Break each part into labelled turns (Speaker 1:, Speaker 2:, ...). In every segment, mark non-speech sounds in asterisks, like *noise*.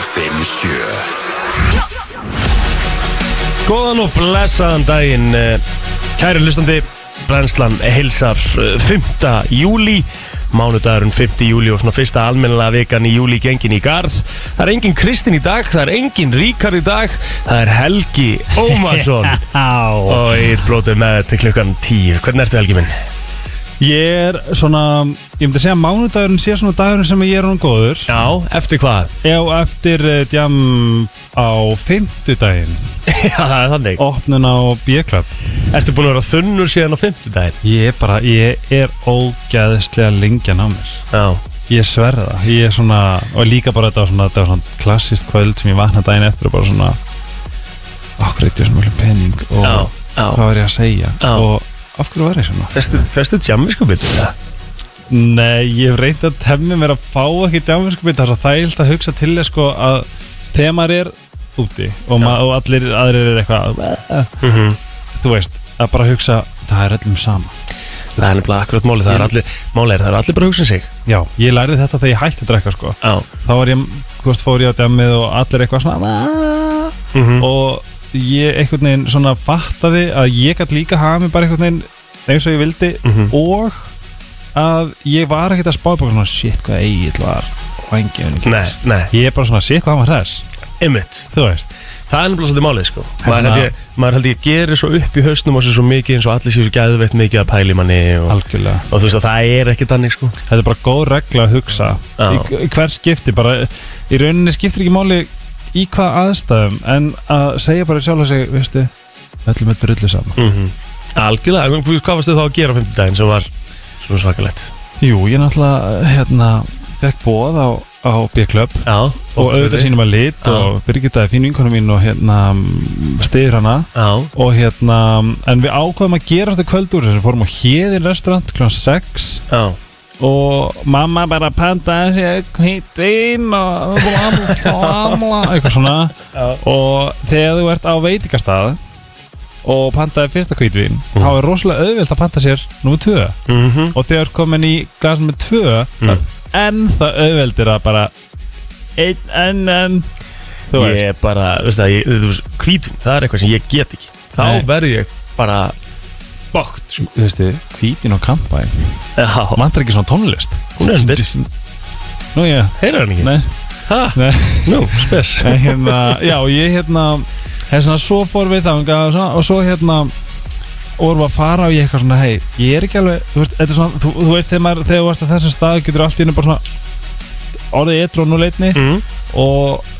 Speaker 1: sjö
Speaker 2: Góðan og blessaðan daginn eh, Kæri hlustandi Brennslan heilsar eh, 5. júli Mánudagurinn 5. júli og svona fyrsta almennilega vikan í júli gengin í garð Það er engin Kristinn í dag, það er engin Ríkar í dag Það er Helgi Ómarsson *laughs*
Speaker 3: Já
Speaker 2: Og ég blótið með til klukkan 10 Hvernig ertu Helgi minn?
Speaker 3: Ég er svona, ég myndi að segja að mánudagurinn sé svona dagurinn sem ég er hún góður
Speaker 2: Já, eftir hvað?
Speaker 3: Já, eftir eh, djam á fimmtudaginn
Speaker 2: *laughs* Já, það er þannig
Speaker 3: Opnun á B-klub
Speaker 2: Ertu búin að vera þunnur síðan á 5. daginn?
Speaker 3: Ég er bara, ég er ógæðislega lengjan á mér
Speaker 2: Já
Speaker 3: Ég sverða það Ég er svona, og líka bara þetta var svona, þetta var svona klassist kvöld sem ég vakna daginn eftir og bara svona Okkur eitthvað svona mjög pening og
Speaker 2: Já, já.
Speaker 3: hvað var ég að segja
Speaker 2: Já.
Speaker 3: og af hverju var ég svona?
Speaker 2: Festu, festu tjammiskupið?
Speaker 3: Nei, ég hef reyndið að temmi mér að fá ekki djáminnskupið þar að það er alltaf að hugsa til þess sko að þegar maður er úti og, ma- og allir aðrir er eitthvað
Speaker 2: Mm -hmm.
Speaker 3: þú veist, að bara hugsa það er öllum sama.
Speaker 2: Það er nefnilega akkurat málið, það er allir, málið er, það er allir bara að hugsa um sig
Speaker 3: Já, ég lærði þetta þegar ég hætti að drekka sko
Speaker 2: Já
Speaker 3: þá var ég, hvort fór ég á djammið og allir eitthvað svona
Speaker 2: mm
Speaker 3: og ég einhvern veginn svona fattaði að ég gætt líka hafa mig bara einhvern veginn eins og ég vildi
Speaker 2: Mhm.
Speaker 3: og að ég var ekkert að spá bara svona shit hvað eigið var vangið
Speaker 2: Nei, nei,
Speaker 3: ég er bara svona shit hvað hann var hress
Speaker 2: ymmit
Speaker 3: þú veist
Speaker 2: Það er nefnilega svolítið málið sko maður
Speaker 3: svona-
Speaker 2: held, ég, maður held ég gerir svo upp í hausnum á sér svo mikið eins og allir séu svo gæðveitt mikið að pæli manni og,
Speaker 3: Algjörlega
Speaker 2: og þú veist að það er ekki þannig sko
Speaker 3: Þetta er bara góð regla að hugsa
Speaker 2: Já.
Speaker 3: í, í hver skipti bara, Í rauninni skiptir ekki máli í hvað aðstæðum En að segja bara sjálf að segja Veistu, öllum er drullu sama
Speaker 2: mm -hmm. Algjörlega, en hvað varstu þá að gera á fimmtudaginn sem var svona svakalegt
Speaker 3: Jú, ég náttúrulega hérna Fekk bóð á, á B-Club
Speaker 2: Já,
Speaker 3: Og auðvitað sínum að lit
Speaker 2: Já.
Speaker 3: Og Birgitta er fín vinkonu mín Og hérna stiður hana
Speaker 2: Já,
Speaker 3: Og hérna, en við ákvaðum að gera þetta kvöld úr þessu Fórum á Héðin restaurant kl. 6
Speaker 2: já,
Speaker 3: og mamma bara pantaði sér hvitt vin og blamla, blamla, eitthvað svona
Speaker 2: Já.
Speaker 3: og þegar þú ert á veitingastað og pantaði fyrsta hvítvin
Speaker 2: Mhm.
Speaker 3: þá er rosalega auðvilt að panta sér nummer 2
Speaker 2: mm -hmm.
Speaker 3: og þegar þú ert komin í glas nummer 2
Speaker 2: Mm.
Speaker 3: en það auðvildir að bara einn, en, en þú veist
Speaker 2: Ég er bara, veist það, ég, þú veist, hvítum, það er eitthvað sem ég get ekki Þá
Speaker 3: Nei.
Speaker 2: verð ég bara bókt sko
Speaker 3: Þú veistu, hvítin og kampæn
Speaker 2: Já,
Speaker 3: Vantar ekki svona tónlist
Speaker 2: Hún er undir.
Speaker 3: Nú, já,
Speaker 2: heyrðu hann ekki?
Speaker 3: nei,
Speaker 2: Ha?
Speaker 3: nei
Speaker 2: Nú, spes
Speaker 3: En hérna, já, og ég hérna hef svona, svo fór við þangað og, svona, og svo hérna vorum við að fara og ég eitthvað svona, hei, ég er ekki alveg þú veist, þetta er svona, þú, þú veist, þegar, maður, þegar þú ert að þessum stað getur allt í hennu bara svona orðið eitthvað nú leitni
Speaker 2: mm.
Speaker 3: og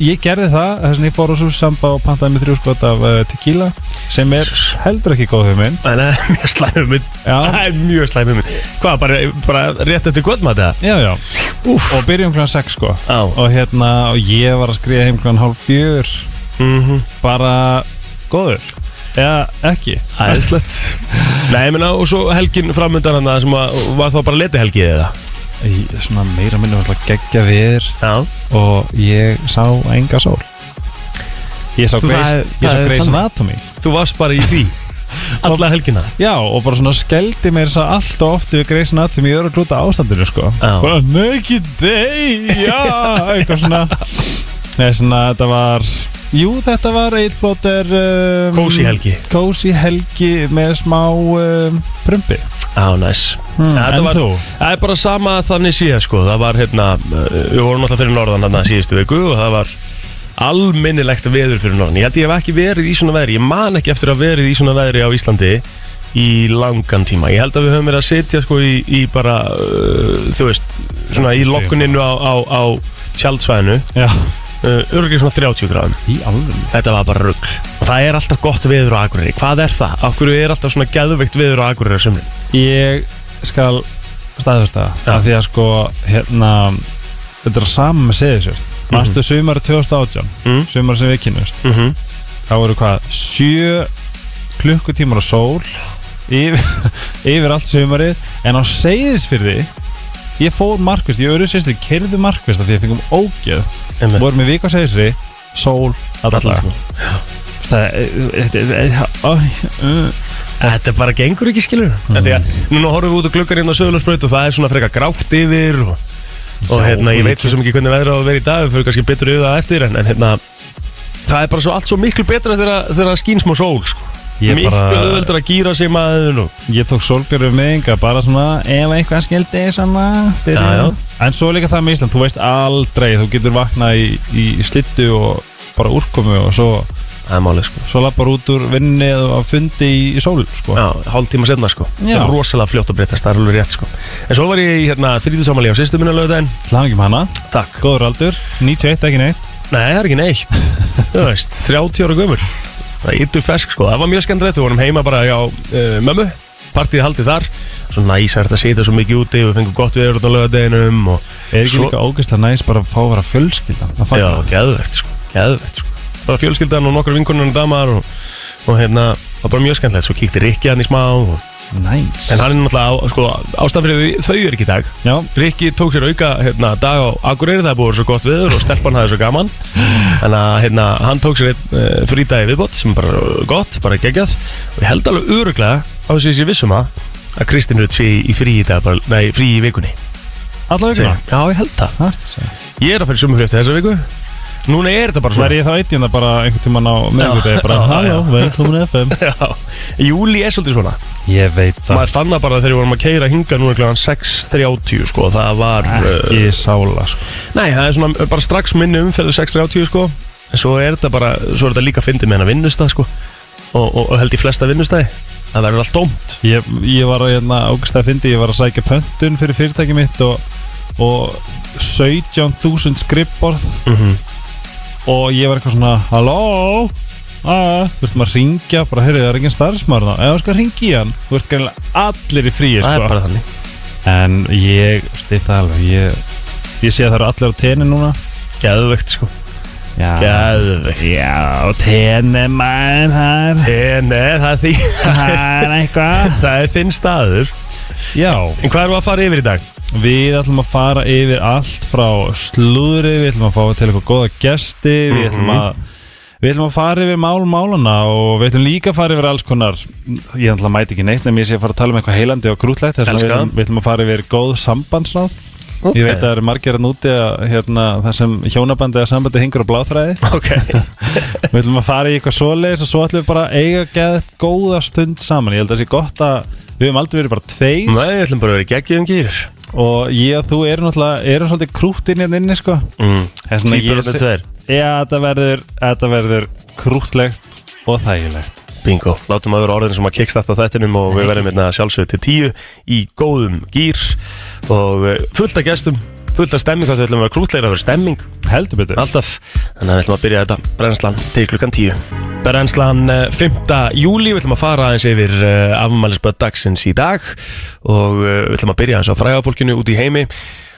Speaker 3: ég gerði það, þess vegna ég fór á svo samba og pantaði mig þrjú skot af uh, tequila sem er heldur ekki góð hugmynd
Speaker 2: Nei, nei, *laughs* mjög slæmið minn *laughs*
Speaker 3: já,
Speaker 2: Það er mjög slæmið minn Hvað, bara, bara rétt eftir kvöldmæti það?
Speaker 3: já, já og byrjum kl. 6 sko
Speaker 2: Já
Speaker 3: og hérna, og ég var að skriða heim kl. hálf fjör
Speaker 2: Mhm.
Speaker 3: bara góður eða ekki
Speaker 2: Æðislegt *laughs* Nei, ég meina, og svo helgin framöndan hann sem að, var þá bara leti helgið eða
Speaker 3: Í, svona meira minni var alltaf geggja viður
Speaker 2: Já
Speaker 3: og ég sá enga sól ég sá
Speaker 2: Þú, það
Speaker 3: Grey's
Speaker 2: er-
Speaker 3: ég
Speaker 2: það
Speaker 3: sá
Speaker 2: er
Speaker 3: Grey's
Speaker 2: þannig.
Speaker 3: Anatomy
Speaker 2: Þú varst bara í því *laughs* Alla helgina
Speaker 3: já og bara svona skeldi mér svo allt og oft við Grey's Anatomy í öru glúta ástandinu sko
Speaker 2: Já.
Speaker 3: bara naked day *laughs* já eitthvað svona Nei, svona þetta var jú þetta var eitt blóter um,
Speaker 2: Kósi helgi
Speaker 3: cozy helgi með smá um, prumpi
Speaker 2: Já, næs
Speaker 3: hmm,
Speaker 2: Ja, þetta
Speaker 3: en
Speaker 2: var-
Speaker 3: þú
Speaker 2: Það er bara sama þannig síða sko Það var hérna, uh, við vorum alltaf fyrir norðan hérna síðustu viku og það var almennilegt veður fyrir norðan Ég held ég hef ekki verið í svona veðri, ég man ekki eftir að verið í svona veðri á Íslandi í langan tíma Ég held að við höfum verið að sitja sko í, í bara, uh, þú veist, svona í lokkuninu á, á, á tjaldsvæðinu
Speaker 3: já
Speaker 2: uh, Örgir svona 30 gráðum
Speaker 3: í alveg
Speaker 2: Þetta var bara rugg Og það er alltaf gott veður á Akureyri Hvað er það? Akkur er alltaf svona geðveikt veður á Akureyri á sumrin
Speaker 3: Ég skal staðfesta
Speaker 2: Já.
Speaker 3: af því að sko hérna þetta er að sama með segið sér
Speaker 2: Mhm.
Speaker 3: Næstu sumari 2018
Speaker 2: mm?
Speaker 3: sumari sem við kynumst
Speaker 2: mm -hmm.
Speaker 3: þá eru hvað sjö klukkutímar á sól yfir, *laughs* yfir allt sumarið en á segðisfyrði ég fór markvist, ég öru sérstu kerði markvist af því að fengum ógeð vorum í vik á segðisfyrði sól allar
Speaker 2: sko.
Speaker 3: það
Speaker 2: eh,
Speaker 3: er
Speaker 2: Þetta bara gengur hérna ekki skilur mm. Því að núna horfum við út á gluggarinn á söðlarsbraut og það er svona frekar grátt yfir og og
Speaker 3: Já,
Speaker 2: hérna, ég
Speaker 3: og
Speaker 2: veit svo sem ekki hvernig veðra á að vera í dag við fyrir kannski betur yfir það eftir en, en hérna, það er bara svo allt svo miklu betra þegar þegar það skýn smá sól sko.
Speaker 3: Ég
Speaker 2: miklu
Speaker 3: bara-
Speaker 2: auðveldur að gýra sig maður og
Speaker 3: Ég tók sólbjörðu með yngar bara svona ef eitthvað skildi svona byrja.
Speaker 2: Já, já.
Speaker 3: En svo er líka það með Ísland, þú veist aldrei þú getur vaknað í, í slittu og bara úrkomu og svo,
Speaker 2: það er málið sko.
Speaker 3: svo lappar út úr vinninni eða á fundi í, í sól sko.
Speaker 2: Já, hálf tíma setna sko.
Speaker 3: Já.
Speaker 2: það er rosalega fljótt að breytast, það er alveg rétt sko. en svo var ég í, hérna, þrítusamali á sýstu minna lögðaðin
Speaker 3: Hlaðum ekki um hana,
Speaker 2: takk,
Speaker 3: góður aldur 91, ekki neitt
Speaker 2: nei, það er ekki neitt þú veist, 30 ára gömur það er yttur fersk sko, það var mjög skemmt við vorum heima bara hjá uh, mömmu partíð haldið þar, svo næs er þetta að sitja svo mikið úti, við fengum gott viður út á lögadeginum og
Speaker 3: Er ekki
Speaker 2: Svo-
Speaker 3: líka ógeðslega næst bara að fá að vera fjölskylda að fagna?
Speaker 2: Já, geðvegt sko, geðvegt sko Bara fjölskyldan og nokkra vinkonarinn damar og, og hérna, það var bara mjög skemmtilegt Svo kíkti Rikki hann í smá og,
Speaker 3: Næs
Speaker 2: En hann er náttúrulega, á- sko, ástafrið þau er ekki í dag
Speaker 3: Já,
Speaker 2: Rikki tók sér auka hérna, dag á Akureyri Það er búið svo gott viður og stelpan hafði svo gaman Þannig að hérna, hann tók sér einn uh, frídagi viðbót sem er bara eh, gott, bara geggjað Og ég held alveg öruglega á þess að ég vissum að að Kristinn Rutt sé í- í frí í dag, bara, nei, frí í vikunni
Speaker 3: alla vikuna
Speaker 2: Já, ég held það
Speaker 3: Það er þetta að segja
Speaker 2: Ég er að fyrir sumufri eftir þessa viku Núna er þetta bara svona
Speaker 3: Verði ég þá eitt í hana bara einhvern tíman á miðvikudegi bara
Speaker 2: já,
Speaker 3: Halló,
Speaker 2: já.
Speaker 3: velkomin FM
Speaker 2: *laughs* Já, júli er svolítið svona
Speaker 3: Ég veit það
Speaker 2: Maður fann það bara þegar við vorum að keira hinga núna kl. 6.30 sko Það var uh,
Speaker 3: Ekki sála sko
Speaker 2: Nei, það er svona bara strax minni umferðu 6.30 sko En svo er þetta bara, svo er þetta líka fyndið með hennar vinnustæð sko og, og, og held í flesta vinnustæði Það verður allt dómt
Speaker 3: Ég, ég var að hérna, ágæslega fyndi, ég var að sækja pöntun fyrir fyrirtæki mitt og, og 17.000 skrippborð
Speaker 2: mm -hmm.
Speaker 3: og ég var eitthvað svona, halló, aða, þú veist maður að ringja, bara heyrðu það er engin starfsmæður þá, eða þú skal ringi í hann, þú veist greinlega allir í fríi,
Speaker 2: Það er
Speaker 3: sko.
Speaker 2: bara þannig
Speaker 3: En ég, stið það alveg, ég, ég sé að það eru allir á tenni núna.
Speaker 2: Geðveikt sko
Speaker 3: Já,
Speaker 2: Geðveikt
Speaker 3: já tenni maður, það er,
Speaker 2: Nei, það er því
Speaker 3: það er eitthvað.
Speaker 2: *laughs* Það er þinn staður
Speaker 3: Já.
Speaker 2: En hvað erum við að fara yfir í dag?
Speaker 3: Við ætlum að fara yfir allt frá slúðri, við ætlum að fá til eitthvað góða gesti, við ætlum að Við ætlum að fara yfir mál málana og við ætlum líka að fara yfir alls konar Ég ætlum að mæti ekki neitt nema ég sé að fara að tala um eitthvað heilandi og grútlegt Þess vegna
Speaker 2: Elska
Speaker 3: við, ætlum- við ætlum að fara yfir góð sambandsráð Ég veit að það eru margir að núti að hérna, það sem hjónabandi eða sambandi hingur á bláþræði
Speaker 2: Ok,
Speaker 3: Við ætlum að fara í eitthvað svoleiðis og svo ætlum við bara að eiga geðið góða stund saman Ég held að það sé gott að við höfum aldrei verið bara tveir
Speaker 2: *laughs* Nei, við ætlum bara að vera í geggjum gýr
Speaker 3: og ég og þú erum náttúrulega erum svolítið krúttinn hérna inni sko
Speaker 2: mm.
Speaker 3: En svona
Speaker 2: Týpur
Speaker 3: ég
Speaker 2: og
Speaker 3: sé-
Speaker 2: tveir
Speaker 3: Já, þetta verður, þetta verður krúttlegt og þægilegt
Speaker 2: Bingo, látum að vera orðin sem að kickstarta þettinum og við verðum hérna sjálfsögðu til tíu í góðum gýr og eh, fullt af gestum, fullt af stemming þannig að við ætlum að vera krútleira að vera stemming
Speaker 3: Heldur betur
Speaker 2: alltaf, þannig að við ætlum að byrja þetta brennslan til klukkan tíu Brennslan eh, 5. júli, við ætlum að fara aðeins yfir uh, afmælisböð dagsins í dag og uh, við ætlum að byrja aðeins á fræga fólkinu út í heimi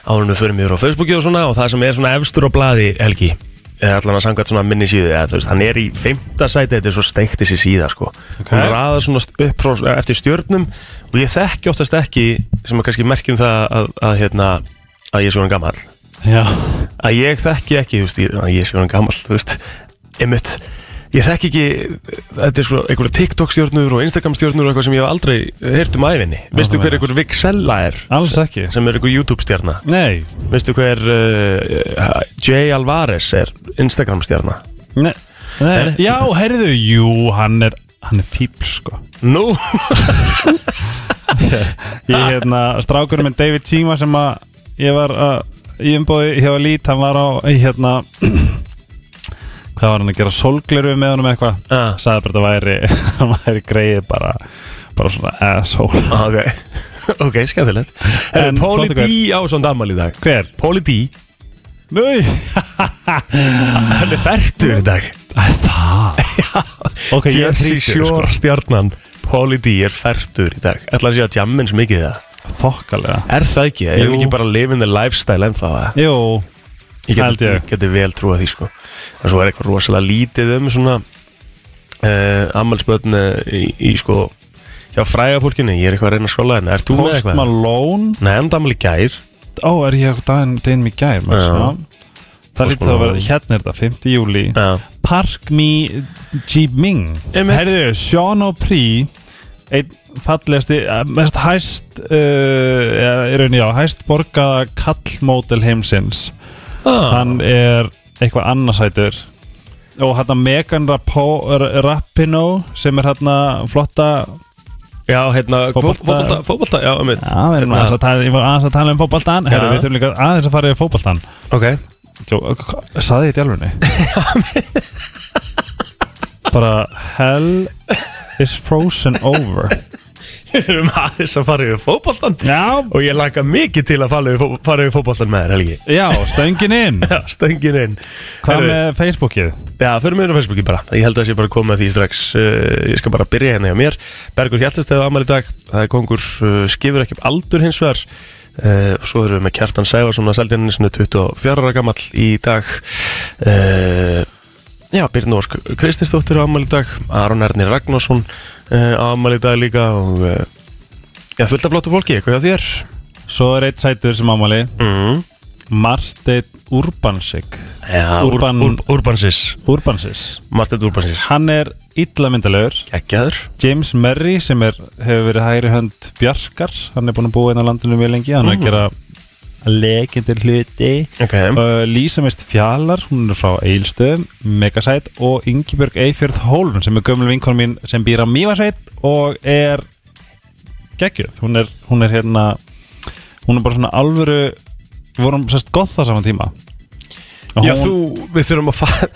Speaker 2: áður en við förum yfir á Facebooki og svona og það sem er svona efstur á blaði, Helgi eða allan að samkvæmt svona minni síðu eða, þú veist, hann er í fymta sæti, þetta er svo steikt þessi síða sko. hún raðar svona st- upp frá, eftir stjörnum og ég þekki oftast ekki sem er kannski merkjum það að, að, hérna, að ég er svona gammal
Speaker 3: Já,
Speaker 2: að ég þekki ekki, þú veist, ég, að ég sé hann gammal, þú veist, einmitt ég þekki ekki, þetta er svo einhverja TikTok stjórnur og Instagram stjórnur og eitthvað sem ég hef aldrei heyrt um æfinni veistu
Speaker 3: það
Speaker 2: hver
Speaker 3: er.
Speaker 2: einhver Vixella er
Speaker 3: alls ekki
Speaker 2: sem er einhver YouTube stjárna
Speaker 3: Nei,
Speaker 2: veistu hver uh, Jay Alvarez er Instagram stjárna
Speaker 3: nei, nei. Já, heyrðu, jú, hann er, hann er fíbl sko
Speaker 2: nú,
Speaker 3: Ég hérna, strákurinn minn David Tíma sem að ég var að í umbóði hjá Lít, hann var á í, hérna *clears throat* hvað var hann að gera, sólgleru með honum eitthvað
Speaker 2: Ah.
Speaker 3: sagði bara að þetta væri, *laughs* hann væri greið bara, bara svona asshole
Speaker 2: *laughs* ok ok, skemmtilegt
Speaker 3: En
Speaker 2: Herru, Póli
Speaker 3: flottu
Speaker 2: D á svona damal í dag
Speaker 3: Hver?
Speaker 2: Póli D,
Speaker 3: Nei
Speaker 2: hann er færtur í dag
Speaker 3: Það *laughs* Ok, ég er
Speaker 2: Jersey
Speaker 3: þrítur sko.
Speaker 2: Shore stjarnan Póli D er færtur í dag ætla að sé að jammin sem ekki það
Speaker 3: Fokkalega
Speaker 2: Er það ekki? Er
Speaker 3: Jú.
Speaker 2: ekki bara living the lifestyle ennþá? eða?
Speaker 3: Jú,
Speaker 2: Ég
Speaker 3: held
Speaker 2: geti,
Speaker 3: ég.
Speaker 2: geti vel trúa því sko En svo er eitthvað rosalega lítið um svona uh, Ammalspötn í, í sko Hjá fræga fólkinu, ég er eitthvað að reyna að skóla henni Er þú með
Speaker 3: Post
Speaker 2: eitthvað?
Speaker 3: Malone
Speaker 2: Nei, en damal í gær
Speaker 3: Ó, er ég daginn daginn mig gær maður,
Speaker 2: Já.
Speaker 3: já. Það
Speaker 2: Post
Speaker 3: lítið það að vera
Speaker 2: Malone.
Speaker 3: Hérna er þetta, 5. júli
Speaker 2: Já,
Speaker 3: Park Me Ji Ming
Speaker 2: Einmitt.
Speaker 3: Herðu, Sean O'Pree Einn fallegasti, eh, mest hæst uh, er raun já, hæst borgaða kallmótel heimsins Ah. hann er eitthvað annarsætur og hann Megan Rapo- R- Rapinoe sem er hann flotta
Speaker 2: Já, hérna, fótbolta,
Speaker 3: Fótbolta-
Speaker 2: fótbolta, fótbolta já, um
Speaker 3: já, við erum aðeins að tala, ég var aðeins að tala um fótboltan Herru, við þurfum líka aðeins að fara í fótboltan
Speaker 2: Ok,
Speaker 3: Jó, saði ég þetta í alvegni? bara hell is frozen over
Speaker 2: *laughs* við erum aðeins að fara yfir fótboltan
Speaker 3: já,
Speaker 2: Og ég laka mikið til að fara yfir, fó- fara yfir fótboltan með þér, Helgi
Speaker 3: já, stöngin inn
Speaker 2: Já, stöngin inn
Speaker 3: hvað
Speaker 2: Herru,
Speaker 3: með Facebookið?
Speaker 2: Já, förum við inn á Facebooki bara Ég held að sé bara að koma með því strax uh, Ég skal bara byrja henni á mér Bergur Hjaltastæði ámæli í dag Það er kongur uh, skifur ekki upp aldur hins vegar uh, og Svo erum við með Kjartan Sævarsson að seldi henni 24 ára gamall í dag uh, Já, Birna Ósk Kristinsdóttir á ámæli í dag Aron Erni Ragnarsson uh, á ámæli í dag líka og uh, Já, fullt af flottu fólki, eitthvað hjá þér
Speaker 3: svo er eitt sætur sem ámali
Speaker 2: mm.
Speaker 3: Marteinn Urbansik
Speaker 2: Já, Urban...
Speaker 3: Urban-
Speaker 2: Ur, Urbansis
Speaker 3: Urbansis
Speaker 2: Martin Urbansis
Speaker 3: hann er illa myndalegur
Speaker 2: Gekkjaður
Speaker 3: James Merry sem er, hefur verið hægri hönd Bjarkar, hann er búin að búa inn á landinu mjög lengi, hann er að gera lekendir hluti
Speaker 2: Ok,
Speaker 3: uh, Lísa Mist Fjalar, hún er frá Eilstöðum, Megasæt og Ingibjörg Eifjörð Hólm sem er gömul vinkonu mín sem býr á Mývasæt og er geggjöð, hún er, hún er hérna hún er bara svona alvöru við vorum sérst gott það saman tíma Og
Speaker 2: Já, þú, við þurfum að fara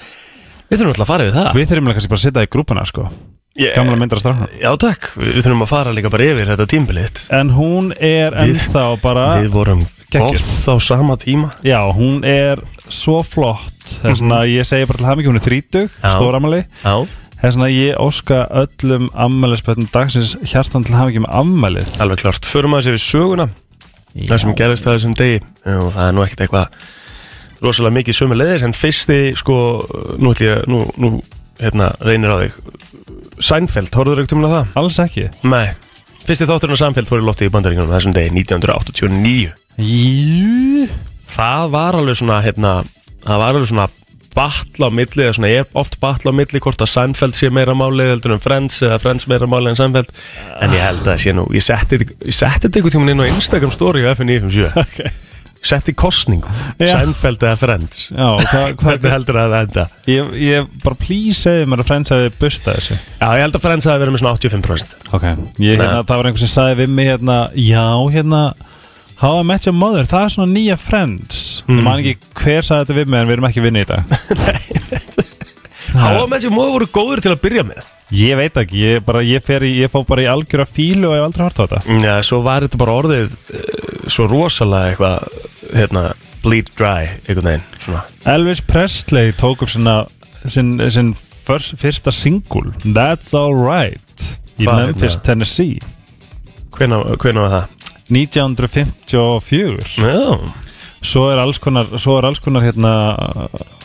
Speaker 2: Við þurfum alltaf að fara við það
Speaker 3: við þurfum kannski bara að setja í grúpuna sko,
Speaker 2: Ég-
Speaker 3: gamla myndar að strafna
Speaker 2: Já, takk, við, við þurfum að fara líka bara yfir þetta tímbilitt
Speaker 3: En hún er
Speaker 2: Við-
Speaker 3: ennþá bara
Speaker 2: Við vorum
Speaker 3: Geggjur.
Speaker 2: gott á sama tíma
Speaker 3: Já, hún er svo flott Það er svona, ég segi bara til það mikið, hún er þrítug
Speaker 2: Mhm. Já.
Speaker 3: Stóramæli,
Speaker 2: Já,
Speaker 3: það er svona ég óska öllum ammælisbötnum dagsins hjartan til það mikið með ammælið
Speaker 2: alveg klart Förum aðeins yfir söguna Það sem gerðist það þessum degi og það er nú ekkert eitthvað rosalega mikið sömu leiðis en fyrsti, sko, nú ætlum ég nú, nú, hérna, reynir á þig Seinfeld, horfður ekkert um það?
Speaker 3: Alls ekki
Speaker 2: Nei Fyrsti þátturinn á Seinfeld fór í lofti í bandaríkjunum þessum degi 1989
Speaker 3: Jú
Speaker 2: það var alveg svona hérna, það var alveg svona batla á milli, eða svona er oft batla á milli hvort að Seinfeld sé meira málið heldur en Friends eða Friends meira málið en Seinfeld en ég held að það sé nú, ég setti þetta- ég setti þetta einhvern tímann inn á Instagram story á FNI57 okay. setti *laughs* kostningu,
Speaker 3: Já.
Speaker 2: Seinfeld eða Friends
Speaker 3: Já, og *laughs* hvað,
Speaker 2: hvernig
Speaker 3: hvað
Speaker 2: heldur það að enda?
Speaker 3: ég, ég bara please segði mér að Friends hafi busta þessu
Speaker 2: Já, ég held að Friends hafi verið með svona *laughs* 85%
Speaker 3: Ok ég, hérna, Það var einhver sem sagði við mig hérna Já, hérna How I Met Your Mother, það er svona nýja Friends Ég man ekki hver sagði þetta við mig en við erum ekki vinni í dag
Speaker 2: Háa með þessi móðu voru góður til að byrja með
Speaker 3: Ég veit ekki, ég, bara, ég, fer í, ég fó bara í algjöra fílu og ég hef aldrei hort á þetta
Speaker 2: Já, svo var þetta bara orðið eh, svo rosalega eitthvað hérna, bleed dry, einhvern veginn svona
Speaker 3: Elvis Presley tók upp sinna, sin, sin first, fyrsta singul That's Alright í
Speaker 2: Hvað er
Speaker 3: Memphis,
Speaker 2: það?
Speaker 3: Tennessee
Speaker 2: Hvena, hvena var það?
Speaker 3: 1954
Speaker 2: Já,
Speaker 3: Svo er alls konar, svo er alls konar hérna,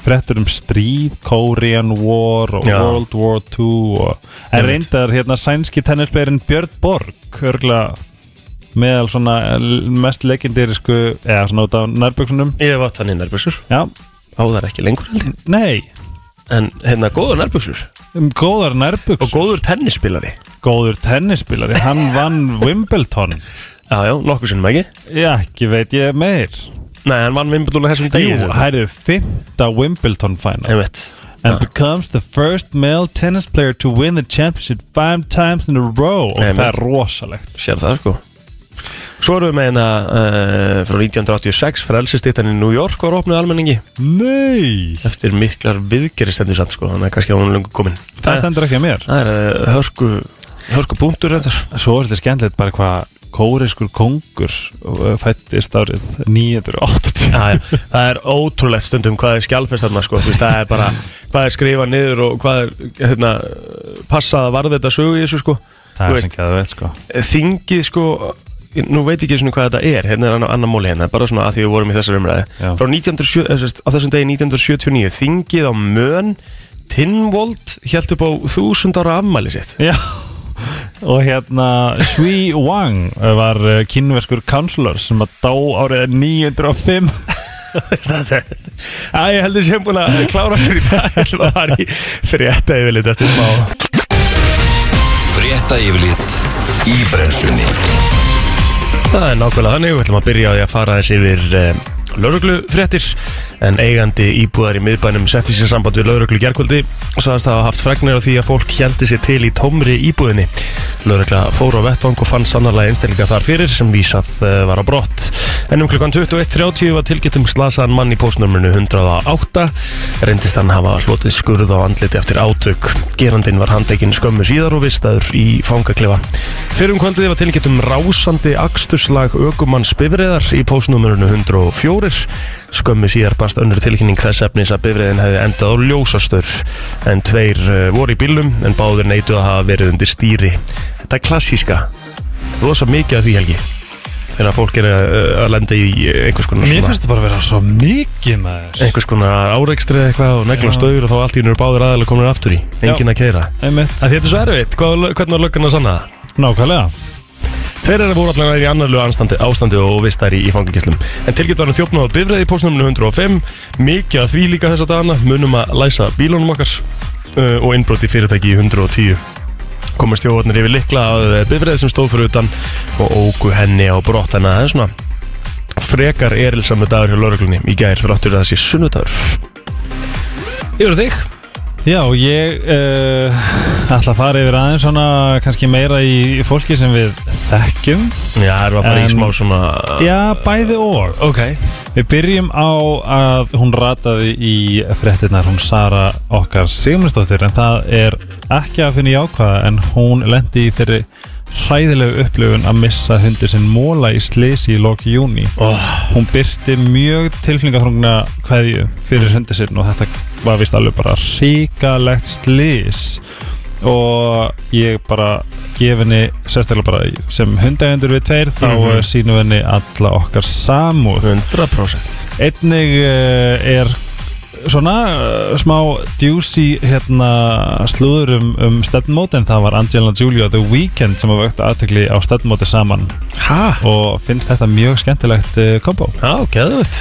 Speaker 3: frettur um stríð Korean War og
Speaker 2: Já.
Speaker 3: World War II og, En
Speaker 2: Einmitt.
Speaker 3: reyndar hérna sænski tennisbeirin Björn Borg örgla meðal svona eh, mest legendirisku eða svona út af nærböksunum
Speaker 2: ég hef átt hann í nærbjöksur
Speaker 3: Já,
Speaker 2: Á það ekki lengur held ég
Speaker 3: Nei,
Speaker 2: En hérna, góður nærbjöksur
Speaker 3: um góðar nærbuks
Speaker 2: Og góður tennisspilari
Speaker 3: góður tennisspilari Hann vann Wimbledon
Speaker 2: Já, já, nokkuð sinnum ekki
Speaker 3: Já, ekki veit ég meir
Speaker 2: Nei, hann vann vimbulun þessum degi
Speaker 3: Jú, hæru, fymta Wimbledon final
Speaker 2: Einmitt
Speaker 3: And becomes the first male tennis player to win the championship five times in a row Og
Speaker 2: Einmitt.
Speaker 3: það er rosalegt
Speaker 2: Sér það sko Svo erum við með hérna uh, frá 1986 frelsistittan í New York var opnuð almenningi
Speaker 3: Nei,
Speaker 2: eftir miklar viðgerri stendur samt sko þannig að kannski að hún er lungu komin
Speaker 3: það stendur ekki að mér
Speaker 2: Eh, Það er eh, hörku, hörku punktur reyndar
Speaker 3: Svo er þetta skemmtilegt bara hvað kóriskur kongur uh, fættist árið 980
Speaker 2: Já, já, það er ótrúlegt stundum hvað er skjálfest þarna sko, þú veist, það er bara hvað er skrifað niður og hvað er hérna, passað að varða þetta sögu í þessu sko,
Speaker 3: Það
Speaker 2: Þú
Speaker 3: er sem geða vel sko
Speaker 2: þingið sko nú veit ég ekki svona hvað þetta er hérna er annar, annar móli hérna, bara svona að því við vorum í þessar umræði
Speaker 3: Já.
Speaker 2: frá 1907, eh, sem sagt, á þessum degi 1979 þingið á mön Tinnvold held upp á þúsund ára afmæli sitt
Speaker 3: Já Og hérna Shui Wang var uh, kínverskur kanslur sem að dá árið 905
Speaker 2: *laughs* Það er Æ, ég heldur sem búin að klára fyrir í *laughs* dag Það er bara í frétta yfirleitt eftir smá
Speaker 1: Frétta yfirlit í brennslunni
Speaker 2: Það er nákvæmlega þannig, við ætlum að byrja á því að fara aðeins yfir eh, lauruglufréttir en eigandi íbúðar í miðbænum setti sér samband við lauruglu gerkvöldi og sagðist það hafa haft fregnir á því að fólk hjeldi sér til í tómri íbúðinni Laurugla fór á vettvang og fann sannarlega einstaklinga þar fyrir sem vísað eh, var á brott En um klukkan 21.30 var tilgjötum slasaðan mann í postnumrinu 108 reyndist hann hafa hlotið skurð á andliti eftir átök Gerandinn var handekinn skömmu síðar og vistaður í fangaklefa Fyrir um kvöldið var tilgjönt um rásandi aksturslag ökumanns bifriðar í póstnúmerinu 104. Skömmu síðar barst önnur tilkynning þess efnis að bifriðin hefði endað á ljósastur en tveir eh, voru í bílum en báðir neituð að hafa verið undir stýri. Þetta er klassíska. Rosa mikið af því helgi þegar fólk er að, að lenda í eh, einhvers konar
Speaker 3: Mér finnst það bara að vera svo mikið maður
Speaker 2: einhvers konar áreikstri eða eitthvað og negla
Speaker 3: Já.
Speaker 2: stöður og þá allt í unir báðir aðalega komin aftur í engin að keira
Speaker 3: Einmitt
Speaker 2: Þetta er svo erfitt, Hvað, hvernig var löggan að sanna það?
Speaker 3: Nákvæmlega
Speaker 2: Tveir eru voru allavega í annarlu anstandi, ástandi og vistar í, í fangagislum. En tilgjönd var um hann þjófnum á bifræði í postnuminu 105, mikið að því líka þess að dana, munum að læsa bílunum okkar uh, og innbrot í fyrirtæki í 110. Komast þjófarnir yfir likla að bifræði sem stóð fyrir utan og ógu henni á brott en að það er svona frekar erilsamu dagur hjá lauruglunni í gær þráttur að það sé sunnudagur. Yfir á þig?
Speaker 3: Já, og ég uh, ætla að fara yfir aðeins svona kannski meira í fólki sem við þekkjum
Speaker 2: Já, erum við að fara
Speaker 3: En-
Speaker 2: í smá svona...
Speaker 3: Já, bæði og
Speaker 2: Ok.
Speaker 3: Við byrjum á að hún rataði í fréttinnar, hún Sara okkar Sigmundsdóttir en það er ekki að finna í ákvaða en hún lendi í þeirri hræðilegu upplifun að missa hundi sinn móla í slisi í loki júni
Speaker 2: Oh,
Speaker 3: hún byrti mjög tilfningaþrungna kveðju fyrir hundi sinn og þetta var vist alveg bara ríkalegt slís og ég bara gef henni sérstaklega bara sem hundægendur við tveir þá mm
Speaker 2: Mhm.
Speaker 3: sínum við henni alla okkar samúð
Speaker 2: 100%.
Speaker 3: Einnig uh, er svona uh, smá djúsi hérna slúður um, um stefnmót en það var Angela Giulio The Weeknd sem að vökta aðtökli á stefnmóti saman
Speaker 2: Hæ?
Speaker 3: og finnst þetta mjög skemmtilegt uh, kombo
Speaker 2: Já, geðvögt.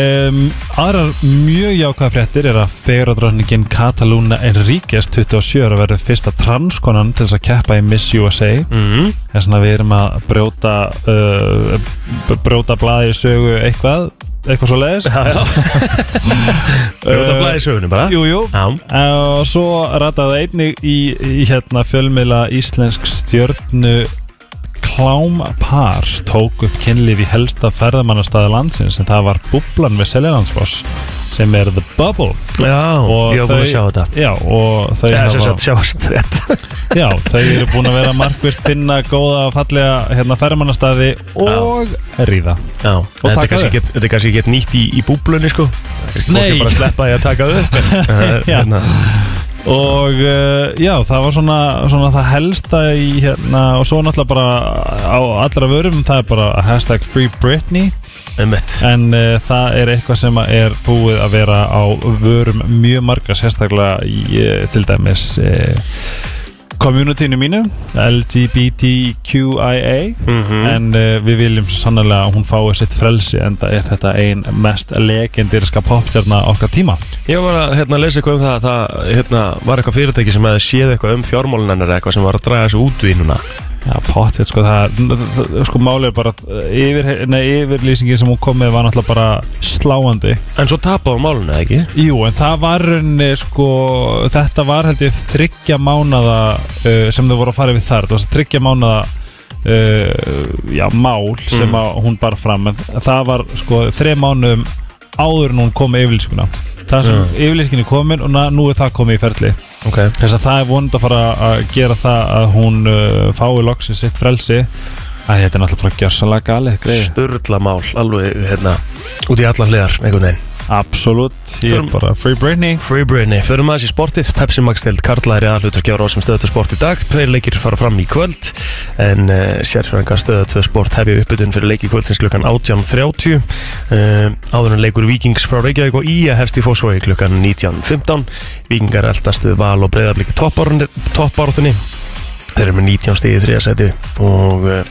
Speaker 3: um, Aðrar mjög jákvæða fréttir er að feguradrönningin Cataluna Enríquez 27 ára verður fyrsta transkonan til þess að keppa í Miss USA
Speaker 2: Mm.
Speaker 3: þess að við erum að brjóta uh, b- brjóta blaði sögu eitthvað, eitthvað svo leiðis
Speaker 2: Já, já. Brjóta
Speaker 3: Eh,
Speaker 2: blæði sögunum bara
Speaker 3: Jú, jú
Speaker 2: Já,
Speaker 3: Og svo rataði einnig í, í hérna fjölmiðla íslensk stjörnu klámpar tók upp kynlíf í helsta ferðamannastaði landsins en það var bublan við Seljalandsfoss sem er The Bubble
Speaker 2: já
Speaker 3: Og
Speaker 2: ég var búin
Speaker 3: þau-
Speaker 2: að sjá þetta hérna
Speaker 3: Já, og þau,
Speaker 2: Já, sem
Speaker 3: hafa,
Speaker 2: sagt, sjá þess að þetta
Speaker 3: *laughs* já, þau eru búin að vera markvist finna góða og fallega hérna, ferðamannastaði og ríða
Speaker 2: Já, en þetta er
Speaker 3: taka
Speaker 2: kannski
Speaker 3: upp.
Speaker 2: ekkert- þetta er kannski ekkert nýtt í, í búblunni, sko Fólk er bara að sleppa því að taka það *laughs* upp en, eh,
Speaker 3: Já.
Speaker 2: hérna,
Speaker 3: Og uh, já, það var svona, svona það helsta í hérna og svo náttúrulega bara á allra vörum það er bara hashtag Free Britney
Speaker 2: einmitt.
Speaker 3: en uh, það er eitthvað sem að er búið að vera á vörum mjög marga sérstaklega í uh, til dæmis uh, communitynu mínu LGBTQIA
Speaker 2: Mhm.
Speaker 3: en uh, við viljum svo sannlega að hún fái sitt frelsi en það er þetta ein mest legendirska popstjarna okkar tíma
Speaker 2: Ég var að hérna, lesa eitthvað um það að það hérna, var eitthvað fyrirtæki sem hefði séð eitthvað um fjármálunarnar eitthvað sem var að draga þessu út við núna
Speaker 3: Já, potið, sko, það, það- sko, málið er bara eh, yfir, nei, yfirlýsingin sem hún kom með var náttúrulega bara sláandi
Speaker 2: En svo tapaði málunni, eða ekki?
Speaker 3: Jú, en það var raunni, sko, þetta var held ég þryggja mánada uh, sem þau voru að fara yfir þar, það var þryggja mánada uh, já, mál sem
Speaker 2: Mm.
Speaker 3: að hún bar fram, en það var sko þrej mánum áður en hún kom með yfirlýsinguna, það sem
Speaker 2: Já.
Speaker 3: yfirlýsingin er komin og na, nú er það komið í ferli
Speaker 2: Ok
Speaker 3: þess að það er vonandi að fara að gera það að hún uh, fái loksins sitt frelsi að þetta er náttúrulega bara gjörsalega galið greið
Speaker 2: Sturla mál, alveg, hérna, út í allar hliðar, einhvern veginn
Speaker 3: absolutt, ég er
Speaker 2: Förum-
Speaker 3: bara free Britney
Speaker 2: Free Britney, förum aðeins í sportið Pepsi Max deild Karla er í aðlutur gjára á sem stöðu 2 sport í dag, tveir leikir fara fram í kvöld en uh, sérfræðingar stöðu 2 sport hefja uppbytun fyrir leiki kvöldsins klukkan 18.30 uh, áður en leikur Vikings frá Reykjavík og Ía hefst í fósvogi klukkan 19.15 Vikingar eldast við val og breyðabliki toppártunni þeir eru með 19 stig í þriða seti og uh,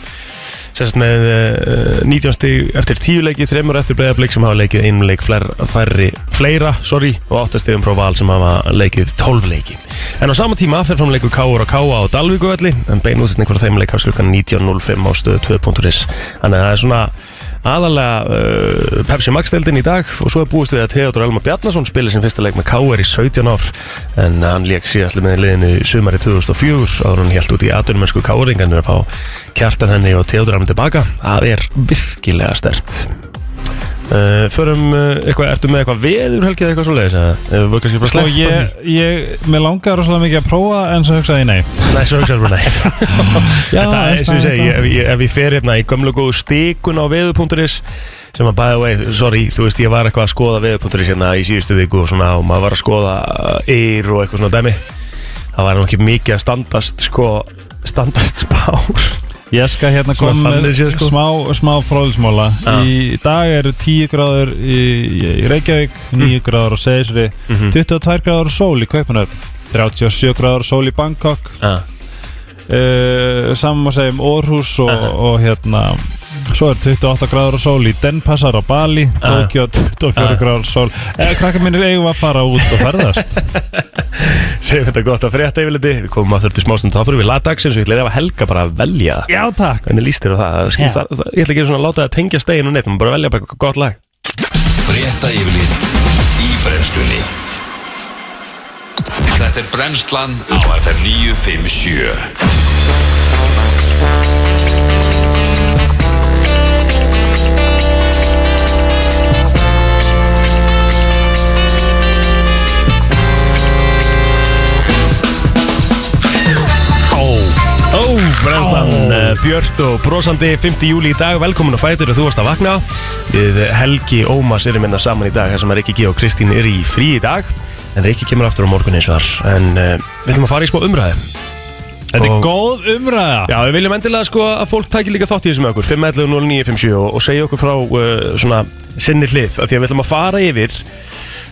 Speaker 2: Sérst með uh, 19 stig eftir 10 leiki, 3 eftir breyðablík sem hafa leikið einum leik fler, færri, fleira sorry, og 8 stigum frá val sem hafa leikið 12 leiki. En á sama tíma fer fram leikur Káur og Káa á Dalvíkuvelli en bein útsetning frá þeim leik hefst klukkan 19.05 á stöðu 2.is Þannig að það er svona aðalega uh, Pepsi Max-deldin í dag og svo er búist við að Theodor Elmar Bjarnason spilir sem fyrsta leik með Káur í 17 ár en hann leik síðast með liðinu í sumari 2004 áður en hann helt út í atvinnumennsku Káuringan að fá kjartan henni og Theodor hann tilbaka það er virkilega stert Uh, förum uh, eitthvað, ertu með eitthvað veður helgið eða eitthvað svoleiðis eða Ef við kannski bara
Speaker 3: Sko
Speaker 2: sleppa því?
Speaker 3: ég, ég, mér langar rosalega mikið að prófa en svo hugsaði ég nei
Speaker 2: *laughs* Nei, svo hugsaður bara nei
Speaker 3: Já,
Speaker 2: En Ah, það er eins og ég segi, ég- ef, ég- ef ég fer hérna í gömlu góðu stikun á veður.is sem að by the way, sorry, þú veist ég var eitthvað að skoða veður.is hérna í síðustu viku og svona og maður var að skoða uh, eir og eitthvað svona dæmi það var nú ekki mikið að standast sko, standast spár
Speaker 3: Ég skal hérna
Speaker 2: Svona
Speaker 3: koma með
Speaker 2: þannig séð, sko.
Speaker 3: smá, smá fróðismóla
Speaker 2: Já.
Speaker 3: Í dag eru 10 gráður í, í Reykjavík
Speaker 2: Mm.
Speaker 3: 9 gráður á Seyðisri
Speaker 2: Mhm.
Speaker 3: 22 gráður sól í Kaupanöf 37 gráður sól í Bangkok
Speaker 2: ah.
Speaker 3: uh, Saman að segja um Orhus og,
Speaker 2: Aha.
Speaker 3: og hérna Svo er 28 gráður sól í Denpasar á Bali
Speaker 2: Aha.
Speaker 3: Tokyo 24
Speaker 2: Aha.
Speaker 3: gráður sól Eða krakkar minnir eigum að fara út og ferðast
Speaker 2: segjum þetta gott að frétta yfirleiti við komum aftur til smástund, þá fyrir við lagdagsins og ég ætla að hafa helga bara að velja
Speaker 3: Já takk
Speaker 2: hvernig líst þér á það, það, skil,
Speaker 3: Já.
Speaker 2: það, það ég ætla ekki svona að láta það tengja stegin og neitt, maður bara velja bara eitthvað gott lag
Speaker 1: Frétta yfirlit í brennslunni Þetta er brennslan á FM 957
Speaker 2: Ó, ó, brennslan eh, Björt og brosandi 5. júli í dag Velkomin og fætur og þú varst að vakna Við Helgi Ómas erum minna saman í dag Þessum að Rikki G og Kristín eru í frí í dag En Rikki kemur aftur á morgun eins og þar En uh, við ætlum að fara í smá umræði
Speaker 3: Þetta er
Speaker 2: Og-
Speaker 3: góð umræða
Speaker 2: Já, við viljum endilega sko að fólk tækir líka þátt í þessu með okkur 511 0957 og, og segja okkur frá uh, svona sinni hlið af Því að við ætlum að fara yfir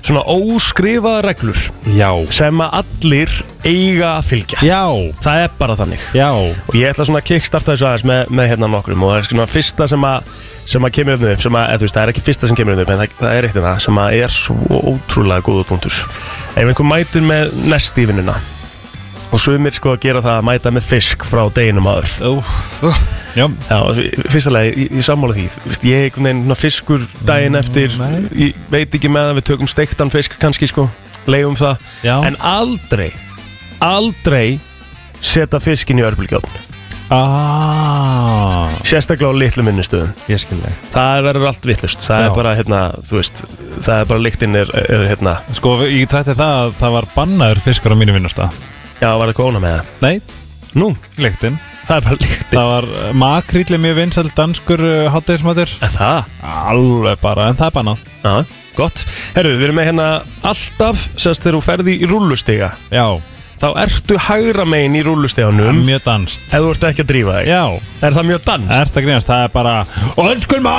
Speaker 2: svona óskrifaða reglur
Speaker 3: Já
Speaker 2: sem að allir eiga að fylgja
Speaker 3: Já,
Speaker 2: Það er bara þannig
Speaker 3: já.
Speaker 2: og ég ætla svona að kickstarta þessu aðeins með, með hérna nokkrum og það er svona fyrsta sem að sem að kemur hérna upp, sem að, eða þú veist, það er ekki fyrsta sem kemur hérna upp en það, það er eitt hérna sem að er svo ótrúlega góða punktur ef einhver mætir með nest í vinnuna og sumir sko að gera það að mæta með fisk frá deginum aður
Speaker 3: Já,
Speaker 2: Já, fyrsta lagi, ég, ég sammála því Þú veist, Ég er einhvern veginn svona fiskur daginn eftir
Speaker 3: Mm, nei.
Speaker 2: Ég veit ekki með að við tökum steiktan fisk kannski sko Leifum það
Speaker 3: Já.
Speaker 2: En aldrei, aldrei setja fiskin í örbulgjóðn
Speaker 3: ah,
Speaker 2: Sérstaklega á litlu minnistöðum
Speaker 3: ég skil þig
Speaker 2: Það verður allt vittlust Það
Speaker 3: Já.
Speaker 2: er bara, hérna, þú veist Það er bara lyktinn er, er hérna
Speaker 3: Sko, ég trætti það að það var bannaður fiskur á mínu vinnusta
Speaker 2: Já, var eitthvað óna með það
Speaker 3: Nei,
Speaker 2: Nú,
Speaker 3: lyktin
Speaker 2: það er bara lyktin
Speaker 3: Það var makríli mjög vinsæl danskur uh, hátæðismatur
Speaker 2: Er það?
Speaker 3: Alveg bara, en það er bannað
Speaker 2: Já, gott Herru, við erum með hérna alltaf Sérst þegar þú ferði í rúllustiga
Speaker 3: Já,
Speaker 2: Þá ertu hægra megin í rúllusteganum
Speaker 3: mjög danst
Speaker 2: Ef þú ert ekki að drífa þig
Speaker 3: Já,
Speaker 2: Er það mjög dans?
Speaker 3: ert að grínast, það er bara Önskur mæ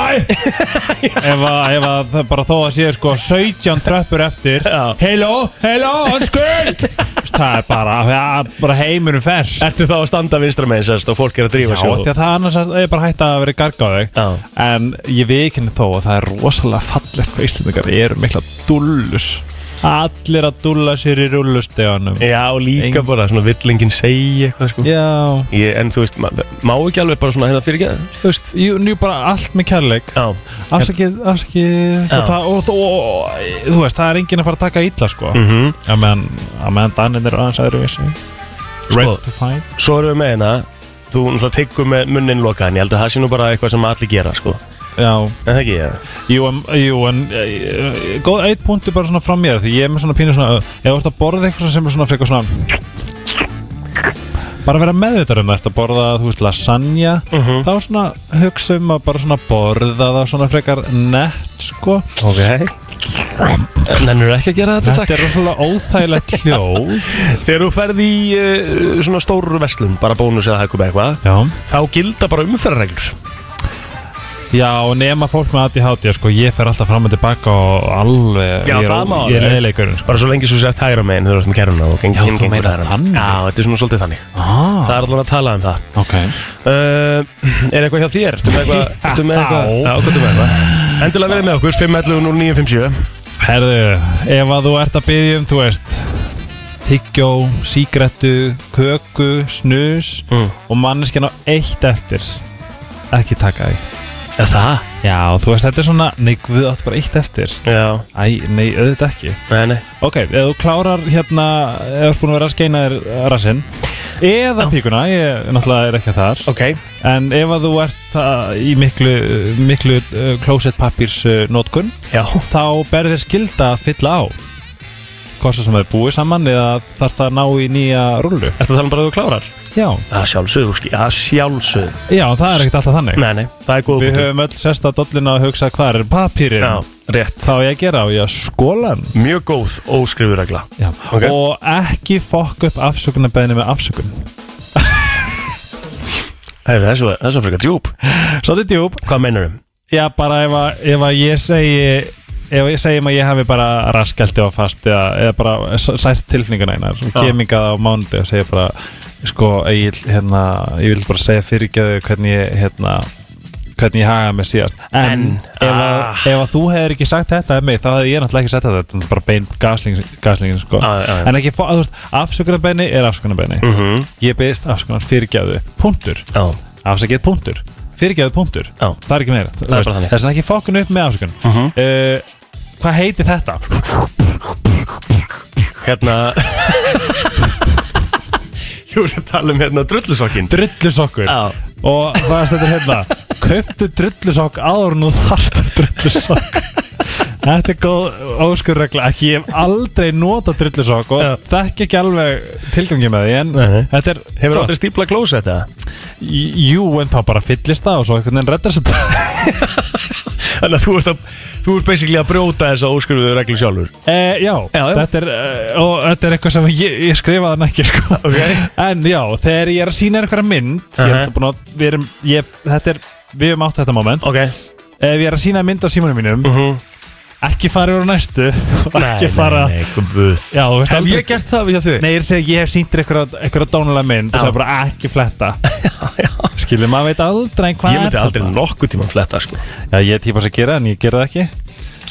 Speaker 3: *laughs* Ef að, ef að það bara þó að sé sko 17 tröppur eftir
Speaker 2: Já.
Speaker 3: Hello, hello, önskur Það er bara, það er bara heimurum fersk
Speaker 2: Ertu þá að standa vinstra megin sérst og fólk er að drífa
Speaker 3: Já, því
Speaker 2: sig
Speaker 3: að það annars er er bara hægt að vera garga á þig
Speaker 2: Já.
Speaker 3: En ég veikinn þó að það er rosalega fallegt hvað Íslandingar eru mikla dullus Allir að dulla sér í rullusteganum
Speaker 2: Já, líka
Speaker 3: Eng-
Speaker 2: bara svona villingin segi eitthvað sko
Speaker 3: Já
Speaker 2: Ég, en þú veist, ma má ekki alveg bara svona hérna fyrir ekki
Speaker 3: Þú veist, jú, nú bara allt með kærleik
Speaker 2: Já,
Speaker 3: Afsakið, afsakið
Speaker 2: Já.
Speaker 3: og, það, og, og, og þú veist, það er enginn að fara að taka illa sko
Speaker 2: mm
Speaker 3: Já, meðan, að meðan Danin er aðeins aðri vissi Red
Speaker 2: sko,
Speaker 3: to find
Speaker 2: svo erum við með hérna Þú náttúrulega tekur með munnin lokaðan Ég held að það sé nú bara eitthvað sem allir gera sko
Speaker 3: Já,
Speaker 2: En það ekki, ég
Speaker 3: Jú, en, jú, en e, e, góð eitt punktu bara svona fram mér því ég er með svona pínu svona ef þú ert að borða eitthvað sem er svona frekar svona bara vera meðvitað um það eftir að borða, þú veist, lasagna
Speaker 2: Mhm.
Speaker 3: þá svona hugsa um að bara svona borða það svona frekar nett sko,
Speaker 2: Ok Nennur ekki að gera þetta,
Speaker 3: þetta er rosalega óþægilegt
Speaker 2: *laughs*
Speaker 3: hljóð
Speaker 2: takk Þegar þú ferði í uh, svona stóru verslun Bara bónus eða hækkum eitthvað
Speaker 3: Já,
Speaker 2: Þá gilda bara umferðarreglur
Speaker 3: já og nema fólk með ADHD sko, ég fer alltaf fram og tilbaka og alveg,
Speaker 2: Já,
Speaker 3: ég er,
Speaker 2: það eh. má
Speaker 3: ég er
Speaker 2: alveg.
Speaker 3: leðilegurinn sko.
Speaker 2: Bara svo lengi svo sett hægra megin þegar þú ert með kerruna og geng,
Speaker 3: Já, þú
Speaker 2: hinn gengur
Speaker 3: meinar
Speaker 2: hægra megin.
Speaker 3: þannig.
Speaker 2: Já, þetta er svona svolítið þannig
Speaker 3: ah,
Speaker 2: Það er allavega að tala um það
Speaker 3: ok
Speaker 2: uh, Er eitthvað hjá þér? Ertu með eitthvað? Ertu með eitthvað?
Speaker 3: *laughs* Já.
Speaker 2: Já, hvað ertu með eitthvað? Endilega verið með okkur, 511 0957
Speaker 3: Herðu, ef að þú ert að byggja um, þú veist tyggjó, sígrettu, köku, snus og manneskjan á eitt eftir ekki taka því
Speaker 2: Er það?
Speaker 3: Já, þú veist, þetta er svona, nei, guð, áttu bara eitt eftir
Speaker 2: Já,
Speaker 3: Æ, nei, auðvitað ekki
Speaker 2: nei, nei
Speaker 3: Ok, ef þú klárar hérna ef þú ert búin að vera að skeina þér rassinn eða píkuna, ég náttúrulega er ekki þar
Speaker 2: Ok
Speaker 3: en ef að þú ert að, í miklu, miklu uh, closet pappirs uh, notkun
Speaker 2: Já
Speaker 3: þá berðir þér skilda að fylla á hvort svo sem er búið saman eða þarf það að ná í nýja rullu
Speaker 2: Ertu að tala um bara að þú klárar?
Speaker 3: Já,
Speaker 2: Það er sjálfsögðu, úrski- það er sjálfsögðu
Speaker 3: já, það er ekkert alltaf þannig
Speaker 2: Nei, nei, það er góð
Speaker 3: Við höfum öll sesta dollina að hugsa hvað er pappirinn
Speaker 2: Já, rétt
Speaker 3: Þá á ég að gera á ég að skóla hann
Speaker 2: Mjög góð óskrifuregla
Speaker 3: Já,
Speaker 2: Ok.
Speaker 3: og ekki fokk upp afsökunarbeðinu með afsökun
Speaker 2: Það er svo, það er svo frekar djúb
Speaker 3: Svolítið djúb
Speaker 2: Hvað meinar um?
Speaker 3: Já, bara ef að, ef að ég segi ef ég segjum að ég hafi bara raskælti á fast eða, eða bara s- sært tilfinningana einar
Speaker 2: Já.
Speaker 3: kemingað á mánundi og segja bara sko, ég, hérna, ég vil bara segja fyrirgeðu hvernig ég hérna, hvernig ég hagaði mig síðast en,
Speaker 2: En,
Speaker 3: ef, að,
Speaker 2: ah.
Speaker 3: ef að þú hefur ekki sagt þetta um mig þá hefði ég náttúrulega ekki sagt þetta þetta er bara bein gasling, gaslingin sko.
Speaker 2: Já, já, Mhm. já.
Speaker 3: en ekki, fá- þú veist, afsökunarbeini er afsökunarbeini -hmm. ég beðist afsökunar fyrirgeðu, punktur
Speaker 2: Já,
Speaker 3: afsakið punktur fyrirgeðu punktur
Speaker 2: Já.
Speaker 3: það er ekki meira það
Speaker 2: bara þannig. Mhm.
Speaker 3: þess að ekki fokkun upp með afsökun uh, hvað heitir þetta
Speaker 2: hérna *laughs* Þú ert að tala um hérna drullusokkin
Speaker 3: drullusokkur
Speaker 2: Já.
Speaker 3: og hvað er þetta hérna kauptu drullusokk áður nú þart drullusokk Þetta er góð óskurregla ekki ég hef aldrei nota drullusokk og
Speaker 2: Já.
Speaker 3: þekki ekki alveg tilgangi með því en
Speaker 2: Nei.
Speaker 3: þetta er
Speaker 2: Hefur
Speaker 3: gott.
Speaker 2: aldrei stíplað klósa þetta?
Speaker 3: Jú, en þá bara fyllist það og svo einhvern veginn reddast þetta
Speaker 2: Þannig að þú ert, að, þú ert basically að brjóta þessa óskrifuðu reglu sjálfur
Speaker 3: Uh, já,
Speaker 2: Já, já.
Speaker 3: Þetta, er, uh, og þetta er eitthvað sem ég, ég skrifaði hann ekki sko.
Speaker 2: Ok.
Speaker 3: En já, þegar ég er að sína einhverja mynd ég er
Speaker 2: Uh-huh.
Speaker 3: alltaf búinn að, við, erum, ég, þetta er, við erum átt þetta moment
Speaker 2: Ok
Speaker 3: Ef ég er að sína mynd á símanum mínum
Speaker 2: Mhm.
Speaker 3: Ekki fara yfir á næstu *laughs* og Ekki
Speaker 2: Nei,
Speaker 3: fara
Speaker 2: Nei, nei, guð
Speaker 3: Já, þú veist
Speaker 2: Hef
Speaker 3: aldrei-
Speaker 2: ég gert það við hjá þig?
Speaker 3: Nei, ég er að segja, ég hef sínt þér einhverja, einhverja dánulega
Speaker 2: Já.
Speaker 3: mynd og það er bara "Ah, ekki
Speaker 2: *laughs*
Speaker 3: fletta Skilur, maður veit aldrei hvað
Speaker 2: Ég myndi
Speaker 3: er
Speaker 2: aldrei
Speaker 3: þarna.
Speaker 2: nokkuð tíma fletta sko
Speaker 3: Já, ég er típa sem gera það en ég gera það ekki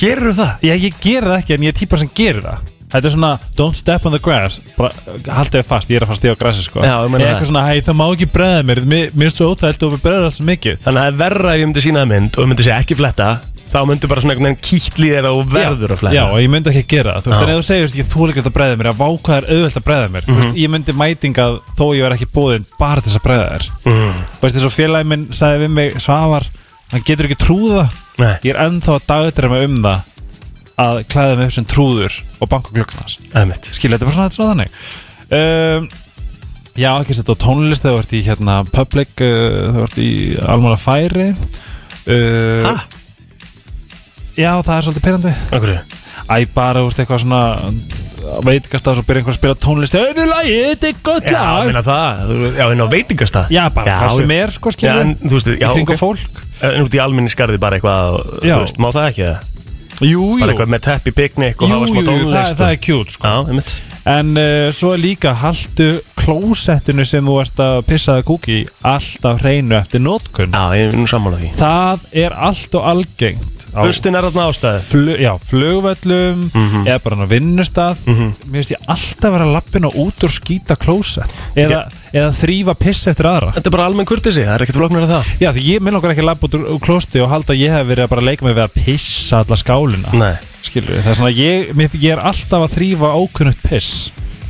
Speaker 2: Gerur það?
Speaker 3: Já, ég ger það ekki, en ég er típa sem gerir það Þetta er svona, don't step on the grass bara, haldið þau fast, ég er að fara að stíða á grassi sko
Speaker 2: Já, ég meina
Speaker 3: er
Speaker 2: það.
Speaker 3: eitthvað svona, hei, það má ekki breða mér Mér, mér er svo óþælt og mér breða alls mikið
Speaker 2: Þannig að það er verra ef ég myndi sína það mynd og ég myndi segja ekki fletta þá myndi bara svona einhvern veginn kýtli þér og verður að fletta
Speaker 3: Já, og ég myndi ekki að gera það Þú veist,
Speaker 2: Já.
Speaker 3: en ef þú segir, veist, ég þú ekki að breða mér að váka þær auðvelt að breða mér mm
Speaker 2: Mhm.
Speaker 3: veist, Ég myndi mætingað þó ég var ekki búðin bara til þess að breða þær
Speaker 2: mm.
Speaker 3: Þú veist, eins og félagi minn sagði við mig Svavar, hann getur ekki trúða
Speaker 2: Nei,
Speaker 3: Ég er ennþá að dagdreima um það að klæða mig upp sem trúður og banka gluggnars
Speaker 2: það er mitt
Speaker 3: skilja þetta er bara svona, þetta er svona þannig um, já ekki þetta á tónlist þegar þú ert í hérna public uh, þegar þú ert í almála færi uh,
Speaker 2: Ha?
Speaker 3: já það er svolítið pyrrandi
Speaker 2: Okkur
Speaker 3: æ bara þú ert eitthvað svona veitkast að svo byrja einhver að spila tónlist auðvitað lagi, þetta er gott
Speaker 2: Já, ég
Speaker 3: lag
Speaker 2: meina það þú- Já, en á veitingastað
Speaker 3: já bara
Speaker 2: já,
Speaker 3: hvað sem
Speaker 2: já.
Speaker 3: er sko
Speaker 2: Já,
Speaker 3: skilja
Speaker 2: en þú veist, já,
Speaker 3: í kringu
Speaker 2: ok.
Speaker 3: fólk
Speaker 2: En út í alminni skarði bara eitthvað og,
Speaker 3: Já.
Speaker 2: Þú veist, má það ekki það?
Speaker 3: jú, jú,
Speaker 2: Bara eitthvað með teppi, piknik og
Speaker 3: jú,
Speaker 2: hafa smá
Speaker 3: jú, jú það,
Speaker 2: tónlist
Speaker 3: það er kjút sko.
Speaker 2: Já, einmitt
Speaker 3: en uh, svo er líka haldu klósettinu sem þú ert að pissaða kúki í alltaf hreinu eftir nótkunn
Speaker 2: Já, ég er nú sammála því
Speaker 3: Það er allt og algengt á
Speaker 2: Hlustin er þarna ástæði
Speaker 3: flug, já, flugvöllum eða bara á vinnustað Mér finnst ég alltaf vera lappin og út úr skýta klósett eða, eða þrýfa piss eftir aðra
Speaker 2: Þetta er bara almenn kurtisi, það er ekkert flóknir að það
Speaker 3: Já, því ég minn okkar ekki lapp út úr, úr klósti og halda að ég hef verið að bara leika mig við að pissa alla skálina
Speaker 2: Nei
Speaker 3: Skilur við, það er svona að ég, mér, ég er alltaf að þrýfa ókunnugt piss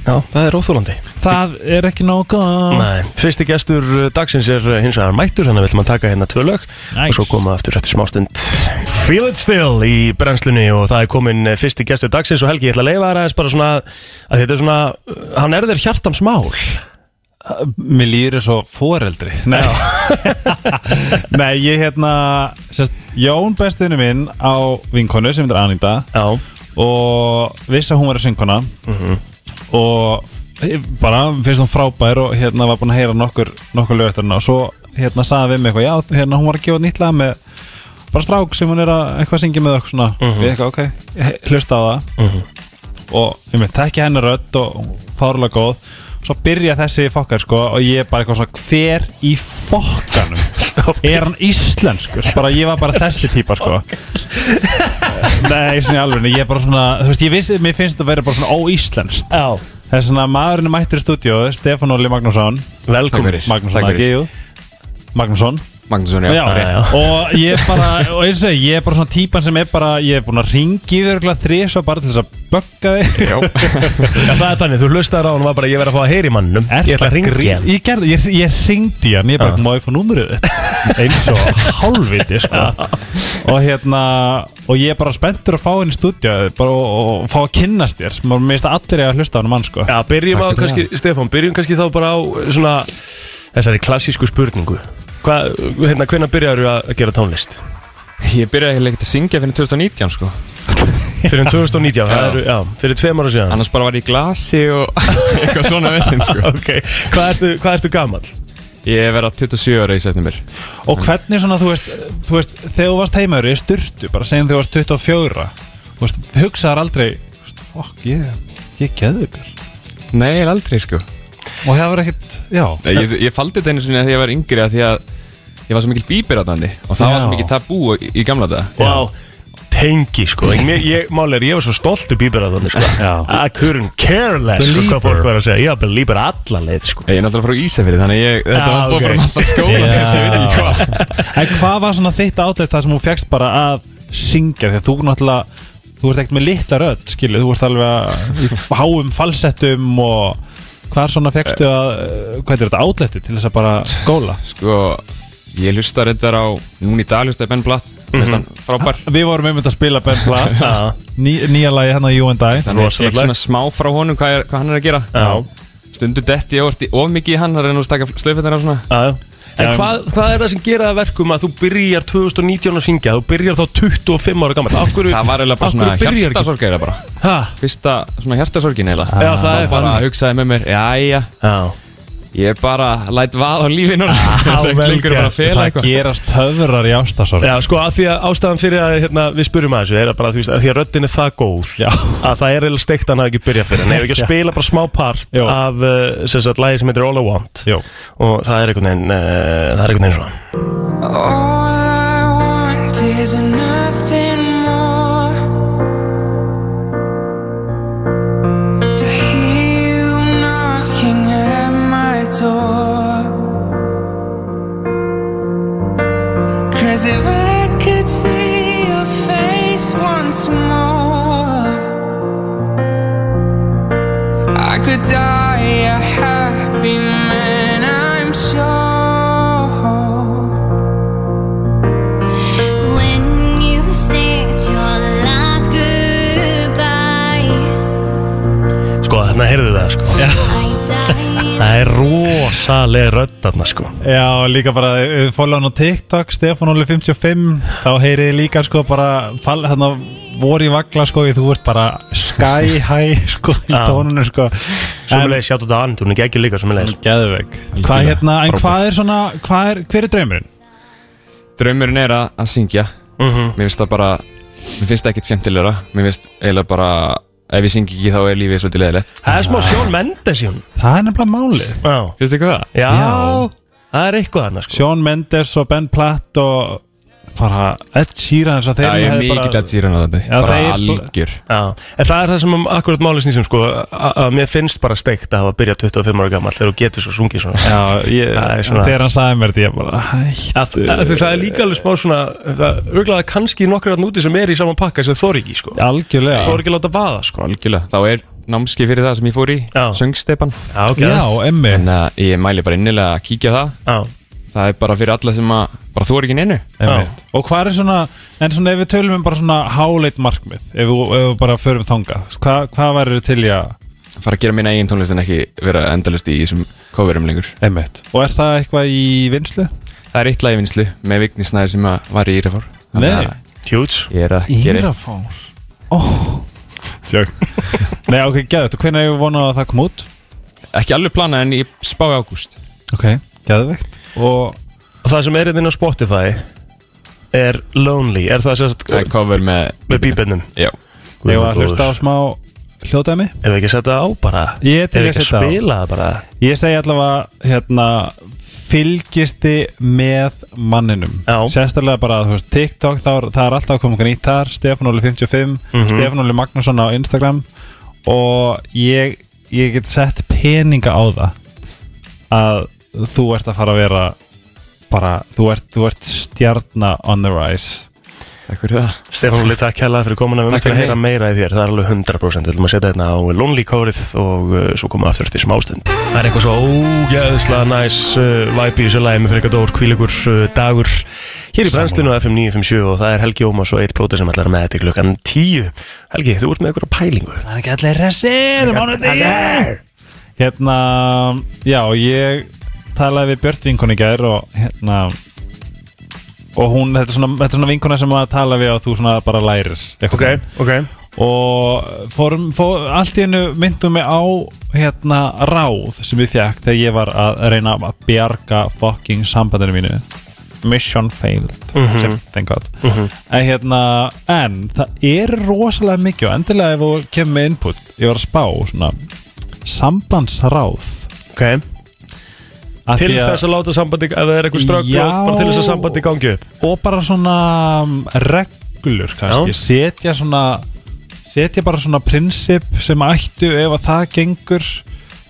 Speaker 2: Já, það er óþólandi
Speaker 3: Það er ekki nóg góð
Speaker 2: Nei, fyrsti gestur uh, dagsins er uh, hins vegar mættur þannig að við ætlum að taka hérna tvö lög
Speaker 3: Nice.
Speaker 2: og svo koma aftur eftir smástund Feel it still í brennslunni og það er komin uh, fyrsti gestur dagsins og Helgi, ég ætla að leifa þér aðeins bara svona að þetta er svona, uh, hann er þér hjartans mál
Speaker 3: Mér líður svo foreldri Nei, *laughs* Nei ég hérna sérst, Jón bestinu minn á vinkonu sem heitir Anita
Speaker 2: Já,
Speaker 3: og vissi að hún var að synguna og bara finnst hún frábær og hérna var búin að heyra nokkur, nokkur lög eftir hennar og svo hérna saði við mig eitthvað, já hérna hún var að gefa nýtt lag með bara strák sem hún er að eitthvað syngja með okkur svona, við eitthvað ok he- hlusta á það og ég með tekja hennar rödd og fárlega góð svo byrja þessi fokkar sko og ég er bara eitthvað svona hver í fokkanum er hann íslenskur bara ég var bara þessi típa sko *laughs* Nei, svona í alveg, ég er bara svona, þú veist, ég vissi, mér finnst þetta að vera bara svona óíslenskt
Speaker 2: já
Speaker 3: Það er svona maðurinn er mættur í stúdíu Stefán Óli Magnússon
Speaker 2: Velkomin
Speaker 4: Takk fyrir.
Speaker 3: Magnússon
Speaker 4: fyrir.
Speaker 3: ekki, jú Magnússon
Speaker 4: Magnússon,
Speaker 3: Já,
Speaker 4: já.
Speaker 2: já, já.
Speaker 3: og ég er bara og eins og ég er bara svona típan sem er bara ég er búin að ringi þau örgulega þrísa bara til þess að bögga þig
Speaker 4: Já.
Speaker 2: *laughs*
Speaker 4: *laughs*
Speaker 2: Já, það er þannig, þú hlustaður á hann og var bara ég verð að fá að heyri mannum
Speaker 3: Ertu
Speaker 2: Ég ætla að
Speaker 3: grín-
Speaker 2: ringja hann
Speaker 3: Ég, gerði, ég, ég ringdi hann, ég bara má ég fá númurið þitt?" eins og hálfviti sko. og hérna og ég er bara spenntur að fá henni í stúdíu bara og, og, og fá að kynnast þér maður mista allir eiga að hlusta á hann mann sko.
Speaker 2: *laughs* Já, byrjum á
Speaker 4: Takk fyrir
Speaker 2: kannski, Stefán, byrjum kannski þá bara á eh, svona þessari klassísku spurningu Hvað, hérna, hvenær byrjar þú að gera tónlist?
Speaker 4: Ég byrjaði heila ekkert að syngja fyrir 2019 sko
Speaker 2: Fyrir um 2019, það eru, já, fyrir tveim ára síðan
Speaker 4: Annars bara var ég í glasi og *laughs* eitthvað svona vissinn sko
Speaker 2: Ok, hvað ertu, hvað ertu gamall?
Speaker 4: Ég verða 27 ára í september
Speaker 3: og hvernig svona þú veist, þú veist þegar þú varst heimaður í styrtu bara segjum þegar þú varst 24 þú veist, hugsaðar aldrei þú veist, fuck ég, ég geðu ykkur
Speaker 4: Nei, eiginlega aldrei sko
Speaker 3: og það var ekkert, já
Speaker 4: Nei, Ég, ég faldi þetta einu sinni að ég var yngri að því að ég var svo mikil bíbir á þannig og það var
Speaker 3: Já.
Speaker 4: svo mikil tabú í, í gamla þetta
Speaker 2: Vá, tengi, sko Ég, mér- ég, máli er, ég var svo stolt í bíber að þannig, sko
Speaker 3: Já.
Speaker 2: I couldn't care less, sko,
Speaker 3: Belieber.
Speaker 2: hvað fólk var að segja Ég var belieber alla leið, sko
Speaker 4: Ég er náttúrulega frá Ísafirði þannig ég, þetta
Speaker 2: Já,
Speaker 4: var
Speaker 2: ok.
Speaker 4: okay. bara alltaf skóla
Speaker 3: Já.
Speaker 4: þessi, ég veit ekki hvað
Speaker 3: En hvað var svona þitt átlet það sem þú fegst bara að syngja því að þú náttúrulega, þú ert ekkert með litla rödd skilu, þú ert alveg að í háum falsettum og hvað svona fegstu að, eh, hvað er þetta átleti til þess að bara góla?
Speaker 4: *laughs* Sko, ég hlusta reyndar á, núna í dag hlusta ég Ben Blatt, mm -hmm. frábær
Speaker 3: Við vorum einmitt að spila Ben *laughs* Bla,
Speaker 2: Já,
Speaker 3: ný, nýja lagi hérna You and I
Speaker 4: Þannig að ég
Speaker 2: Rosalega.
Speaker 4: er svona smá frá honum hvað, er, hvað hann er að gera
Speaker 2: Já.
Speaker 4: Stundu detti ég orti of mikið í hann, það er nú að taka slöfettina og svona
Speaker 2: já, já En hvað, hvað er það sem gera það verkum að þú byrjar 2019 að syngja, þú byrjar þá 25 ára gammal Af hverju,
Speaker 4: Það var eiginlega bara
Speaker 2: af hverju
Speaker 4: svona
Speaker 2: byrjar ekki-
Speaker 4: hjartasorg eiginlega bara
Speaker 2: Ha?
Speaker 4: Fyrsta svona hjartasorgin eiginlega
Speaker 2: Já, það er
Speaker 4: Þá bara
Speaker 2: þannig.
Speaker 4: hugsaði með mér, jæja,
Speaker 2: Já,
Speaker 4: ég er bara læt vað á lífinu *laughs* Það er
Speaker 2: vel
Speaker 4: ekki lengur
Speaker 2: gert.
Speaker 4: bara að fela
Speaker 3: Það
Speaker 4: eitthvað
Speaker 3: gerast höfrar í ástasorg
Speaker 2: Já, sko, að því að ástæðan fyrir að hérna, við spurum að þessu er að bara, þú veist, að því að röddin er það góð
Speaker 3: Já.
Speaker 2: að það er eða steikt að hann hafi ekki byrjað fyrir hann hefur ekki að
Speaker 3: Já.
Speaker 2: spila bara smá part
Speaker 3: Jó.
Speaker 2: af uh, sem sagt, lagi sem heitir All I Want
Speaker 3: Jó.
Speaker 2: og það er einhvern veginn uh, það er einhvern veginn svona
Speaker 5: All I want is nothing more to hear you knocking at my door. Cause if I could see your face once more, I could die a happy man, I'm sure.
Speaker 6: When you said your last goodbye,
Speaker 2: Sko, þarna heyrðu það, sko
Speaker 6: I died.
Speaker 2: Það er rosalega rödd þarna, sko
Speaker 3: Já, líka bara, eh, follow hann á TikTok Stefán Óli 55, þá heyrið þið líka sko bara, fall, þannig að voru í vagla sko, í- þú ert bara sky high *laughs* sko í
Speaker 2: Já.
Speaker 3: tónunum sko En-
Speaker 2: Sumulegis, sjáttu þetta að andun, ekki ekki líka sumulegis
Speaker 3: Geðveg Hvað hérna, en hvað er svona, hvað er, hver er draumurinn?
Speaker 4: Draumurinn er að, að syngja Mér finnst það bara, mér finnst það ekkert skemmtilegra Mér finnst eiginlega bara, ef ég syngi ekki þá er lífið svolítið leðilegt
Speaker 2: Það er smá Sjón Mendes í hún
Speaker 3: Það er nefnilega málið
Speaker 2: Já,
Speaker 4: Finnst þið hvað?
Speaker 2: já Það er eitthvað þarna, sko
Speaker 3: Sjón Mendes og Ben Platt og bara Ed Sheeran svo þeir
Speaker 4: Já, ég er
Speaker 3: hefðu
Speaker 4: mikill að sýra hann
Speaker 3: Já,
Speaker 4: Bara
Speaker 3: þeir-
Speaker 4: algjör
Speaker 2: Já, en það er það sem um akkurat máli snýsum sko, að að mér finnst bara steikt að hafa byrjað 25 ára gammal þegar þú getur svo sungið svona
Speaker 3: Já, ég,
Speaker 2: Það er svona-
Speaker 3: þegar hann sagði mér þetta, ég bara hætt
Speaker 2: að, að, því það er líka alveg smá svona það örglaða kannski nokkru að núti sem er í saman pakka sem þor ekki sko
Speaker 3: Algjörlega
Speaker 2: þor ekki að láta vaða sko
Speaker 4: Algjörlega, þá er námski fyrir það sem ég fór í
Speaker 2: Já.
Speaker 4: Söngstepan
Speaker 2: já,
Speaker 3: Já, emmi
Speaker 4: En uh, ég mæli bara innilega að kíkja á það
Speaker 2: já.
Speaker 4: Það er bara fyrir alla sem að bara þú er ekki neinu
Speaker 3: Einmitt. Og hvað er svona, en svona ef við tölum um bara svona háleit markmið, ef við, ef við bara förum þanga, hvað, hvað væri til í að
Speaker 4: fara að gera minna eigin tónlist en ekki vera endalist í þessum coverum lengur
Speaker 3: einmitt, og er það eitthvað í vinslu?
Speaker 4: Það er eitt lagi í vinnslu með Vigni Snæður sem að var í Írafár
Speaker 3: Nei.
Speaker 2: tjúts
Speaker 4: Ég er að gera
Speaker 3: Írafár oh. Tjók Nei, ok, geðvægt, og hvernig hefur vonað að það kom út?
Speaker 4: ekki alveg plana en ég spá í ágúst
Speaker 3: Ok, geðvægt Og
Speaker 2: og það sem er inn á Spotify er Lonely er það sérst
Speaker 4: Það er cover með
Speaker 2: með bíbennum
Speaker 4: Já
Speaker 3: ég var að hlusta á smá hljóðdæmi
Speaker 2: ef við ekki að setja það á bara
Speaker 3: Ég er
Speaker 2: ef
Speaker 3: til
Speaker 2: við
Speaker 3: í að
Speaker 2: ekki að
Speaker 3: setja það á.
Speaker 2: spila það bara
Speaker 3: Ég segi allavega, hérna, fylgisti með manninum
Speaker 2: Já.
Speaker 3: Sérstaklega bara, þú veist, TikTok, þá, er- það er alltaf að koma eitthvað nýtt þar Stefán Óli 55, Stefán Óli Magnússon á Instagram Og ég ég get sett peninga á það að þú ert að fara að vera bara, þú ert, þú ert stjarnar on the rise
Speaker 4: Takk fyrir það
Speaker 2: Stefán Óli, takk kærlega fyrir komuna Við
Speaker 4: Takk
Speaker 2: möttum að
Speaker 4: fyrir
Speaker 2: heyra meira í þér, það er alveg 100% Við ætlum að setja hérna á Lonely Kórið og uh, svo komum við aftur eftir smástund Það er eitthvað svo ógeðslega næs uh, væpi í þessu lagi með fyrir eitthvað dór kvílegur uh, dagur Hér í brennslinu á FM 957 og það er Helgi Ómas og eitt bróti sem ætlar með þetta í klukkan 10 Helgi, þú ert með eitthvað pælingu
Speaker 3: Það er ekki allir resir um
Speaker 2: Allir.
Speaker 3: Hérna, já, ég talaði við Björt vinkonu í gær og hérna og hún, þetta er svona, þetta er svona vinkona sem að tala við og þú svona bara lærir einhvern veginn.
Speaker 2: ok
Speaker 3: og fórum, fór, allt í hennu myndum mig á hérna ráð sem ég fekk þegar ég var að reyna að bjarga fucking sambandinu mínu mission failed
Speaker 2: Mhm.
Speaker 3: sem, thank god en hérna, en það er rosalega mikið og endilega ef þú kemur með input ég var að spá svona sambandsráð
Speaker 2: Ok,
Speaker 3: Af
Speaker 2: til
Speaker 3: því
Speaker 2: þess að láta sambandi, ef það er eitthvað ströggl,
Speaker 3: Já.
Speaker 2: bara til þess að sambandi gangi upp
Speaker 3: og bara svona um, reglur kannski,
Speaker 2: Já.
Speaker 3: setja svona setja bara svona prinsip sem ættu ef að það gengur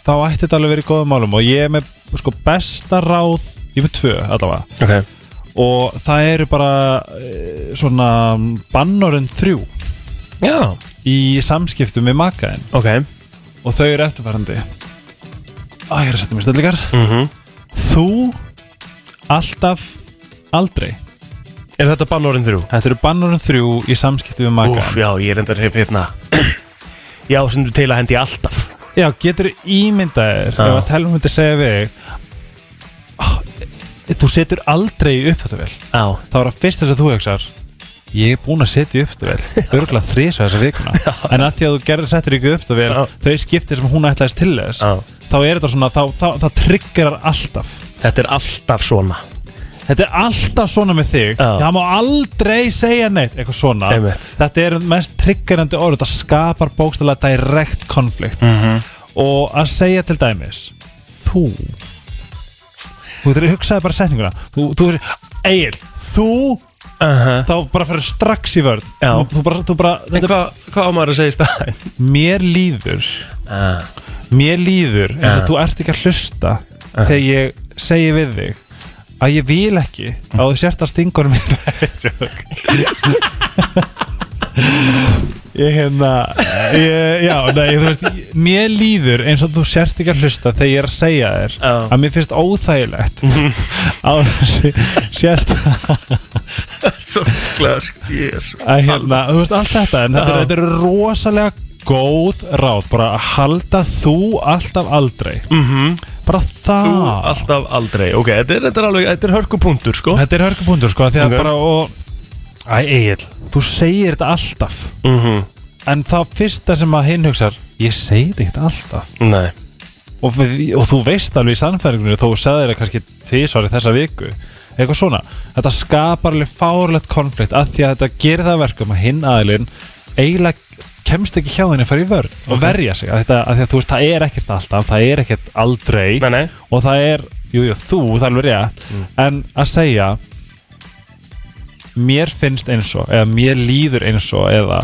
Speaker 3: þá ætti þetta alveg verið í góðum málum og ég er með sko besta ráð ég er með tvö allavega
Speaker 2: Ok,
Speaker 3: og það eru bara eh, svona bannorinn þrjú
Speaker 2: já,
Speaker 3: í samskiptum við makaðinn
Speaker 2: ok
Speaker 3: og þau eru eftirfærandi Æ, ég er að setja mér stöldleikar
Speaker 2: Mhm.
Speaker 3: Þú alltaf aldrei
Speaker 2: Er þetta bannorinn þrjú?
Speaker 3: Þetta eru bannorinn þrjú í samskiptum við makaðinn
Speaker 2: Úf, já, ég er endar hef hérna Já, sem þú til að hendi alltaf
Speaker 3: Já, getur ímyndaðir ef
Speaker 2: Já.
Speaker 3: að telma myndi segja við þig, "Ah, Þú setur aldrei í upptöðuvel
Speaker 2: Já,
Speaker 3: Þá er að fyrst þess að þú hugsar Ég er búinn að setja
Speaker 2: *laughs*
Speaker 3: í upptöðuvel Örgulega þrísa þessa vikuna En að því að þú gerir, settir ekki í upptöðuvel
Speaker 2: Já.
Speaker 3: Þau skiptir sem hún ætlaðist til þess
Speaker 2: Já.
Speaker 3: Þá er þetta svona, þá, þá, það triggerar alltaf
Speaker 2: þetta er alltaf svona
Speaker 3: Þetta er alltaf svona með þig
Speaker 2: Já.
Speaker 3: Það má aldrei segja neitt Eitthvað svona
Speaker 2: Einmitt.
Speaker 3: Þetta er mest triggerandi orð Þetta skapar bókstæðlega direkt konflikt
Speaker 2: Mhm.
Speaker 3: -hmm. Og að segja til dæmis Þú Þú getur hugsaði bara setninguna Þú, þú er Egil, þú
Speaker 2: uh -huh.
Speaker 3: Þá bara fyrir strax í vörð
Speaker 2: Já.
Speaker 3: þú, þú bara, þú bara
Speaker 2: En
Speaker 3: þetta,
Speaker 2: hvað hva á maður að segja í staðin?
Speaker 3: Mér líður
Speaker 2: *laughs* Uh,
Speaker 3: Mér líður eins og
Speaker 2: Já.
Speaker 3: þú ert ekki að hlusta Þegar ég segi við þig Að ég vil ekki
Speaker 2: Mm.
Speaker 3: Að þú sért að stingur *laughs* mér Joke. Ég hérna ég, Já, nei, þú veist ég- Mér líður eins og þú sért ekki að hlusta Þegar ég er að segja þér
Speaker 2: Já.
Speaker 3: Að mér finnst
Speaker 2: *laughs*
Speaker 3: óþægilegt Á þessi sért
Speaker 2: Svo klar, jésu
Speaker 3: að hérna, þú veist allt þetta en þetta, er- þetta eru rosalega góð ráð bara að halda þú alltaf aldrei -hmm. bara það
Speaker 2: Mhm. Þú alltaf aldrei, ok, þetta er, þetta er alveg, þetta er hörkupunktur, sko
Speaker 3: þetta er hörgupunktur sko því að
Speaker 2: Ok.
Speaker 3: bara og æ, Egil, þú segir þetta alltaf
Speaker 2: mm -hmm.
Speaker 3: en það fyrsta sem að hinn hugsar ég segi þetta ekkert alltaf
Speaker 2: Nei,
Speaker 3: og, við, og þú veist alveg í sannfæringunni þó þú sagðir þetta kannski tvísvar í þessa viku eitthvað svona, þetta skapar alveg fárlegt konflikt af því að þetta gerir það að verkum að hinn aðilinn eiginlega kemst ekki hjá henni að fara í vörn og verja sig, af, þetta, af því að þú veist það er ekkert alltaf, það er ekkert aldrei
Speaker 2: nei, nei
Speaker 3: og það er, jújú, jú, þú, það er alveg rétt en að segja mér finnst eins og eða mér líður eins og eða,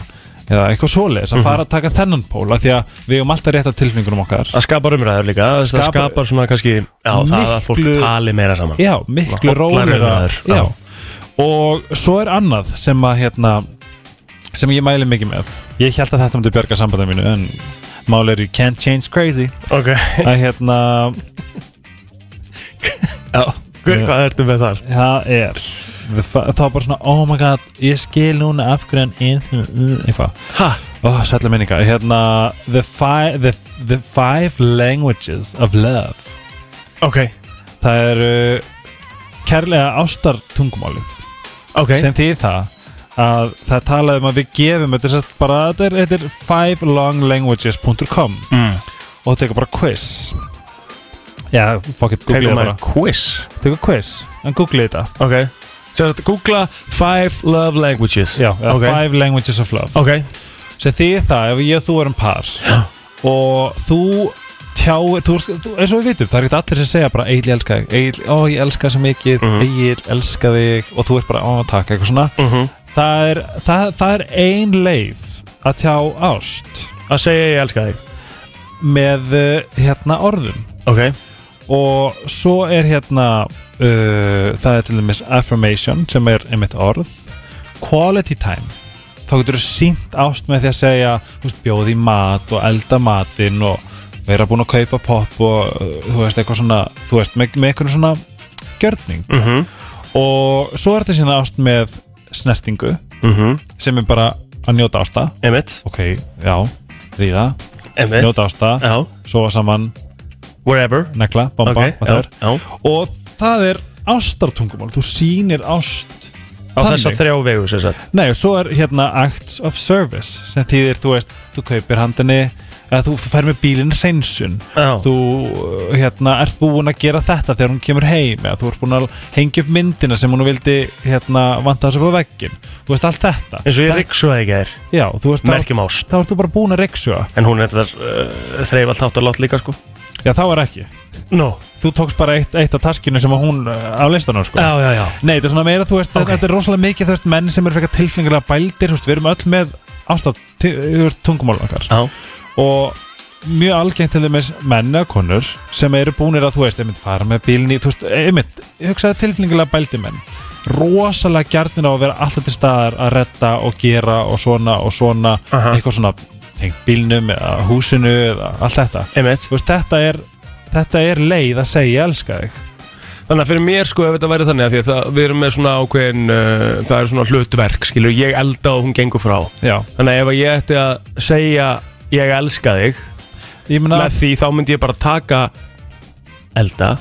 Speaker 3: eða eitthvað svoleiðis að fara að taka þennan pól af því að við höfum alltaf rétt af tilfinningunum okkar
Speaker 2: Það skapar umræður líka, það skapar,
Speaker 3: Skapar-
Speaker 2: skapar svona kannski Já, það að fólk
Speaker 3: Miklu-
Speaker 2: tali meira saman
Speaker 3: já, miklu
Speaker 2: Svona hollar
Speaker 3: rólega
Speaker 2: umræður, já.
Speaker 3: já. og svo er annað sem að hérna, sem ég mæli mikið með ég held að þetta myndi bjarga sambandið mínu en mál er you can't change crazy
Speaker 2: Ok,
Speaker 3: að hérna,
Speaker 2: já, *laughs* Hver- hvað ertu með þar?
Speaker 3: það er the fa- þá bara svona, oh my god ég skil núna af hverju hann er þ- eitthvað,
Speaker 2: Ha,
Speaker 3: oh, sætla minninga hérna, the, fi the, the five languages of love
Speaker 2: ok,
Speaker 3: það eru kærlega ástartungumáli
Speaker 2: ok
Speaker 3: sem því það að það talaði um að við gefum þetta er sem sagt bara, þetta er, þetta er fivelonglanguages.com
Speaker 2: Mm.
Speaker 3: og það tekur bara quiz já, fuck it, googlið
Speaker 2: Tegum
Speaker 3: það
Speaker 2: maður
Speaker 3: bara
Speaker 2: quiz
Speaker 3: tekur quiz, en googlið þetta
Speaker 2: Ok Sér að googla Five love languages
Speaker 3: já, eða
Speaker 2: ok
Speaker 3: five languages of love
Speaker 2: Ok
Speaker 3: sem því það, ef ég og þú erum par og þú tjá, þú, þú, eins og við vitum það er ekkert allir sem segja bara, Egil, ég elska þig Egil, ó, ég elska þig svo mikið, mm
Speaker 2: Mhm.
Speaker 3: Egil, elska þig og þú ert bara, ó, takk, eitthvað svona
Speaker 2: mm -hmm.
Speaker 3: það er, það, það er ein leið að tjá ást
Speaker 2: Að segja ég elska þig
Speaker 3: með eh, hérna orðum
Speaker 2: Ok,
Speaker 3: og svo er hérna uh, það er til dæmis affirmation sem er einmitt orð quality time þá getur þú sínt ást með því að segja þú veist, bjóð í mat og elda matinn og vera búin að kaupa pop og uh, þú veist eitthvað svona þú veist með, með eitthvað svona gjörning
Speaker 2: Mhm.
Speaker 3: og svo er þetta sína ást með snertingu
Speaker 2: mm -hmm.
Speaker 3: sem er bara að njóta ásta
Speaker 2: emitt,
Speaker 3: ok, já, ríða,
Speaker 2: emitt
Speaker 3: njóta ásta
Speaker 2: Já,
Speaker 3: sofa saman,
Speaker 2: wherever
Speaker 3: negla, bomba,
Speaker 2: Ok, já,
Speaker 3: whatever
Speaker 2: já
Speaker 3: og það er ástartungumál þú sýnir ást
Speaker 2: Á þess að
Speaker 3: Þannig.
Speaker 2: þrjá vegu sem sagt
Speaker 3: nei og svo er hérna acts of service sem þýðir þú veist þú kaupir handinni eða þú, þú fær með bílinn hreinsun
Speaker 2: Já,
Speaker 3: þú uh, hérna ert búin að gera þetta þegar hún kemur heim eða þú ert búin að hengja upp myndina sem hún vildi hérna vanta þessu upp á veggin þú veist allt þetta
Speaker 2: eins og ég
Speaker 3: Það-
Speaker 2: riksuði ekki þér
Speaker 3: já, þú veist þá,
Speaker 2: Merkjum ást
Speaker 3: þá ert þú bara búin að reyksuga
Speaker 2: En hún er þetta uh, þreif allt átt að látt líka sko
Speaker 3: já þá er ekki
Speaker 2: Nó,
Speaker 3: þú tókst bara eitt, eitt af taskinu sem að hún uh, á listanum sko
Speaker 2: já, já, já
Speaker 3: Nei, þetta er svona meira, þú veist,
Speaker 2: Ok.
Speaker 3: þetta er rosalega mikið þú veist, menn sem eru frekar tilfengilega bældir þú veist, við erum öll með ástætt tungumálum okkar
Speaker 2: Já,
Speaker 3: og mjög algengt til þeim menn eða konur sem eru búnir að, þú veist, einmitt fara með bílni þú veist, einmitt, hugsaði tilfengilega bældir menn rosalega gjarnir á að vera alltaf til staðar að redda og gera og svona og svona
Speaker 2: Aha.
Speaker 3: eitthvað svona, tengt bílnum eða húsinu eða allt þetta
Speaker 2: emitt
Speaker 3: þú veist, þetta er, þetta er leið að segja ég elska þig
Speaker 2: Þannig að fyrir mér sko ef þetta væri þannig að því að það, við erum með svona ákveðin uh, það er svona hlutverk, skilur, ég elda og hún gengur frá
Speaker 3: Já,
Speaker 2: Þannig að ef ég ætti að segja ég elska þig
Speaker 3: ég meina
Speaker 2: með því þá myndi ég bara taka elda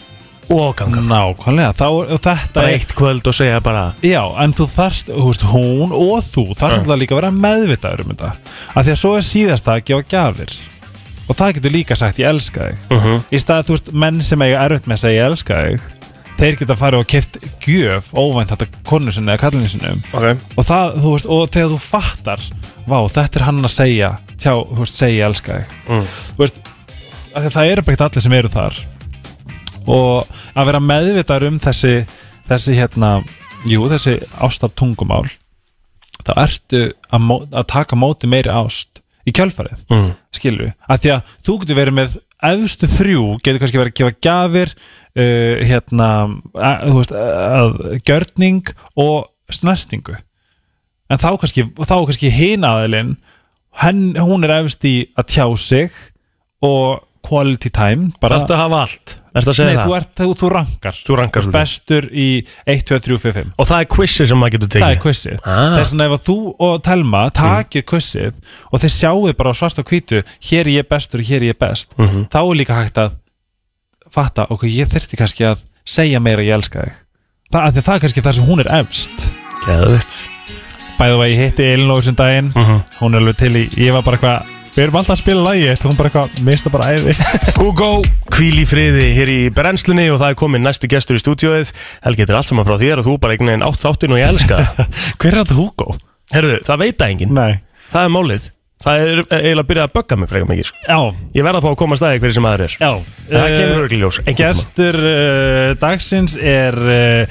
Speaker 2: og ganga
Speaker 3: Nákvæmlega, þá er þetta
Speaker 2: bara
Speaker 3: er-
Speaker 2: eitt kvöld og segja bara
Speaker 3: Já, en þú þarft, þú veist, hún og þú þarf alltaf líka að vera meðvitaður um þetta af því að svo er síðasta að gefa gjafir og það getur líka sagt ég elska þig
Speaker 2: uh -huh.
Speaker 3: í staðið, þú veist, menn sem eiga erfitt með að segja ég elska þig þeir geta farið og keft gjöf óvænt þetta konu sinni eða kallinu sinni um.
Speaker 2: okay.
Speaker 3: og, það, þú veist, og þegar þú fattar vá, þetta er hann að segja tjá, þú veist, segja ég elska þig
Speaker 2: Mm.
Speaker 3: þú veist, af því að það eru bara ekki allir sem eru þar og að vera meðvitaður um þessi þessi hérna, jú, þessi ástar tungumál þá ertu að, mó, að taka á móti meiri ást í kjölfarið
Speaker 2: Mm.
Speaker 3: skilur við, af því að þú getur verið með efstu þrjú, getur kannski verið að gefa gjafir uh, hérna að, þú veist, að, gjörning og snertingu en þá kannski, þá kannski hin aðilinn henn, hún er efst í að tjá sig og quality time bara,
Speaker 2: Þarftu að hafa allt, ertu að segja
Speaker 3: nei,
Speaker 2: það
Speaker 3: þú, ert, þú, þú rankar
Speaker 2: Þú rankar svolítið.
Speaker 3: bestur í 1, 2, 3, 4, 5
Speaker 2: Og það er quizið sem maður getur tekið
Speaker 3: það er quizið
Speaker 2: Ah.
Speaker 3: þess vegna ef að þú og Telma takir quizið og þið sjáuð bara á svart og hvítu hér er ég bestur og hér er ég best
Speaker 2: Mhm.
Speaker 3: þá er líka hægt að fatta ok, ég þyrfti kannski að segja meira ég elska þig það, af því að það er kannski það sem hún er efst
Speaker 2: Geðvitt
Speaker 3: bæðu að ég hitti Elinóð sem daginn
Speaker 2: Mhm.
Speaker 3: hún er alveg til í, ég var bara eitthvað við erum alltaf að spila lagi, eitt, hún bara eitthvað mista bara æði
Speaker 2: Hugo, hvíl í friði hér í brennslunni og það er komin næsti gestur í stúdíóið Helgi, þetta er allt saman frá þér og þú bara einhvern veginn átt þáttinn og ég elska það
Speaker 3: *laughs* *laughs* hver er þetta Hugo?
Speaker 2: Herðu, það veit það enginn,
Speaker 3: Nei.
Speaker 2: það er málið Það er eiginlega byrjað að bögga mig frekar mikið sko.
Speaker 3: Já,
Speaker 2: Ég verð að fá að koma að staði hverju sem aður er
Speaker 3: já eh,
Speaker 2: Það kemur örgli ljós, einhvern tíma
Speaker 3: Gestur uh, dagsins er uh,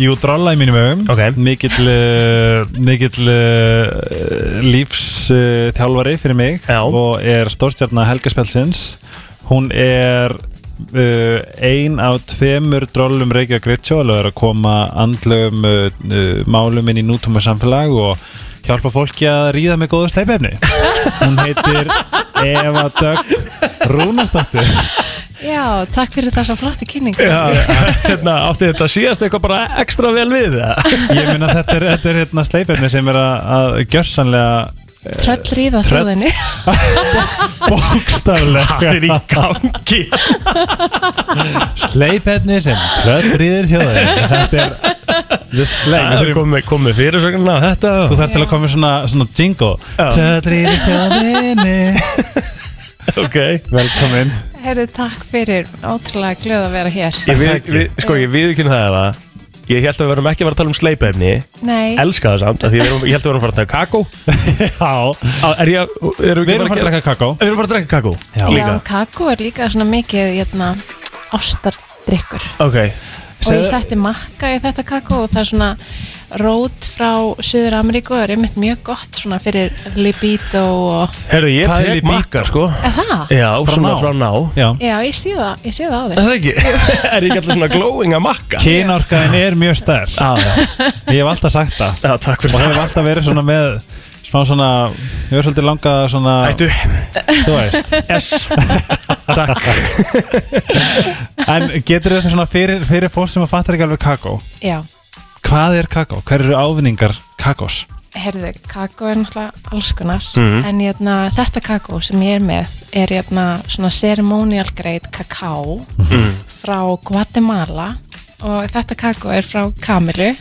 Speaker 3: Jú drolla í mínum augum
Speaker 2: Ok.
Speaker 3: Mikill, uh, mikill uh, lífsþjálfari uh, þjálfari fyrir mig
Speaker 2: Já.
Speaker 3: Og er stórstjarnar Helga Spelsins Hún er uh, ein af tveimur drollum Reykjavík Gritsjó Og er að koma andlum uh, uh, málum inn í nútíma samfélag Og hjálpa fólki að ríða með góðu sleipefni Hún heitir Eva Dögg Rúnastóttir
Speaker 7: Já, takk fyrir þessa flotti kynning
Speaker 2: Já, *laughs* hérna, átti þetta síðast eitthvað bara ekstra vel við
Speaker 3: *laughs*
Speaker 2: það
Speaker 3: Ég meina þetta er, þetta er hérna sleipefni sem er að, að gjörsanlega
Speaker 7: Tröll ríða
Speaker 3: Tröll-
Speaker 7: þjóðinni *laughs*
Speaker 2: Það er í
Speaker 3: bókstaflega
Speaker 2: gangi
Speaker 3: sleipefni sem tröllrýðir þjóðin Þetta er the sleip
Speaker 2: Það er komið, komið fyrir sögna þetta
Speaker 3: Þú þarf til að koma með svona, svona jingle
Speaker 2: Já.
Speaker 3: Tröllrýðir þjóðinni
Speaker 2: Ok
Speaker 3: Velkomin
Speaker 7: Herðu, takk fyrir, ótrúlega glöð að vera hér
Speaker 2: ég við, við, Sko, ég viðkynna það eða Ég held að við verum ekki að vera að tala um sleipefni
Speaker 7: Nei,
Speaker 2: Elska það samt, af því við erum, ég held að við verum að fara að taka kakó
Speaker 3: *laughs* Já,
Speaker 2: Á, Er ég, erum
Speaker 3: við erum að fara að drekka kakó
Speaker 2: Við erum að fara að drekka kakó
Speaker 3: Já.
Speaker 7: já, kakó er líka svona mikið hérna, ástardrykkur
Speaker 2: Ok,
Speaker 7: og ég
Speaker 3: Segðu-
Speaker 7: setti makka í þetta kakó og það er svona rót frá Suður Ameríku og er einmitt mjög gott svona fyrir libido og
Speaker 2: Herru, ég
Speaker 3: Hvað er
Speaker 2: tek
Speaker 3: libido?
Speaker 2: makkar sko
Speaker 7: er það?
Speaker 2: Já, svona
Speaker 3: ná.
Speaker 2: frá ná
Speaker 3: Já
Speaker 7: Já, ég sé það, ég sé það á
Speaker 2: Er
Speaker 7: þig
Speaker 2: það ekki? *laughs* er ekki allir svona glowing að makka?
Speaker 3: Kynorkaðin er mjög stærk
Speaker 2: Já, já,
Speaker 3: Ég hef alltaf sagt það
Speaker 2: já, takk
Speaker 3: Og
Speaker 2: fyrir
Speaker 3: hef
Speaker 2: það
Speaker 3: alltaf verið svona með Smá svona Ég hef svolítið langa svona
Speaker 2: Ættu,
Speaker 3: Þú veist
Speaker 2: yes Takk
Speaker 3: En getur þetta svona fyrir, fyrir fólk sem að fattar ekki alveg kakó
Speaker 7: Já,
Speaker 3: Hvað er kakó? Hver eru ávinningar kakós?
Speaker 7: herðu, kakó er náttúrulega alls konar
Speaker 2: Mhm.
Speaker 7: en jötna, þetta kakó sem ég er með er jötna, svona ceremonial grade kakó
Speaker 2: Mhm.
Speaker 7: frá Guatemala og þetta kakó er frá Kamilu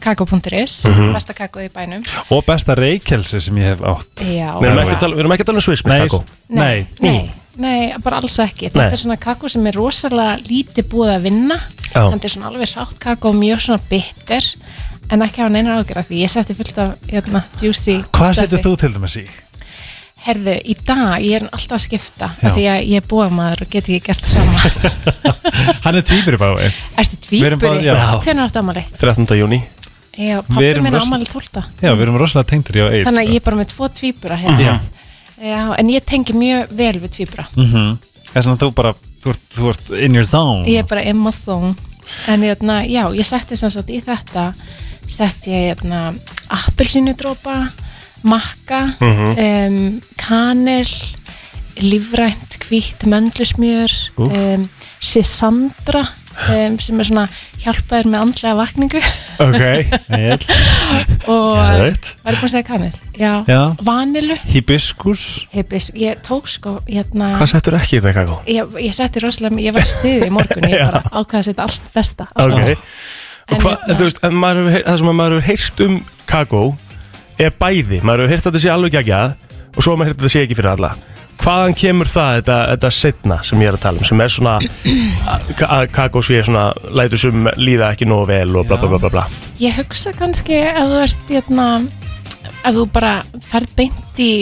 Speaker 7: kakó.is,
Speaker 2: Mhm.
Speaker 7: besta kakó í bænum
Speaker 3: Og besta reykelsi sem ég hef átt
Speaker 7: Já,
Speaker 2: Við erum ekki að tala, við erum ekki að tala um swiss með kakó Mm.
Speaker 3: Nei,
Speaker 7: Nei, nei, bara alls ekki.
Speaker 2: Nei.
Speaker 7: Þetta er svona kakó sem er rosalega lítið búið að vinna.
Speaker 2: Já.
Speaker 7: Þannig er svona alveg rátt kakó, mjög svona bitter, en ekki hafa neina ágjörða því. Ég setti fullt af hérna, juicy.
Speaker 3: Hvað
Speaker 7: stuffi.
Speaker 3: setur þú til dæmis í?
Speaker 7: Herðu, í dag ég er alltaf að skipta,
Speaker 3: Já.
Speaker 7: af því að ég er búið maður og get ekki gert það sama.
Speaker 3: *laughs* Hann er týpur í bæði
Speaker 7: Erstu
Speaker 3: Við erum báð-
Speaker 7: tvíburi?
Speaker 3: já.
Speaker 7: Hvernig áttu ámali?
Speaker 2: 13. júni
Speaker 7: Já,
Speaker 3: Við
Speaker 7: pappi
Speaker 3: erum
Speaker 7: minn
Speaker 3: rosa-
Speaker 7: ámali 12.
Speaker 3: Já, við erum rosalega tengdur í á eitt
Speaker 7: Þannig að ég er bara með tvo tvíbura hérna.
Speaker 3: sko. Já.
Speaker 7: Já, en ég tengi mjög vel við tvíbura.
Speaker 3: Þess að Mhm. þú bara, þú ert, þú ert in your zone
Speaker 7: ég er bara Emma Thong en hérna, já, ég setti sem sagt í þetta setti ég hérna appelsínudrópa makka
Speaker 2: Mhm.
Speaker 7: um, kanel lífrænt hvítt möndlusmjör um, sisandra um, sem er svona hjálpaður með andlega
Speaker 2: *laughs*
Speaker 7: vakningu
Speaker 3: Ok Vel.
Speaker 7: og
Speaker 2: Geðveikt.
Speaker 7: var ég búin að segja kanel? Já,
Speaker 3: Já.
Speaker 7: vanilu
Speaker 3: Hibiskus
Speaker 7: Hebis, ég tók sko hérna
Speaker 2: Hvað settur ekki í þetta kakó?
Speaker 7: ég, ég setti rosalega, ég var stuðið í morgun
Speaker 2: *laughs*
Speaker 7: ég bara ákvaði að setja allt besta allt
Speaker 2: Ok
Speaker 7: besta.
Speaker 2: Og
Speaker 7: En
Speaker 2: hvað,
Speaker 7: hérna-
Speaker 2: þú veist, en maður hefur, heyrt- það sem að maður hefur heyrt um kakó er bæði, maður hefur heyrt að þetta sé alveg ekki og svo hefur maður heyrt að þetta sé ekki fyrir alla Hvaðan kemur það, þetta, þetta setna sem ég er að tala um, sem er svona að- að kakó sé svona, lætur sem líða ekki nógu vel og bla bla bla bla bla
Speaker 7: Ég hugsa kannski ef þú ert hérna, ef þú bara ferð beint í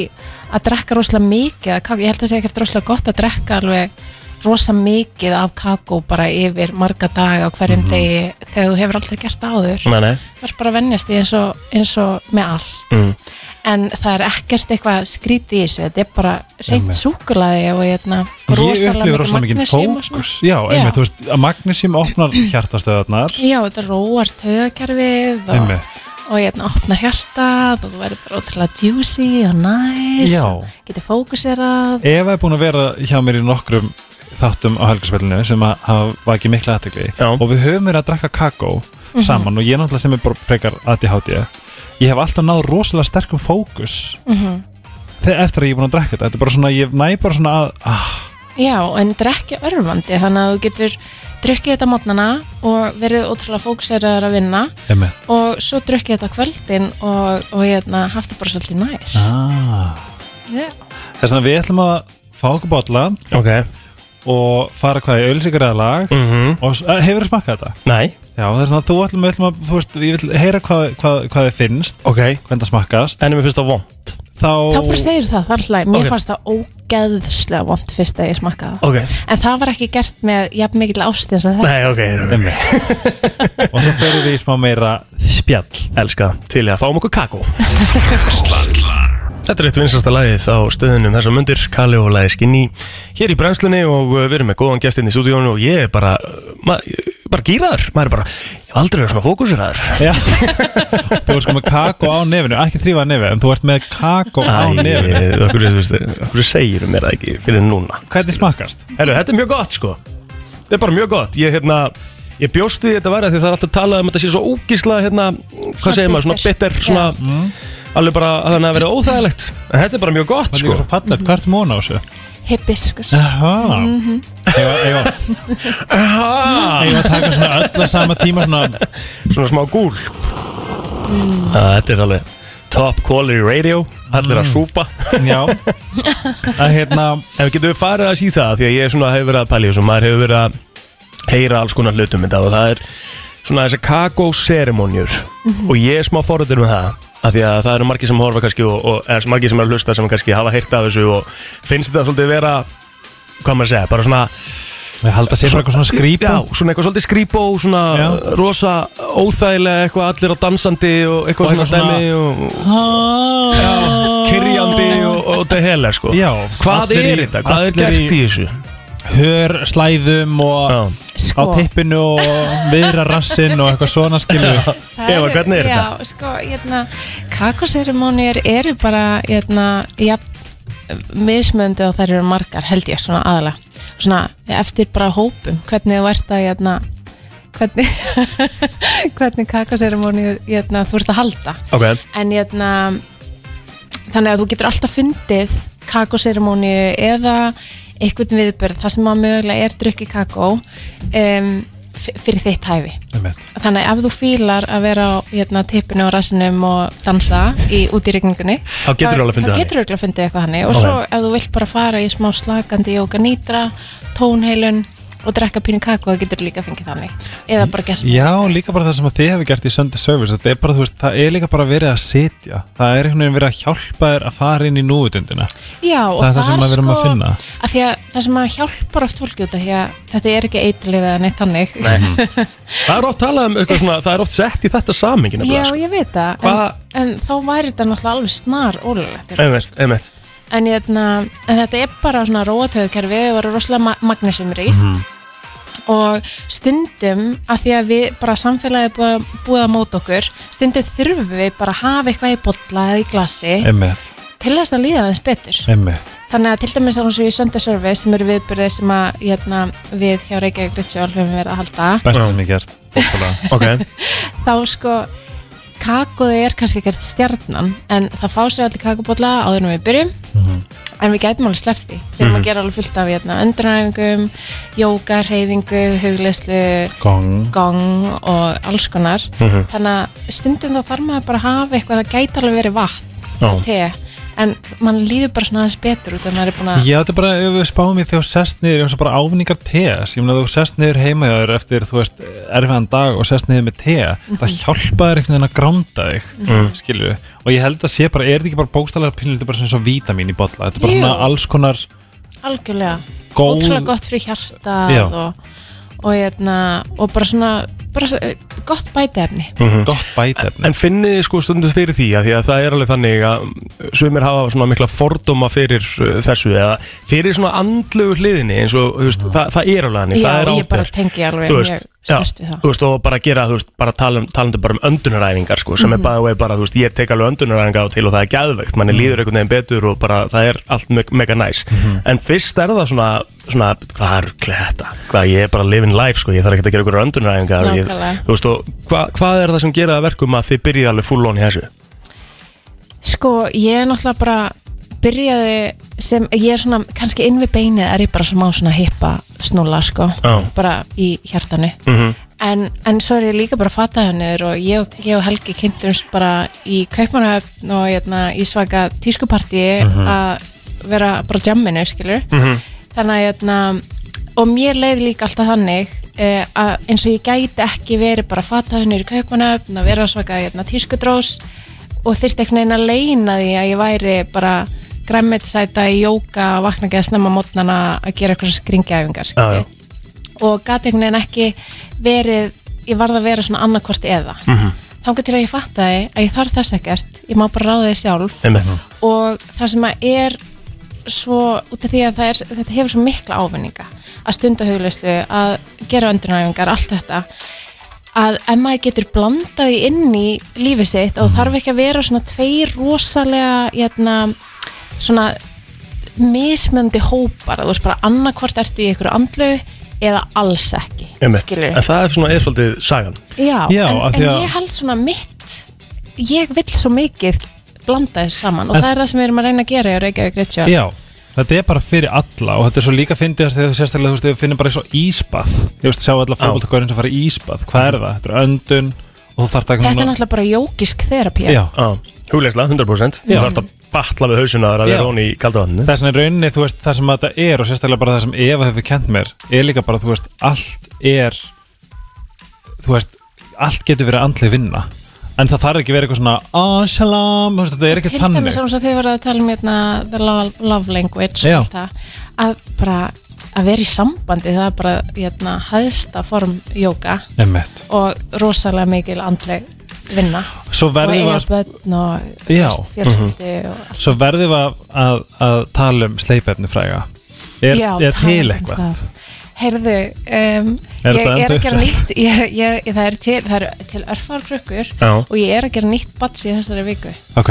Speaker 7: að drekka rosalega mikið af kakó, ég held að segja ekkert rosalega gott að drekka alveg rosa mikið af kakó bara yfir marga daga á hverjum
Speaker 3: Mhm.
Speaker 7: degi þegar þú hefur aldrei gert það áður
Speaker 2: Nei, Mm. nei,
Speaker 7: það er bara að venjast því eins og, eins og með allt en það er ekkert eitthvað skrítið í þessu þetta er bara reynt súkulaði og hérna,
Speaker 3: Ég upplifir rosalega mikið
Speaker 7: magnesíum og svona.
Speaker 3: fókus Já, einmitt, þú veist, að magnesím opnar hjartastöðarnar
Speaker 7: Já, þetta róar taugakerfið og,
Speaker 3: Einmitt.
Speaker 7: og hérna opnar hjartað og þú verður bara ótrúlega juicy og næs
Speaker 3: Já.
Speaker 7: og getur fókuserað
Speaker 3: Eva er búin að vera hjá mér í nokkrum þáttum á helgarspillinu sem að hafa vakið mikla aðtekli
Speaker 2: Já.
Speaker 3: og við höfum verið að drakka kakó
Speaker 7: Mhm.
Speaker 3: saman og ég er náttúrulega sem er bara frekar ADHD ég hef alltaf náð rosalega sterkum fókus
Speaker 7: Mhm.
Speaker 3: þegar eftir að ég er búin að drakka þetta þetta er bara svona, ég næ bara svona að ah,
Speaker 7: Já, en þetta er ekki örfandi þannig að þú getur drukkið þetta á mótnana og verið ótrúlega fókuseraður að vinna
Speaker 3: emi,
Speaker 7: og svo drukkið þetta á kvöldin og, og hérna haft það bara svolítið næs
Speaker 3: ah.
Speaker 7: Já,
Speaker 3: þess vegna við ætlum að fá okkur bolla
Speaker 2: ok
Speaker 3: og fara hvað í ölsigræðalag
Speaker 2: mm
Speaker 3: og s- eh, hefurðu smakkað þetta?
Speaker 2: Nei,
Speaker 3: Já, þess vegna þú ætlum, við ætlum að, þú veist, ég vil heyra hvað, hvað, hvað þið finnst
Speaker 2: ok
Speaker 3: hvernig það smakkast
Speaker 2: En ef mér finnst það vond
Speaker 3: þá,
Speaker 7: þá bara segir það, það er alltaf, mér
Speaker 2: Ok.
Speaker 7: fannst það ógeðslega vond fyrst að ég smakkaði það
Speaker 2: Ok
Speaker 7: En það var ekki gert með jafn mikil ást eins og þetta
Speaker 2: Nei, ok, ok.
Speaker 3: Einmitt. og svo fyrir við í smá meira spjall
Speaker 2: elska til í að fáum okkur kakó Þetta er eitt vinsasta lagið á stöðunum þessar mundir, Kali og lagið Skinny hér í brennslunni og uh, við erum með góðan gestinn í stúdíónu og ég er bara uh, ma bara gýraður, maður er bara ég hef aldrei verið svona fókuseraður
Speaker 3: Já. *laughs* þú ert sko með kakó á nefinu ekki þrýfa nefi, en þú ert með kakó á nefinu
Speaker 2: Æ, okkur, þú veist, okkur segir mér það ekki fyrir núna
Speaker 3: hvernig smakast?
Speaker 2: Heru, Þetta er mjög gott sko Þetta er bara mjög gott Ég, hérna, ég bjóst við þetta væri af því það er alltaf talað um að þetta sé svo ógísla hérna,
Speaker 7: Svona
Speaker 2: hvað segir maður, svona
Speaker 7: bitter. Mm.
Speaker 2: bitter svona, alveg bara að þannig að vera óþægilegt en þetta er bara mjög gott
Speaker 3: það er
Speaker 2: sko
Speaker 3: líka svo fallet, hvað ert móna á þessu?
Speaker 7: Hibiskus
Speaker 3: Jaha. Ég var- ég var- ég
Speaker 2: Ah.
Speaker 3: var að taka svona öll að sama tíma svona,
Speaker 2: svona smá gúl mm.
Speaker 7: Mm.
Speaker 2: Þetta er alveg top quality radio allir
Speaker 7: Mm.
Speaker 2: að súpa
Speaker 3: já að hérna,
Speaker 2: En við getum við farið að síða það því að ég svona hefur verið að pæla í þessu maður hefur verið að heyra alls konar hlutum um þetta og það er svona þessi kakóseremonjur og ég er smá forður með það af því að það eru margir sem horfa kannski og, og eða margir sem er að hlusta sem kannski hafa heyrt af þessu og finnst þetta svolítið vera hvað maður að segja, bara svona
Speaker 3: Ég held að sé bara eitthvað svona skrýpa
Speaker 2: Já, svona eitthvað svolítið skrýpó, svona
Speaker 3: Já.
Speaker 2: rosa óþægilega eitthvað allir á dansandi og eitthvað
Speaker 3: Og
Speaker 2: svona
Speaker 3: eitthvað svona-
Speaker 2: dæmi og Ah.
Speaker 3: Já,
Speaker 2: kyrjandi og, og þetta heller sko.
Speaker 3: Já,
Speaker 2: Hvað
Speaker 3: allir
Speaker 2: er
Speaker 3: í-
Speaker 2: þetta? Hvað er
Speaker 3: allir
Speaker 2: gert í, þessu?
Speaker 3: Hör slæðum og
Speaker 2: Já.
Speaker 3: á
Speaker 7: sko,
Speaker 3: tippinu og viðra rassinn og eitthvað svona skilu
Speaker 7: það
Speaker 2: Eva,
Speaker 7: eru-
Speaker 2: hvernig er
Speaker 7: já, sko, hérna, kakoserimónir eru bara hérna, ja, mismöndi og þær eru margar held ég svona aðalega svona eftir bara hópum hvernig þú ert að hérna, hvernig, *laughs* hvernig kakoserimóni hérna, þú ert að halda
Speaker 2: Ok,
Speaker 7: en hérna þannig að þú getur alltaf fundið kakoserimóniu eða einhvern viðbörð, það sem að mögulega er drukki kakó um, fyrir þitt hæfi þannig að ef þú fílar að vera á hérna, tippinu og rassinum og dansa í, út í rigningunni
Speaker 2: Þá geturðu alveg fundið
Speaker 7: þá
Speaker 2: þannig.
Speaker 7: getur örugglega fundið eitthvað þannig og
Speaker 2: Ok.
Speaker 7: svo ef þú vilt bara fara í smá slakandi jóka nýtra, tónheilun og drekka pínu kakó, þá getur líka fengið þannig eða bara gert
Speaker 3: Já, líka bara það sem að þið hefur gert í Sunday Service þetta er bara, þú veist, það er líka bara verið að sitja það er einhvern veginn verið að hjálpa þér að fara inn í núutundina
Speaker 7: Já, og
Speaker 3: Það er það sem
Speaker 7: þar
Speaker 3: að við erum að
Speaker 7: sko-
Speaker 3: finna.
Speaker 7: af því að það sem að hjálpar oft fólki út af því að þetta er ekki eitlið eða neitt þannig
Speaker 2: það er oft talað um eitthvað svona, það er oft sett í þetta sko. samingin
Speaker 3: sko.
Speaker 7: Já, ég veit það en,
Speaker 2: Hvað-
Speaker 7: en þá væri þetta náttúrulega alveg snar ólulegt
Speaker 2: Einmitt, einmitt
Speaker 7: en, hérna, en þetta er bara svona rótauðkerfi og eru rosalega ma magnesum ríkt og stundum að því að við bara samfélagið er búið, búið að móta okkur stundum þurfum við bara að hafa eitthvað í bolla eða í glasi
Speaker 3: Emmett,
Speaker 7: til þess að líða þess betur
Speaker 3: emmett
Speaker 7: Þannig að til dæmis eins og í Sunday Service sem eru viðbyrðir sem að hérna, við hjá Reykjavík Ritsjál höfum verið að halda
Speaker 3: Besta sem ég gert bókulega.
Speaker 2: Ok,
Speaker 7: þá sko kakóði er kannski ekkert stjarnan en það fá sér allir kakobólla áður en við byrjum
Speaker 3: Mhm.
Speaker 7: en við gætum alveg sleft því við erum að gera alveg fullt af hérna, öndranæfingum jóka, reyfingu, hugleyslu
Speaker 3: Gong
Speaker 7: gong og alls konar
Speaker 3: Mhm.
Speaker 7: þannig að stundum þá þarf maður bara að hafa eitthvað það gæti alveg verið vatn og te en mann líður bara svona aðeins betur út af maður er búin að
Speaker 3: Já, þetta er bara, ef við spáum í því að sest niður eins og bara ávinningar tes, ég meina þú sest niður heima hjá þér eftir, þú veist, erfiðan dag og sest niður með te,
Speaker 7: Mhm.
Speaker 3: það hjálpa þér einhvern veginn að gránda þig, mm og ég held að sé bara, er þetta ekki bara bókstælega pínu, þetta er bara svona svo vítamín í bolla, þetta er bara
Speaker 7: Jú.
Speaker 3: svona alls konar
Speaker 7: algjörlega
Speaker 3: góð
Speaker 7: ótrúlega gott fyrir hjartað
Speaker 3: Já.
Speaker 7: og, og, hérna, og bara svona bara, svo- gott bætiefni
Speaker 3: gott bætefni
Speaker 2: en finnið þið sko stundu fyrir því að því að það er alveg þannig að sumir hafa svona mikla fordóma fyrir uh, þessu eða fyrir svona andlegu hliðinni eins og þú veist, það, það er alveg þannig,
Speaker 7: Já,
Speaker 2: það er
Speaker 7: ég
Speaker 2: átt
Speaker 7: bara
Speaker 2: þér.
Speaker 7: tengi
Speaker 2: Þú
Speaker 7: alveg mjög
Speaker 2: veist,
Speaker 7: sterkt við það.
Speaker 2: þú veist, og bara gera, þú veist, bara talum, talandi bara um öndunaræfingar sko, sem er bæði vei bara, þú veist, ég tek alveg öndunaræfingar á til og það er gæðvegt, manni líður einhvern veginn betur og bara það er allt me mega næs en fyrst er það svona, svona hvað er þetta, hvað ég er bara living life sko, ég þarf ekki að gera einhverjar öndunaræfingar og ég,
Speaker 7: Nákvæmlega.
Speaker 2: þú veist, og hva, hvað er það sem gera það verkum að þið byrjið alveg full on í þessu
Speaker 7: sko ég er náttúrulega bara byrjaði sem ég er svona kannski inn við beinið er ég bara smá svona hippa snúla sko
Speaker 2: Já.
Speaker 7: bara í hjartanu
Speaker 2: Mhm.
Speaker 7: en, en svo er ég líka bara fataðunir og ég, og- ég og Helgi kynntumst bara í Kaupmannahöfn og hérna, í svaka tískupartíi
Speaker 2: Mhm.
Speaker 7: að vera bara á jamminu skilur þannig að hérna, og mér leið líka alltaf þannig eh, að eins og ég gæti ekki verið bara fataðunir í Kaupmannahöfn að vera svaka hérna, tískudrós og þyrfti einhvern veginn að leina því að ég væri bara græmmetisæta í jóka vakna ekki að snemma mótnana að gera eitthvað skringjaæfingar
Speaker 2: Já, já.
Speaker 7: skilur og gat einhvern veginn ekki verið, ég varð að vera svona annarkvort eða.
Speaker 2: Mhm.
Speaker 7: Mm -hmm. Þangar til að ég fattaði að ég þarf þess ekkert, ég má bara ráða því sjálf
Speaker 2: einmitt,
Speaker 7: og það sem að er svo, út af því að það er, þetta hefur svo mikla ávinninga að stunda hugleyslu, að gera öndunaræfingar, allt þetta að ef maður getur blandað því inn í lífið sitt
Speaker 2: Mhm.
Speaker 7: og þarf ekki að vera svona tveir rosalega hérna, svona mismöndi hópar að þú veist bara annarkvort ertu í einhverju andlegu eða alls ekki
Speaker 2: einmitt.
Speaker 7: skilurðu.
Speaker 2: en það er svona, er svolítið sagan
Speaker 7: Já,
Speaker 3: Já,
Speaker 7: en,
Speaker 3: af
Speaker 7: en
Speaker 3: því að-
Speaker 7: ég held svona mitt ég vill svo mikið blanda þess saman og
Speaker 3: En-
Speaker 7: það er það sem við erum að reyna að gera í Reykjavík Ritual
Speaker 3: Já, þetta er bara fyrir alla og þetta er svo líka fyndið þegar þú sérstaklega þú veist, við finnum bara svo ísbað ég veist, sjá alla fókbaltakörinn sem fara í ísbað hvað er það? Þetta er öndun og þú þarft að
Speaker 7: Þetta er náttúrulega bara jókisk þerapía
Speaker 3: Já,
Speaker 2: Já, hugleysla, 100% þú
Speaker 3: Já.
Speaker 2: þarf að batla við hausuna þar að
Speaker 3: Já.
Speaker 2: vera honi í kaldavatninu
Speaker 3: þess að rauninni, þú veist, það sem þetta er og sérstaklega bara það sem Eva hefur kent mér er líka bara, þú veist, allt er þú veist, allt getur verið andli vinna en það þarf ekki verið eitthvað svona "Ah, shalom, þú veist, þetta er ekki
Speaker 7: Til dæmis
Speaker 3: þannig
Speaker 7: eins og þegar við erum að tala um hérna, the love, love language og
Speaker 3: Já.
Speaker 7: allt það, að bara að vera í sambandi það er bara hérna, hæðsta form jóka
Speaker 3: Emmett
Speaker 7: og rosalega mikil andleg vinna
Speaker 3: Svo verðum við
Speaker 7: og eiga
Speaker 3: að,
Speaker 7: börn og
Speaker 3: Já.
Speaker 7: veist, fjölskyldi og
Speaker 3: svo verðum við að, að, að tala um sleipefni fræga Er,
Speaker 7: Já,
Speaker 3: er
Speaker 7: talandi
Speaker 3: til
Speaker 7: um
Speaker 3: eitthvað?
Speaker 7: það. Heyrðu, um,
Speaker 3: Er þetta
Speaker 7: ég er
Speaker 3: ennþá
Speaker 7: að gera
Speaker 3: uppselt?
Speaker 7: nýtt ég, er- ég, er- það er til, það er til örfar krukkur
Speaker 2: Já.
Speaker 7: og ég er að gera nýtt batsi þessari viku
Speaker 3: Ok,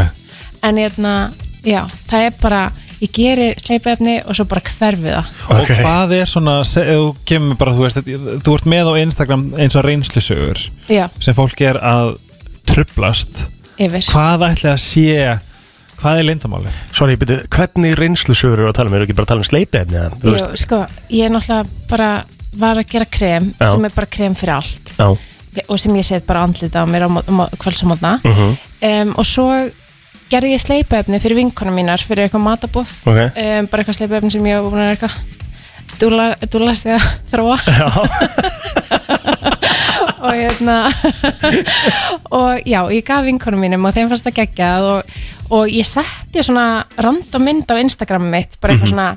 Speaker 7: en hérna, já, það er bara ég geri sleipefni og svo bara hverfi það
Speaker 3: og hvað er svona se- ef þú kemur bara, þú veist, þú ert með á Instagram eins og reynslusögur
Speaker 7: já,
Speaker 3: sem fólk er að trublast
Speaker 7: yfir
Speaker 3: hvað ætli að sé hvað er lindamáli?
Speaker 2: Sorry, byrju, hvernig reynslusögur eru að tala um? Eru ekki bara að tala um sleipefni? eða, þú
Speaker 7: Jú,
Speaker 2: veist?
Speaker 7: sko, ég er náttúrulega bara var að gera krem
Speaker 2: Já.
Speaker 7: sem er bara krem fyrir allt
Speaker 2: Já,
Speaker 7: og sem ég set bara andlita á mér á kvöldsamotna uh
Speaker 3: Mhm.
Speaker 7: um, og svo gerði ég sleipaefni fyrir vinkonum mínar fyrir eitthvað matabóð
Speaker 2: Ok. *laughs*
Speaker 7: um, bara eitthvað sleipaefni sem ég var búin að eitthvað dúla- dúlast því að þróa og hérna og já, ég gaf vinkonum mínum og þeim fannst það geggjað og, og ég setti svona random mynd á Instagram mitt bara eitthvað svona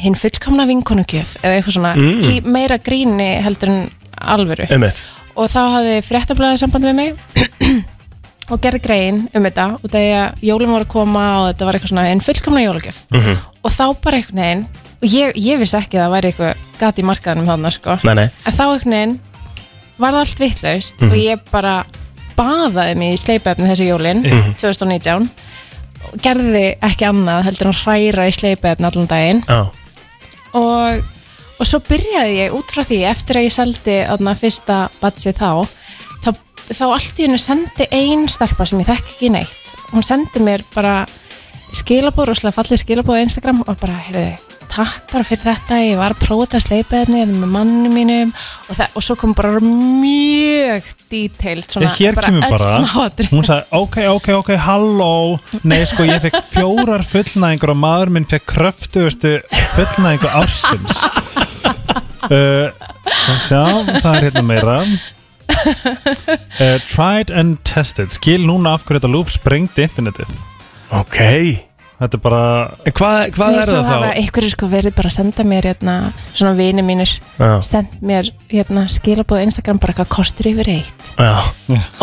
Speaker 7: hinn fullkomna vinkonugjöf eða eitthvað svona í meira gríni heldur en alvöru
Speaker 2: einmitt
Speaker 7: og þá hafði fréttablaðið samband við mig *clears throat* og gerði grein um þetta og þegar jólum voru að koma og þetta var eitthvað svona en fullkomna jólugjöf
Speaker 2: Mhm.
Speaker 7: -hmm. og þá bara einhvern veginn og ég, ég vissi ekki að það væri eitthvað gati í markaðanum þannig sko
Speaker 2: Nei, nei
Speaker 7: en þá einhvern veginn var það allt vittlaust og ég bara baðaði mig í sleipefni þessu jólin 2019 og gerði ekki annað heldur en að hræra í sleipefni allan daginn
Speaker 2: Já,
Speaker 7: og, og svo byrjaði ég út frá því eftir að ég seldi þarna fyrsta batsi þá, þá þá allt í hennu sendi ein stelpa sem ég þekk ekki neitt hún sendi mér bara skilabóð, rosalega fallið skilabóð á Instagram og bara, heyrðu, takk bara fyrir þetta ég var að prófa þetta sleipaðinni með mannum mínum og, það, og svo kom bara mjög dítilt svona,
Speaker 3: Ég Eh, hér kemur
Speaker 7: öll
Speaker 3: bara,
Speaker 7: smáatriði.
Speaker 3: hún sagði ok, ok, ok, halló Nei, sko, ég fekk fjórar fullnæðingur og maður minn fekk kröftugustu fullnæðingu ársins uh, og Sjá, það er hérna meira uh, Tried and tested Skil núna af hverju þetta loop sprengdi internetið
Speaker 2: ok
Speaker 3: Þetta er bara,
Speaker 2: En hvað, hvað
Speaker 7: Nei,
Speaker 2: er
Speaker 7: svo
Speaker 2: það
Speaker 7: hafa
Speaker 2: þá?
Speaker 7: einhverju sko verið bara að senda mér hérna, svona vini mínir
Speaker 2: Já.
Speaker 7: send mér hérna, skilabóð á Instagram bara eitthvað kostur yfir eitt
Speaker 2: Já,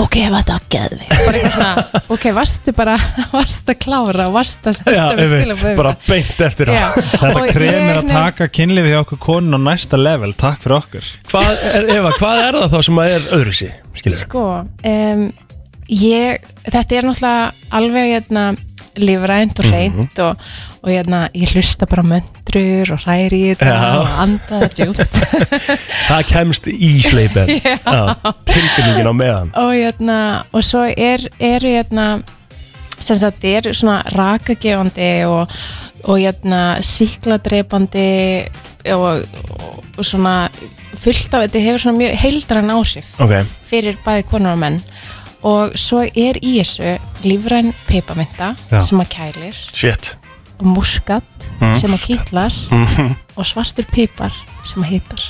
Speaker 7: ok, var þetta að geði bara eitthvað svona, ok, varstu bara *laughs* varstu að klára, varstu að
Speaker 2: já,
Speaker 7: senda mér
Speaker 2: einmitt
Speaker 7: skilabóð
Speaker 2: Bara beint eftir *laughs* á
Speaker 3: þetta krem
Speaker 7: hérna-
Speaker 3: er að taka kynlið hjá okkur konun á næsta level Takk fyrir okkur
Speaker 2: Hvað er, Eva, hvað er það þá sem að er öðruvísi? Skilur
Speaker 7: sko, um, ég þetta er náttúrulega alveg hérna, lífrænt og hreint og, og hérna, ég hlusta bara á möndrur og hræri í þetta
Speaker 2: Já.
Speaker 7: og anda það djúpt
Speaker 2: Það kemst í sleipin Já, tilfinningin á meðan
Speaker 7: og hérna, og svo er, er hérna, sem sagt, er svona rakagefandi og, og hérna, síkladreipandi og, og, og svona fullt af þetta hefur svona mjög heildran áhrif
Speaker 2: Ok,
Speaker 7: fyrir bæði konur og menn og svo er í þessu lífræn peipaminta
Speaker 3: Já.
Speaker 7: sem að kælir
Speaker 2: shit
Speaker 7: og muskat sem að kýtlar og svartur pipar sem að hýtar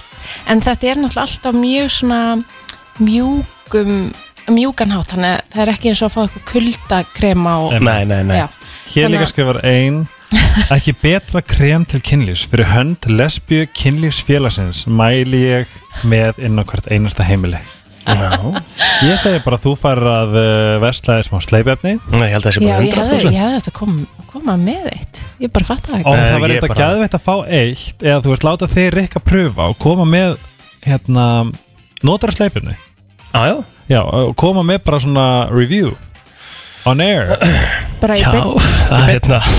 Speaker 7: en þetta er náttúrulega alltaf mjög svona mjúkum mjúkanhátt, þannig að það er ekki eins og að fá eitthvað kuldakrema og
Speaker 2: Nei, nei, nei
Speaker 7: já,
Speaker 3: Hér
Speaker 7: Þannig
Speaker 3: líka
Speaker 7: að-
Speaker 3: skrifar ein Ekki betra krem til kynlífs fyrir hönd lesbíu kynlífsfélagsins mæli ég með inn á hvert einasta heimili Ég segi bara að þú farir að uh, versla þér smá sleipefni
Speaker 2: Nei, ég held að það sé
Speaker 7: já,
Speaker 2: bara
Speaker 7: ég hefði,
Speaker 2: 100%
Speaker 7: ég hefði þetta kom, koma með eitt ég bara fatt það
Speaker 3: og
Speaker 7: ekki
Speaker 2: Nei,
Speaker 3: það
Speaker 2: ég
Speaker 3: verður eitthvað
Speaker 2: bara-
Speaker 3: gæðveitt að fá eitt eða þú veist láta þeir rikka pröfa og koma með hérna notar sleipinu
Speaker 2: Já, já
Speaker 3: Já, og koma með bara svona review on
Speaker 2: *clears throat*
Speaker 3: air
Speaker 7: bara í
Speaker 2: Já,
Speaker 7: beinn
Speaker 2: það er hérna
Speaker 7: *laughs*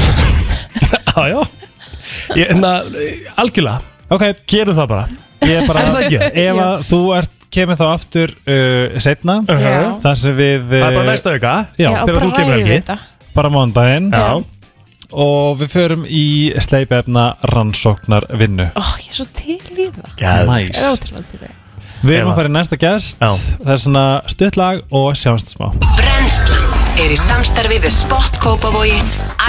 Speaker 2: Já, já Ég, hérna, algjörlega
Speaker 3: Ok,
Speaker 2: Gerum það bara
Speaker 3: ég er bara
Speaker 2: Er það ekki?
Speaker 3: Ef að þú ert, kemur þá aftur uh, setna
Speaker 7: Já.
Speaker 3: þar sem við eh,
Speaker 2: Það er bara næsta auka
Speaker 3: Já,
Speaker 7: Já,
Speaker 2: þegar
Speaker 7: bara
Speaker 2: þú kemur
Speaker 7: ræðum
Speaker 2: ekki.
Speaker 7: þetta.
Speaker 3: bara mándaginn
Speaker 7: Já.
Speaker 3: og við förum í sleipefna rannsóknar vinnu
Speaker 7: Ó, ég er svo til í það
Speaker 2: Geðveikt.
Speaker 7: Það er ótrúlega til í það
Speaker 3: Við erum
Speaker 2: Eva.
Speaker 3: að fara í næsta gest
Speaker 2: Já.
Speaker 3: það er svona stuttlag og sjáumst smá
Speaker 8: Brennslan er í samstarfi við Spott Kópavogi,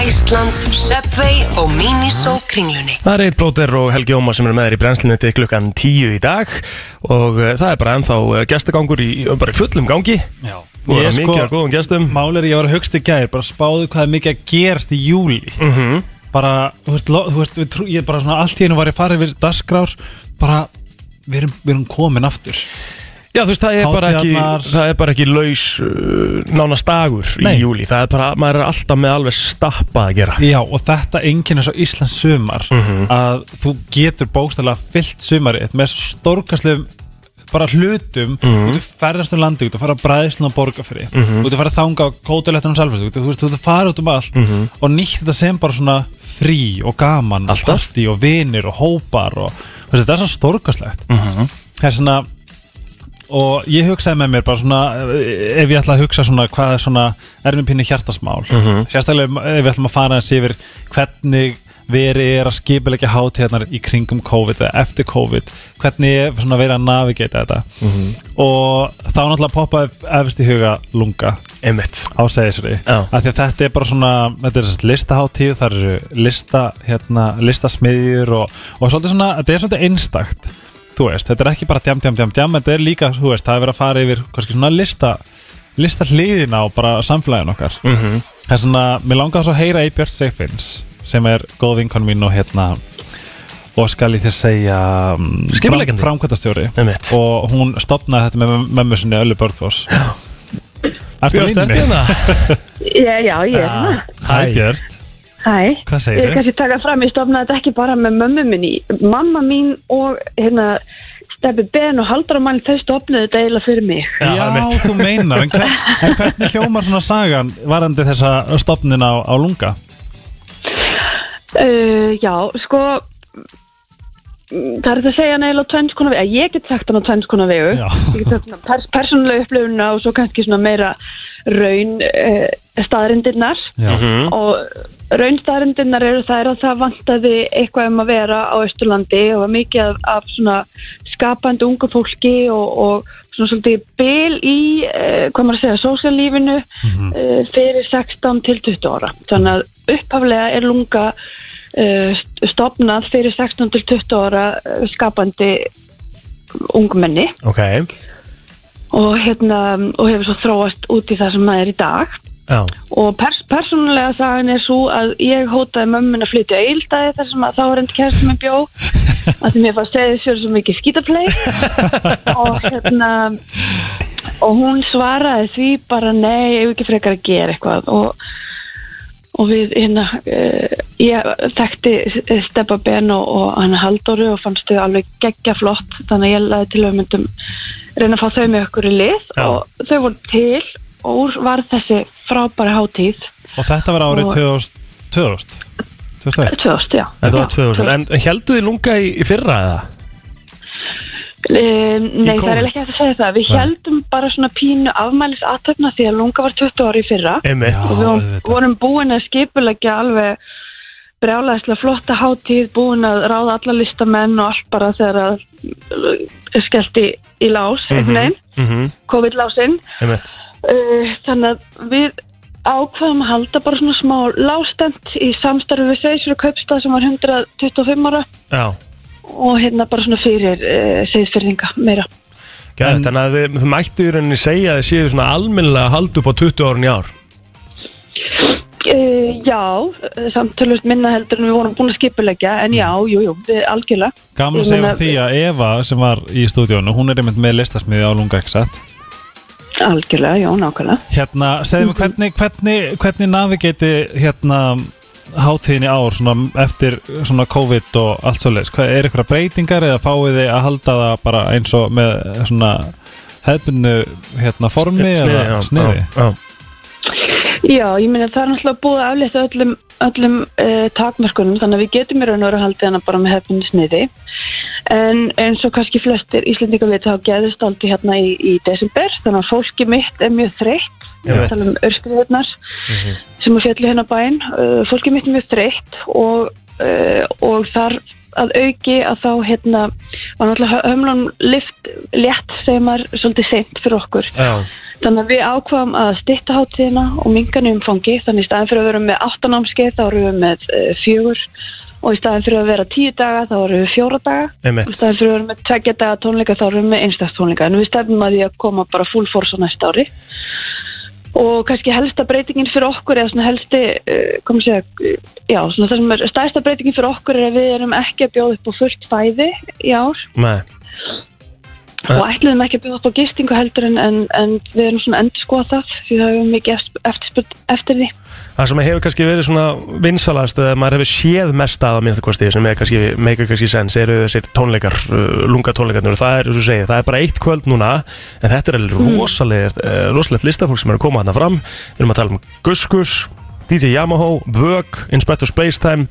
Speaker 8: Æsland, Subway og Miniso kringlunni.
Speaker 2: Það er Eitt Blóter og Helgi Óma sem er með þér í brennslinu til klukkan 10 í dag og uh, það er bara ennþá uh, gestagangur í, uh, bara í fullum gangi Já, og það
Speaker 3: Ég
Speaker 2: er
Speaker 3: sko-
Speaker 2: mikið af góðum gestum Mhm.
Speaker 3: Mál er ég var að hugst í gær bara spáðu hvað er mikið að gerast í júli mm -hmm. bara, þú veist, lo, þú veist við trú, ég bara svona allt í einu var ég farið við dasgrár bara, við erum, við erum komin aftur
Speaker 2: Já, þú veist, það er bara ekki,
Speaker 3: Hátíðarnar.
Speaker 2: það er bara ekki laus uh, nánast dagur í
Speaker 3: Nei.
Speaker 2: júli. Það er bara, maður er alltaf með alveg stappað að gera. Mhm.
Speaker 3: Já, og þetta enginn er svo Íslands sumar að þú getur bókstæðlega fyllt sumarið með svo stórkastlegum bara hlutum,
Speaker 2: Mhm.
Speaker 3: þú getur ferðast um landi, þú getur fara að bræðislu á borgarfyrir
Speaker 2: Mhm.
Speaker 3: þú getur fara að þanga á kótulegtunum sjálfur þú getur- þú veist, þú getur fara út um allt og nýtt þetta sem bara svona frí og gaman
Speaker 2: Mhm. Alltaf.
Speaker 3: og partí og vinir og hópar og þú veist, þetta er svo stórkastlegt
Speaker 2: Mhm.
Speaker 3: það er svona og ég hugsaði með mér bara svona eh, ef ég ætla að hugsa svona hvað er svona er mér pínu hjartasmál sérstaklega ef við ætlum að fara eins yfir hvernig verið er að skipilegja hátíðarnar í kringum COVID eða eftir COVID hvernig er svona verið að navigata þetta og þá náttúrulega poppaði efst í huga lunga
Speaker 2: Einmitt.
Speaker 3: á segisri
Speaker 2: Já.
Speaker 3: af því að þetta er bara svona þetta er sérst listahátíð, það eru lista, hérna, listasmiðjur og, og svolítið svona, þetta er svolítið einstakt þú veist, þetta er ekki bara djam, djam, djam, djam þetta er líka, þú veist, það er verið að fara yfir kannski svona lista, lista hliðina og bara samfélagin okkar mm
Speaker 2: Mhm.
Speaker 3: -hmm. það er svona, mér langar svo að heyra í Björn Seifins sem er góð vinkon mín og hérna og skal ég þér segja mm,
Speaker 2: Skipuleggjandi.
Speaker 3: fram, framkvæmtastjóri
Speaker 2: Einmitt.
Speaker 3: og hún stopnaði þetta með mömmu sinni Öllu Börðfors Ertu
Speaker 2: Björn,
Speaker 3: að
Speaker 2: ertu hérna?
Speaker 3: vinna? *laughs*
Speaker 9: Ég, já, ég er hérna.
Speaker 3: Hæ Björn Ah.
Speaker 9: Hæ.
Speaker 3: Hvað
Speaker 9: Ég er
Speaker 3: segirðu?
Speaker 9: kannski að taka fram, ég stofnaði þetta ekki bara með mömmu minni. Mamma mín og hérna, Steppi Ben og Haldramann, þau stofnaði þetta eiginlega fyrir mig.
Speaker 2: Já,
Speaker 3: Já,
Speaker 2: einmitt.
Speaker 3: þú meinar, en, hvern, en hvernig hljómar svona sagan varandi þessa stopnin á, á lunga?
Speaker 9: Uh, já, sko, mm, það er þetta að segja hann eiginlega á tvenns konar vegu. Ég get sagt hann á tvenns konar vegu.
Speaker 3: Já.
Speaker 9: Ég get sagt hann pers persónulega upplöfuna og svo kannski svona meira raun uh, staðrindirnar.
Speaker 3: Já,
Speaker 9: og raunstæðarindirnar eru þær að það vantaði eitthvað um að vera á Östurlandi og var mikið af, af svona skapandi ungu fólki og, og svona svolítið bil í, uh, hvað maður að segja, sósialífinu mm fyrir 16 til 20 ára. Þannig að upphaflega er lunga uh, stopnað fyrir 16 til 20 ára eh, skapandi ungmenni
Speaker 2: Ok.
Speaker 9: og, hérna, og hefur svo þróast út í það sem það er í dag
Speaker 2: Já.
Speaker 9: og pers persónulega sagan er svo að ég hótaði mömmin að flytja eildæði þar sem að þá var endur kærast með bjó að því mér fannst segið sér svo mikið skítaplay og hérna og hún svaraði því bara nei, ég hef ekki frekar að gera eitthvað og, og við hérna uh, ég þekkti Steppa Ben og, og hann Halldóru og fannst þau alveg geggja flott þannig að ég laði til að við myndum reyna að fá þau með okkur í lið
Speaker 2: Já.
Speaker 9: og þau voru til og úr var þessi frábæra hátíð
Speaker 3: og þetta var árið
Speaker 9: Og-
Speaker 3: 2000 2000 2001
Speaker 9: 2000, já.
Speaker 2: Þetta var
Speaker 9: Já.
Speaker 2: 2000. En heldu þið lunga í, í fyrra eða?
Speaker 9: Eh, nei,
Speaker 2: Í
Speaker 9: það er
Speaker 2: COVID?
Speaker 9: ekki hægt að segja það. Við heldum bara svona pínu afmælis aðtöfna því að Lunga var 20 ári í fyrra
Speaker 2: Einmitt.
Speaker 9: og við vorum- vorum búin að skipulegja alveg brjálæðislega flotta hátíð, búin að ráða alla listamenn og allt bara þegar að eh, skellti í lás, einhvern veginn,
Speaker 2: Mhm.
Speaker 9: COVID-lásinn.
Speaker 2: Einmitt.
Speaker 9: Uh, þannig að við ákvaðum að halda bara svona smá lástend í samstarfi við Seisur og Kaupstað sem var 125 ára
Speaker 2: Já.
Speaker 9: og hérna bara svona fyrir uh, segðsfyrðinga meira.
Speaker 2: Gæðið, þannig að þið, þið mættu í rauninni segja að þið séu svona almennilega að halda upp á 20 árun í ár.
Speaker 9: Uh, já, eh, samt tölvöld minna heldur en við vorum búin að skipulegja en já, jú, jú, við algjörlega
Speaker 3: Gaman að
Speaker 9: Ég
Speaker 3: segja
Speaker 9: meina-
Speaker 3: um því að Eva sem var í stúdíónu, hún er einmitt með listasmiði á lunga, ekki satt?
Speaker 9: algjörlega, já, nákvæmlega
Speaker 3: Hérna,
Speaker 9: Mhm.
Speaker 3: segðu mig hvernig, hvernig, hvernig navigati hérna hátíðin í ár svona, eftir svona COVID og allt svo leis er eitthvað breytingar eða fáið þið að halda það bara eins og með svona hefðbunnu hérna formi
Speaker 2: Sniði,
Speaker 3: eða
Speaker 2: já,
Speaker 3: sniði
Speaker 2: já, já.
Speaker 9: Já, ég meina það er náttúrulega búið að aflétta öllum, öllum uh, takmörkunum þannig að við getum í raun og veru haldið hana bara með hefnum sniði en eins og kannski flestir Íslendingar við þá geðist aldrei hérna í, í desember þannig að fólki mitt er mjög þreytt
Speaker 2: Ég
Speaker 9: við
Speaker 2: veit.
Speaker 9: tala um örskriðurnar sem er fjallu hérna á bæinn uh, fólki mitt er mjög þreytt og, uh, og þar að auki að þá hérna var náttúrulega hömlun lift létt sem er svolítið seint fyrir okkur
Speaker 2: Já.
Speaker 9: Þannig að við ákvaðum að stytta hátíðina og minga umfangi, þannig í staðin fyrir að vera með 8 námskeið þá erum við með uh, fjögur og í staðin fyrir að vera 10 daga þá erum við 4 daga og í
Speaker 2: Einmitt.
Speaker 9: staðin fyrir að vera með 2 daga tónleika þá erum við með einstakst tónleika en við stefnum að því að koma bara full force á næsta ári og kannski helsta breytingin fyrir okkur eða svona helsti, uh, komum segja uh, já, svona það sem er stærsta breytingin fyrir okkur er að við erum ekki að bjóða upp á fullt fæði í ár
Speaker 2: Nei,
Speaker 9: og ætluðum ekki að bjóða upp á gistingu heldur en, en, en við erum svona endurskotað því það hefur mikið eftir, eftir, eftir því
Speaker 2: það sem hefur kannski verið svona vinsalast eða maður hefur séð mest að að minnstakosti sem er kannski, make kannski sens eru þessir tónleikar, lunga tónleikarnir og það er, eins og ég segi, það er bara eitt kvöld núna en þetta er alveg rosalegt eh, rosalegt listafólk sem er að koma þarna fram við erum að tala um Guskus DJ Yamaha, Vög, Inspector Spacetime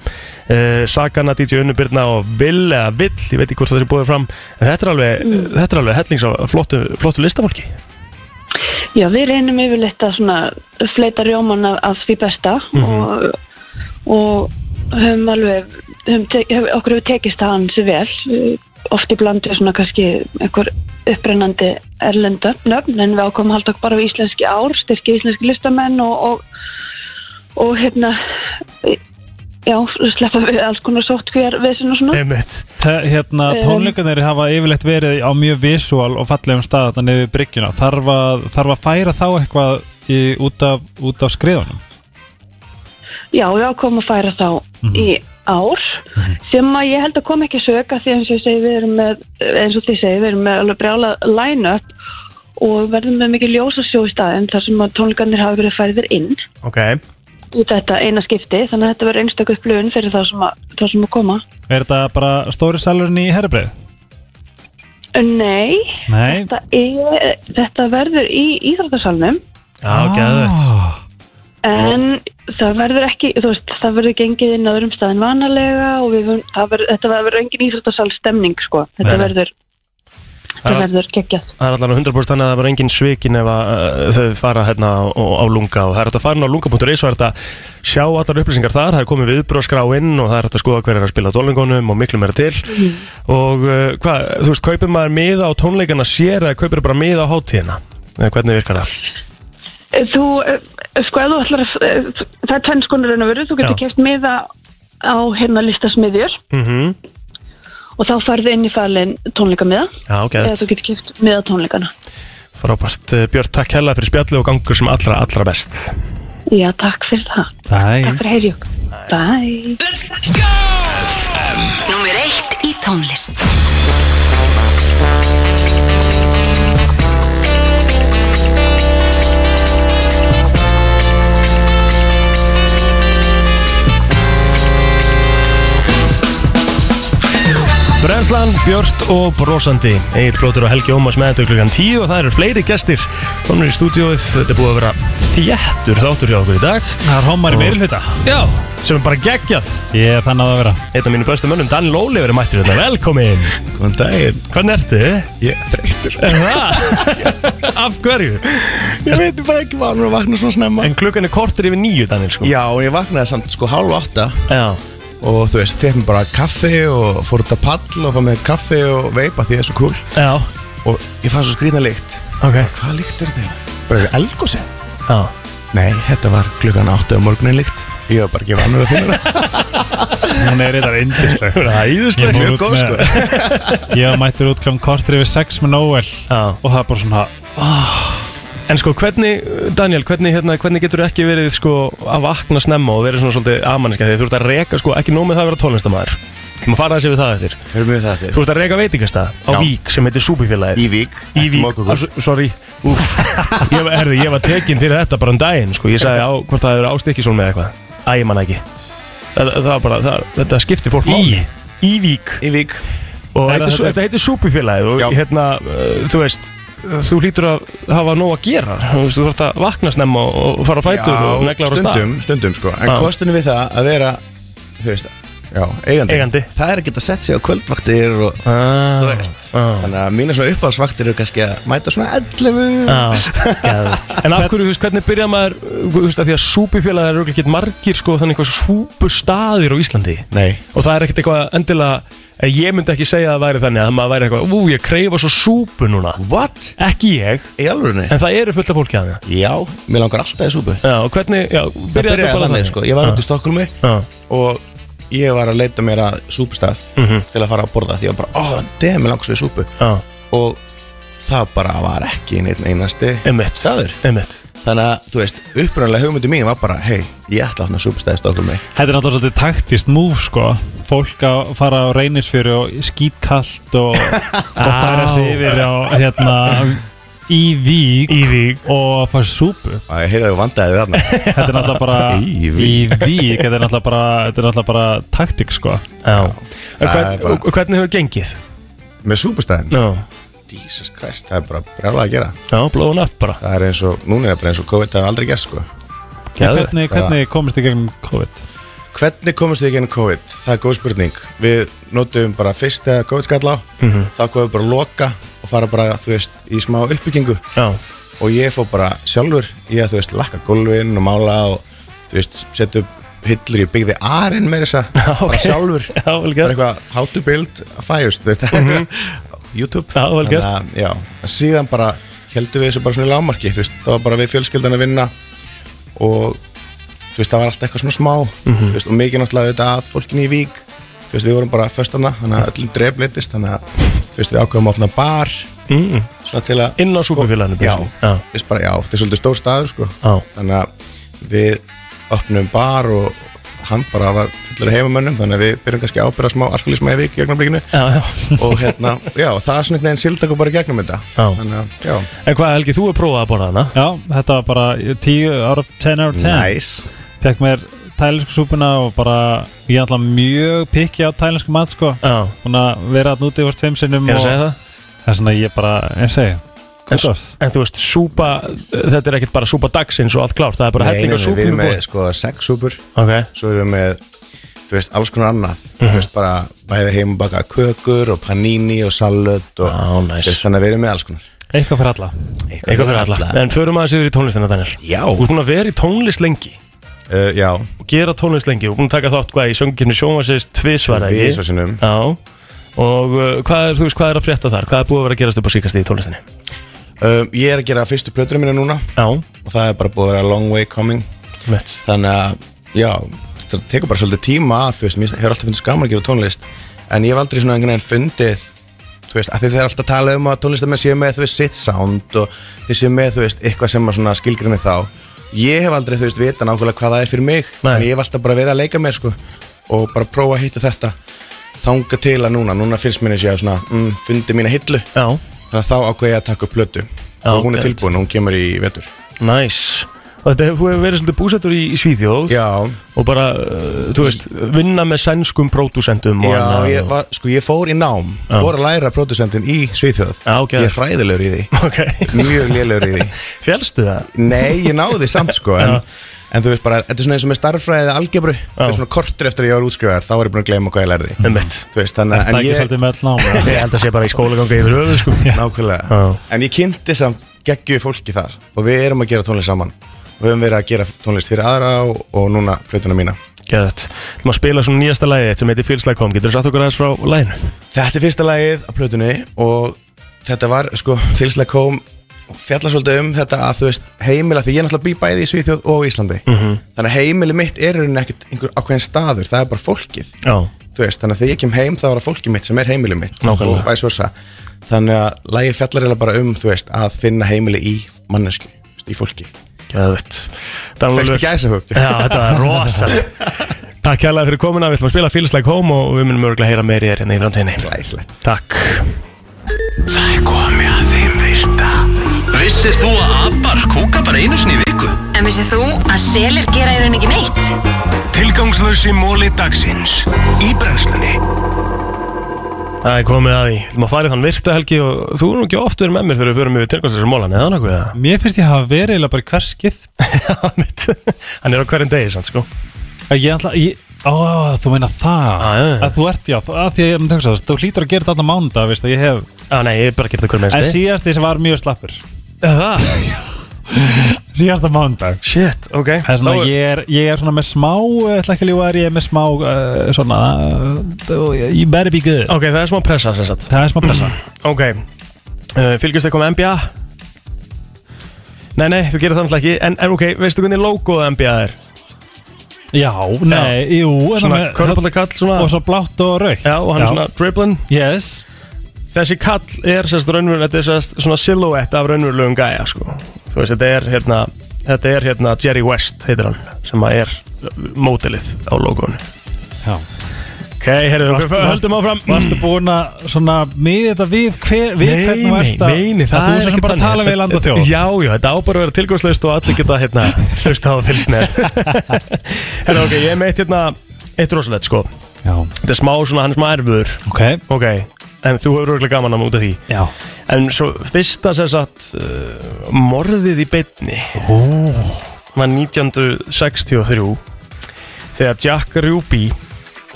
Speaker 2: uh, Sagana, DJ Unnubirna og Vill eða Vill, ég veit ekki hvort það er búið fram en þetta er alveg, þetta er alveg hellings á flottu, flottu listafólki
Speaker 9: Já, við reynum yfirleitt að svona fleita rjóman af, af því besta og, og höfum alveg höfum tek, höfum, okkur hefur tekist það hansi vel Við- oft í blandu svona kannski einhver upprennandi erlenda nöfn en við ákomum halda bara við íslenski ár styrki íslenski listamenn og, og, og hérna já, sleppa við alls konar sótt hver við og svona
Speaker 2: Einmitt.
Speaker 3: Te- hérna,
Speaker 9: Um.
Speaker 3: tónleikarnir hafa yfirleitt verið á mjög visual og fallegum stað þarna niður við bryggjuna þarf að, þarf að færa þá eitthvað í, út, af, út af skriðunum
Speaker 9: Já, við ákomum að færa þá
Speaker 2: Mhm.
Speaker 9: í ár sem að ég held að kom ekki að söka því eins og ég segi við erum með eins og þið segi við erum með alveg brjála line-up og verðum með mikið ljósasjó í staðin þar sem að tónleikarnir hafa verið færðir inn
Speaker 2: Ok,
Speaker 9: í þetta eina skipti þannig að þetta verður einstakku upplöfun fyrir þá sem að, þá sem að koma
Speaker 3: er þetta bara stóri salurinn í herrbreyð?
Speaker 9: Nei,
Speaker 3: Nei,
Speaker 9: þetta, er, þetta verður í íþróttasalnum
Speaker 2: já, geðvett
Speaker 3: Ah,
Speaker 9: En það verður ekki, þú veist, það verður gengið inn á öðrum staðin vanalega og við, verðum- það verður, þetta verður engin íþróttasal stemning, sko. Þetta
Speaker 2: Nei, nei.
Speaker 9: verður,
Speaker 2: Það-
Speaker 9: þetta verður geggjað.
Speaker 2: Það er allavega 100% þannig að það var engin svikin ef að uh, þau fara hérna á, á lunga og það er hægt að fara inn á lunga.is og það er hægt að sjá allar upplýsingar þar, það er komið viðbröðskrá inn og það er hægt að skoða hver er að spila á tónleikunum og miklu meira til
Speaker 9: Mhm.
Speaker 2: og uh, hvað, þú veist, kaupir maður miða á tónleikana sér eða kaupir bara miða á hátíðina eða hvernig virkar það?
Speaker 9: Eh, Þú, eh, sko, ef þú ætlar að, eh, það er tvenns konar en að veru, þú getur
Speaker 2: Já.
Speaker 9: keft miða á hérna listasmiðjur
Speaker 2: Mm -hmm.
Speaker 9: og þá farðu inn í falin tónleikamiða
Speaker 2: Já,
Speaker 9: eða þú
Speaker 2: ok,
Speaker 9: getur keft miða tónleikana.
Speaker 2: frábært Uh, Björn, takk hella fyrir spjallu og gangur sem allra, allra best
Speaker 9: Já, takk fyrir það.
Speaker 3: Nei,
Speaker 9: Takk
Speaker 2: Mm.
Speaker 9: fyrir heyri okkur. Bye.
Speaker 8: Númer eitt í tónlist
Speaker 2: Brenslan, Björn og Brósandi Egil Blótur og Helgi Ómas með þetta klukkan 10 og það eru fleiri gestir komin í stúdíóið, þetta er búið að vera þjættur þáttur hjá okkur í dag
Speaker 3: það er homar í meiri hluta
Speaker 2: Já, sem er bara geggjað
Speaker 3: Ég er þannig að það vera
Speaker 2: Einn af mínu bestu mönnum, Dan Lóli, verið mættur þetta Velkomin,
Speaker 10: Góðan daginn,
Speaker 2: hvernig ertu?
Speaker 10: ég er þreytur
Speaker 2: Ha? *laughs* Af hverju?
Speaker 10: Ég veit bara ekki hvað hann er að vakna svona snemma
Speaker 2: En klukkan er kortur yfir nýju, Daniel sko
Speaker 10: Já, og ég vaknaði samt sko hálf átta
Speaker 2: Já,
Speaker 10: Og þú veist, fekk mér bara kaffi og fór út að pall og fór með kaffi og veipa því það er svo kúl
Speaker 2: já,
Speaker 10: Og ég fann svo skrýna lykt
Speaker 2: ok
Speaker 10: Hvað lykt er þetta? Bara eitthvað elgósi?
Speaker 2: Já,
Speaker 10: Nei, þetta var klukkan átta um morgunin lykt Ég var bara ekki vanur að finna það
Speaker 3: Hún er þetta indisleg
Speaker 2: það er
Speaker 3: Ég
Speaker 2: æðislega
Speaker 3: fór
Speaker 10: Mjög
Speaker 3: út
Speaker 10: góð
Speaker 3: með-
Speaker 10: sko
Speaker 3: Ég var mættur út kljón kortur yfir sex með Noel
Speaker 2: Já,
Speaker 3: Og það er bara svona
Speaker 2: en sko hvernig, Daniel, hvernig, hérna, hvernig getur ekki verið sko að vakna snemma og verið svona svolítið amanniska því þú ert að reka sko ekki nómið það að vera tónlistamæður Þú maður fara þessi við það eftir
Speaker 10: Fyrir mig það
Speaker 2: Þú ert að reyka veitingastað á
Speaker 10: Já.
Speaker 2: Vík sem heitir Súbifélagið
Speaker 10: Í Vík,
Speaker 2: Í
Speaker 10: ekki
Speaker 2: Vík,
Speaker 10: Mókokur.
Speaker 2: ah, s- sorry Úf, ég, var- herri, ég var tekinn fyrir þetta bara um daginn sko. Ég sagði á hvort það hefur ástykkisón með eitthvað Æ, ég man ekki það, það var bara, það, Þetta skiptir fólk máli Í Vík
Speaker 10: Í Vík
Speaker 2: Og
Speaker 3: Er
Speaker 2: þetta, þetta,
Speaker 3: það þetta-
Speaker 2: þetta heitir súpufélagið
Speaker 10: Já.
Speaker 2: Og hérna, uh, þú veist Þú hlýtur að hafa nóg að gera Þú veist, þú þarft að vakna snemma og og fara á fætur og negla á stað
Speaker 10: stundum, stundum sko En
Speaker 2: Já.
Speaker 10: kostinu við það að vera, þú veist, já, eigandi
Speaker 2: Eigandi.
Speaker 10: Það er að geta sett sig á kvöldvaktir og
Speaker 2: ah,
Speaker 10: Þú veist.
Speaker 2: ah,
Speaker 10: Þannig að mínu svona uppáhaldsvaktir eru kannski að mæta svona 11
Speaker 2: ah, geðveikt. En af hverju, þú veist, hvernig byrja maður eh, Þú veist, að því að súpufélagið eru ekki margir sko, Þannig eitthvað súpustaðir á Íslandi
Speaker 10: Nei
Speaker 2: og það er ekkert eitthvað endilega eh, ég myndi ekki segja að það væri þannig að maður væri eitthvað ú ég kreyfa svo súpu núna
Speaker 10: What?
Speaker 2: ekki ég,
Speaker 10: Í alvörunni?
Speaker 2: en það eru fullt af fólki að það
Speaker 10: Já, mér langar alltaf í súpu
Speaker 2: já, og hvernig, já,
Speaker 10: Það
Speaker 2: byrjaði
Speaker 10: byrjaði þannig sko Ég var út í Stokkulmi
Speaker 2: já,
Speaker 10: og ég var að leita mér að súpustað
Speaker 2: Mhm.
Speaker 10: til að fara að borða því ég var bara, oh, damn, mér langar svo í súpu
Speaker 2: já,
Speaker 10: og það bara var ekki neitt einasti
Speaker 2: einmitt
Speaker 10: staður
Speaker 2: einmitt,
Speaker 10: Þannig að, þú veist, upprunalega hugmyndu mín var bara Hei, ég ætla að opna súpstæði stokkum mig
Speaker 3: Þetta er náttúrulega svolítið taktist múf sko Fólk að fara á reynisfjöru og skítkallt og, og fara sig yfir á hérna í vík, í vík. og að fara súpu
Speaker 10: Æ, ég heyrði að þú vandæði þarna
Speaker 2: *laughs*
Speaker 3: Þetta er náttúrulega bara
Speaker 10: Í
Speaker 3: í
Speaker 10: vík.
Speaker 3: vík, þetta, er náttúrulega bara, þetta er náttúrulega bara taktik sko
Speaker 2: Já
Speaker 10: Það
Speaker 2: hvern,
Speaker 10: er bara-
Speaker 2: og, og hvernig hefur gengið?
Speaker 10: Með súpstæðin
Speaker 2: Já,
Speaker 10: Jesus Christ, það er bara brjálega að gera
Speaker 2: já blóðun upp bara
Speaker 10: Það er eins og, núna er það bara eins og COVID hafi aldrei gerst sko
Speaker 2: Geðveikt. sko.
Speaker 3: hvernig, hvernig komist þið gegnum COVID?
Speaker 10: Hvernig komumst við í genið COVID? Það er góð spurning Við notum bara fyrst þegar COVID skall á Þá komum við bara að loka og fara bara, þú veist, í smá uppbyggingu
Speaker 2: Já,
Speaker 10: Og ég fór bara sjálfur Ég, þú veist, lakka gólfin og mála og, þú veist, setja upp hillur Ég byggði arinn með þessa Bara
Speaker 2: *laughs* ok.
Speaker 10: sjálfur
Speaker 2: já vel
Speaker 10: Það er
Speaker 2: gert Mhm.
Speaker 10: eitthvað how to build a fire þú veist, mm -hmm. YouTube
Speaker 2: Já, vel gert.
Speaker 10: Þannig að, já, en síðan bara heldum við þessu bara svona í lámarki þú veist, það var bara við fjölskyldan að vinna og þú veist, það var alltaf eitthvað svona smá
Speaker 2: Mhm.
Speaker 10: þú veist, og mikið náttúrulega auðvitað að fólkinu í vík þú veist, við vorum bara föstana þannig að öllum dreflitist þannig að þú veist, við ákveðum að opna bar
Speaker 2: mm.
Speaker 10: svona til að
Speaker 2: Inn á súpufélaginu
Speaker 10: Já.
Speaker 2: já,
Speaker 10: þú veist, bara, já, þetta er svolítið stór staður sko.
Speaker 2: já,
Speaker 10: þannig að við opnum bar og hann bara var fullur af heimamönnum þannig að við byrjum kannski að ábyrða smá alkoholisma í vík í
Speaker 2: *laughs*
Speaker 10: ögnablikinu
Speaker 2: já, já.
Speaker 10: og hérna, já, það er svona einhvern veginn sildakur bara í gegnum þetta
Speaker 2: Já.
Speaker 10: þannig að, já,
Speaker 2: En hvað Helgi, þú hefur prófað að borða hana
Speaker 3: Já, þetta var bara 10 out of 10 out of 10
Speaker 10: nice
Speaker 3: Fekk mér tælinsku súpuna og bara ég er alltaf mjög pikki á tælinsku mat sko
Speaker 2: Já,
Speaker 3: Búin að vera að núti yfir tveim sinnum
Speaker 2: ég er að
Speaker 3: og-
Speaker 2: segja það
Speaker 3: Það er svona ég bara, ég segi Kudos
Speaker 2: En þú veist, súpa, þetta er ekkert bara súpa dagsins og allt klárt Það er bara
Speaker 10: Nei, nei,
Speaker 2: helling
Speaker 10: nei,
Speaker 2: og
Speaker 10: við
Speaker 2: súpum
Speaker 10: erum
Speaker 2: í
Speaker 10: með
Speaker 2: búið
Speaker 10: sko sexsúpur
Speaker 2: Ok,
Speaker 10: svo erum við með, þú veist, alls konar annað
Speaker 2: Mhm.
Speaker 10: þú veist, bara bæði heimabaka kökur og panini og salut og,
Speaker 2: Á, næs.
Speaker 10: þú veist, þannig að við erum með alls konar
Speaker 3: Eitthvað fyrir alla
Speaker 2: eitthvað fyrir alla En förum aðeins yfir í tónlistina, Daniel
Speaker 10: Já,
Speaker 2: Þú ert búin að vera í tónlist lengi
Speaker 10: uh, já,
Speaker 2: og gera tónlist lengi og búin að taka þátt hvað í sönginu sjónvarsins tvisvar eða
Speaker 10: við
Speaker 2: ekki?
Speaker 10: svo sinnum
Speaker 2: Já og uh, hvað er, þú veist, hvað er að frétta þar? Hvað er búið að vera að gerast upp á síkast í tónlistinni?
Speaker 10: um, Ég er að gera fyrstu plöturinn minna núna
Speaker 2: Já,
Speaker 10: og það er bara búið að vera a long way coming
Speaker 2: mitt
Speaker 10: þannig að, já, það tekur bara svolítið tíma að, þú veist, mér hefur alltaf fundist gaman að gera tónlist en ég hef aldrei svona einhvern veginn fundið þú veist, af því þeir alltaf tala um að tónlistamenn séu með, þú veist, sitt sound og þeir séu með, þú veist, eitthvað sem að svona skilgrinni þá ég hef aldrei, þú veist, vita nákvæmlega hvað það er fyrir mig
Speaker 2: Nei.
Speaker 10: en ég hef alltaf bara verið að leika með, sko og bara prófa að hitta þetta þanga til að núna, núna finnst mér eins og ég að svona mm, fundi mína hillu,
Speaker 2: Já,
Speaker 10: þannig að þá ákveð ég að taka upp plötu
Speaker 2: Já,
Speaker 10: og hún er
Speaker 2: gett.
Speaker 10: tilbúin, hún kemur í vetur
Speaker 2: næs Og þetta, þú hefur verið svolítið búsettur í, í Svíþjóð
Speaker 10: Já,
Speaker 2: og bara, uh, þú veist, vinna með sænskum pródúsendum og
Speaker 10: Já,
Speaker 2: annað
Speaker 10: ég,
Speaker 2: og-
Speaker 10: var, sko, ég fór í nám
Speaker 2: uh, Já.
Speaker 10: fór að læra pródusentin í Svíþjóð
Speaker 2: Já, ok.
Speaker 10: Ég er hræðilegur í því
Speaker 2: *laughs* Ok,
Speaker 10: mjög lélegur í því
Speaker 2: fjálstu það?
Speaker 10: Nei, ég náði því samt sko en, en þú veist bara, þetta er svona eins og með starffræði eða algebru þetta er svona kortur eftir að ég var útskrifaðar þá var ég búin að gleyma hvað ég lærði
Speaker 2: Einmitt.
Speaker 10: Þú veist,
Speaker 3: Það
Speaker 10: þannig, að-
Speaker 3: er
Speaker 10: en
Speaker 3: ekki
Speaker 10: ég,
Speaker 3: svolítið með all náma
Speaker 2: Ég held að sé bara í skólaganga yfir höfuð sko
Speaker 10: nákvæmlega
Speaker 2: Já.
Speaker 10: En ég kynnti samt geggju fólki þar og við erum að gera tónlist saman við höfum verið að gera tónlist fyrir aðra og, og núna plötuna mína
Speaker 2: Gæðvægt Þú maður spila svona nýjasta lagið þitt sem heitir Feels Like Home Getur þú satt okkur aðeins frá laginu?
Speaker 10: Þetta er fyrsta lagið á plötunni og þetta var sko fylslega kom fjalla svolítið um þetta að þú veist heimila því ég er náttúrulega bý bæði í Svíþjóð og Íslandi þannig að heimili mitt er í rauninni ekkert einhver ákveðin staður, það er bara fólkið
Speaker 2: Já,
Speaker 10: þú veist, þannig að þegar ég kem heim þá er það fólkið mitt sem er heimili mitt
Speaker 2: Nákvæmlega.
Speaker 10: og vice versa þannig að lagið fjallar eiginlega bara um þú veist, að finna heimili í mannesku í fólki,
Speaker 2: gæðvægt
Speaker 10: fegstu gæsa hugt
Speaker 2: Já, þetta var rosa Takk kærlega fyrir komuna, við ætlum að spila Feels Like Home og við munum örgulega heyra meiri þér hérna í framtíðinni
Speaker 10: Læslegt
Speaker 2: Takk
Speaker 1: Það er komið að þeim virta Vissir þú að abar kúka bara einu sinni í viku?
Speaker 8: En vissið þú að selir gera í raun ekki neitt?
Speaker 1: Tilgangslösi móli dagsins Í brennslunni
Speaker 2: Það er komið að því, við ætlum að fara í þann virta helgi og þú er nú ekki oft verið með mér þegar við förum yfir tilkvæmstæðsum mólan eða nokkuð
Speaker 3: *laughs*
Speaker 2: eða?
Speaker 3: Mér finnst ég hafa verið eiginlega bara í hver skipt
Speaker 2: Já, mitt. Hann er á hverjum degi samt sko
Speaker 3: að Ég ætla, ég, ó, þú meina það
Speaker 2: Ah, Já, já, já.
Speaker 3: Að þú ert, já, þú- að því að ég tökst það Þú hlýtur að gera þetta allan mánudag, veist að ég hef
Speaker 2: Já, nei, ég er bara að gera það hverjum
Speaker 3: En
Speaker 2: einstu
Speaker 3: síðast þessi var mjög slappur
Speaker 2: Það,
Speaker 3: Síðasta mánudag
Speaker 2: shit, ok
Speaker 3: Það er svona,
Speaker 2: Þá-
Speaker 3: ég er, ég er svona með smá, ég ætla ekki að lífa þér, ég er með smá, uh, svona, uh, you better be good.
Speaker 2: Ok, það er smá pressa sem sagt
Speaker 3: Það er smá pressa.
Speaker 2: Ok, uh, fylgjast eitthvað með NBA? Nei, nei, þú gerir það náttúrulega ekki En, en ok, veistu hvernig logoð NBA er?
Speaker 3: Já, nei, jú. en
Speaker 2: Svona
Speaker 3: það-
Speaker 2: körpallakall svona
Speaker 3: Og svo blátt og raukt.
Speaker 2: Já, og hann er svona dribbling
Speaker 3: Yes.
Speaker 2: Þessi kall er sérst raunverulega Þetta er sérst svona silhouette af raunverulegum gæja sko. Þú veist, þetta er hérna þetta er hérna Jerry West heitir hann sem að er mótilið á logoinu
Speaker 3: Já.
Speaker 2: Ok, herðu, við höldum áfram Mm.
Speaker 3: Varstu búin að svona miðið þetta við, hver, við hvernig þú ert að
Speaker 2: neini, það,
Speaker 3: að
Speaker 2: er
Speaker 3: Þú sem
Speaker 2: ekki
Speaker 3: bara að
Speaker 2: þannig.
Speaker 3: tala við land og þjóð
Speaker 2: *laughs* Já, já, þetta á bara að vera tilgangslöst og allir geta hérna
Speaker 3: *laughs*
Speaker 2: hlust á að fylgst með Hérna, ok, ég er meitt hérna eitt rosalegt, sko
Speaker 3: Já.
Speaker 2: Þetta er smá svona, hann er smá erfur
Speaker 3: Ok
Speaker 2: Ok, en þú hefur örgulega gaman að múta því
Speaker 3: Já
Speaker 2: En svo fyrsta sem sagt uh, morðið í beinni
Speaker 3: Ó.
Speaker 2: var 1963 þegar Jack Ruby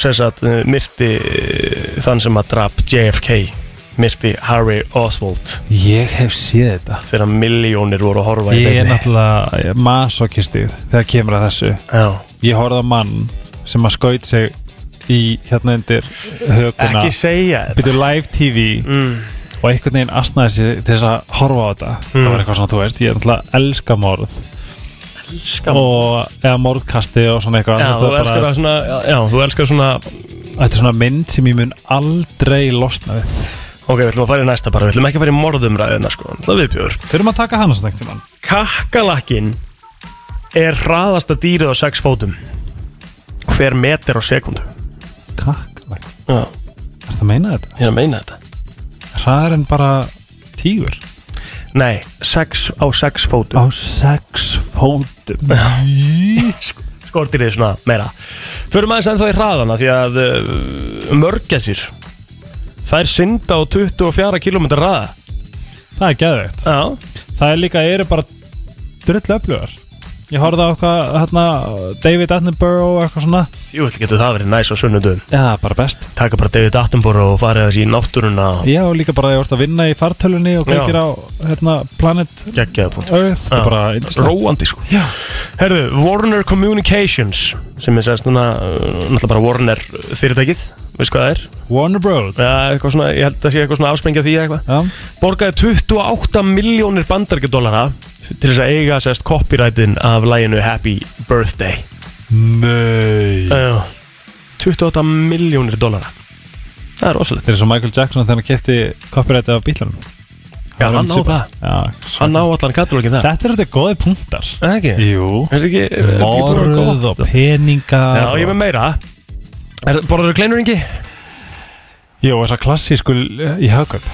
Speaker 2: sem sagt uh, myrti uh, þann sem að drap JFK myrti Harry Oswald
Speaker 3: Ég hef séð þetta
Speaker 2: þegar miljónir voru að horfa í
Speaker 3: Ég er
Speaker 2: beinni
Speaker 3: náttúrulega masokistið þegar kemur að þessu
Speaker 2: Já.
Speaker 3: Ég horfði á mann sem að skaut sig í hérna undir höguna
Speaker 2: Ekki segja þetta.
Speaker 3: Byrju live tv og einhvern veginn asnaði sig til þess að horfa á þetta
Speaker 2: Mm.
Speaker 3: Það var eitthvað svona, þú veist, ég er náttúrulega elska morð
Speaker 2: Elska
Speaker 3: Og eða morðkasti og svona eitthvað
Speaker 2: Já,
Speaker 3: þú
Speaker 2: þú
Speaker 3: veist, það er
Speaker 2: elskar það svona já, Já, þú elskar svona
Speaker 3: Þetta er svona mynd sem ég mun aldrei losna við
Speaker 2: Ok, við ætlum að fara í næsta bara, við ætlum ekki að fara í morðumræðina sko, það viðbjör
Speaker 3: Þurfum að taka hana svona einhvern tímann
Speaker 2: Kakkalakkin er hraðasta dýrið á sex fótum Hver meter á sekundu?
Speaker 3: Kakkalakkin?
Speaker 2: Já,
Speaker 3: Er það að meina þetta?
Speaker 2: ég er að meina þetta
Speaker 3: Hraðar en bara tígur?
Speaker 2: Nei, sex á sex
Speaker 3: Á
Speaker 2: fótum
Speaker 3: sex fótum
Speaker 2: Sk- Skordýrið svona meira Förum aðeins ennþá í hraðana Því að uh, mörgæsir Það er synda á 24 km hraða
Speaker 3: Það er geðveikt
Speaker 2: Já,
Speaker 3: Það er líka, eru bara drull öflugar Ég horfði á eitthvað, hérna, David Attenborough og eitthvað svona
Speaker 2: jú, þetta getur það verið næs á sunnudum
Speaker 3: Já, bara best
Speaker 2: Taka bara David Attenborough og farið þessi í náttúruna
Speaker 3: Já, og líka bara að ég vart að vinna í fartölunni og
Speaker 2: Já.
Speaker 3: kveikir á, hérna, Planet
Speaker 2: Gekkjaða punkt
Speaker 3: Earth
Speaker 2: Já.
Speaker 3: Það er bara indislegt
Speaker 2: Róandi sko Já. Herðu, Warner Communications sem er sérst núna uh, náttúrulega bara Warner fyrirtækið veist hvað það er
Speaker 3: Warner Bros
Speaker 2: ja, eitthvað svona, ég held að sé eitthvað svona afsprengja því eða eitthvað
Speaker 3: Já.
Speaker 2: borgaði 28 miljónir bandarkedólara til þess að eiga sérst copyrightin af læginu Happy Birthday
Speaker 3: Nei
Speaker 2: Já 28 miljónir dólara það er rosalegt
Speaker 3: Þetta er svo Michael Jackson þegar hann kefti copyrightið af bílanum
Speaker 2: Já, hann á það,
Speaker 3: Já,
Speaker 2: hann á allan katalógin það
Speaker 3: Þetta eru þetta góði punktar
Speaker 2: Það ekki?
Speaker 3: Jú
Speaker 2: Er þetta ekki- er þetta ekki búin að vera
Speaker 3: Morð
Speaker 2: gott?
Speaker 3: og peningar
Speaker 2: Já, ég er með meira Er- Borðarðu kleinur engi?
Speaker 3: Jú, þess að klassísku í haugöp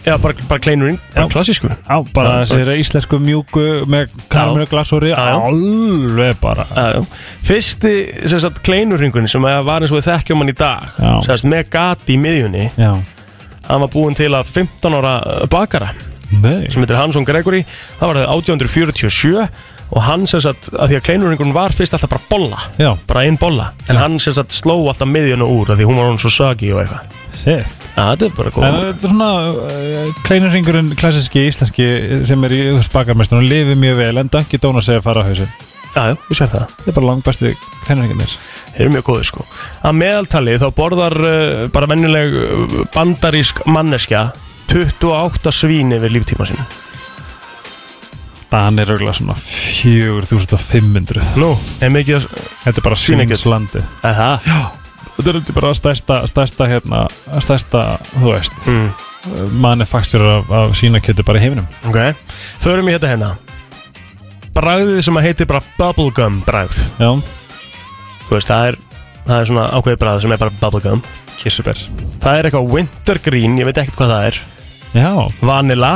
Speaker 2: Já, bara, bara kleinurinn, bara
Speaker 3: Já.
Speaker 2: klassísku
Speaker 3: Já, bara
Speaker 2: Já,
Speaker 3: þessi íslensku mjúku með karminu glasúri
Speaker 2: Já, já.
Speaker 3: Alveg bara
Speaker 2: Já, já. Fyrsti sem sagt, kleinurringun sem að var eins og við þekkjum hann í dag
Speaker 3: Já.
Speaker 2: sem sagt, með gati í miðjunni
Speaker 3: Já
Speaker 2: hann var búinn til að 15 ára uh, bakara
Speaker 3: Nei
Speaker 2: sem heitir Hansson Gregory það var 1847 og hann sem sagt að því að kleinurringun var fyrst alltaf bara bolla
Speaker 3: Já,
Speaker 2: bara einn bolla en hann sem sagt sló alltaf miðjunni úr að því hún var hann svo sagi og eitthvað
Speaker 3: sé
Speaker 2: Já, þetta er bara
Speaker 3: En
Speaker 2: góð
Speaker 3: þetta er svona uh, kleinurringurinn klassíski íslenski sem er í spakarmestunum lifið mjög vel en Dunkin Donuts er að fara á hausin
Speaker 2: Já, já, þú sér það
Speaker 3: Þetta er bara langbæsti kleinurringarnir
Speaker 2: Þeir eru mjög góðir sko Að meðaltali þá borðar uh, bara venjuleg uh, bandarísk manneskja 28 svín yfir líftíma sinu
Speaker 3: Þannig er auðvitað svona 4500
Speaker 2: Nú, er mikið að
Speaker 3: Þetta er bara
Speaker 2: Svínakjöt.
Speaker 3: svíningslandi
Speaker 2: Það
Speaker 3: Þetta er auðvitað bara stærsta, stærsta, hérna, stærsta, þú veist,
Speaker 2: mm.
Speaker 3: manufakturur af, af sínakjötu bara í heiminum.
Speaker 2: Ok Förum í þetta hérna Bragðið sem að heitir bara bubblegum bragð
Speaker 3: Já,
Speaker 2: Þú veist, það er, það er svona ákveðið bragð sem er bara bubblegum
Speaker 3: kissuber.
Speaker 2: Það er eitthvað wintergreen, ég veit ekkert hvað það er
Speaker 3: Já,
Speaker 2: Vanilla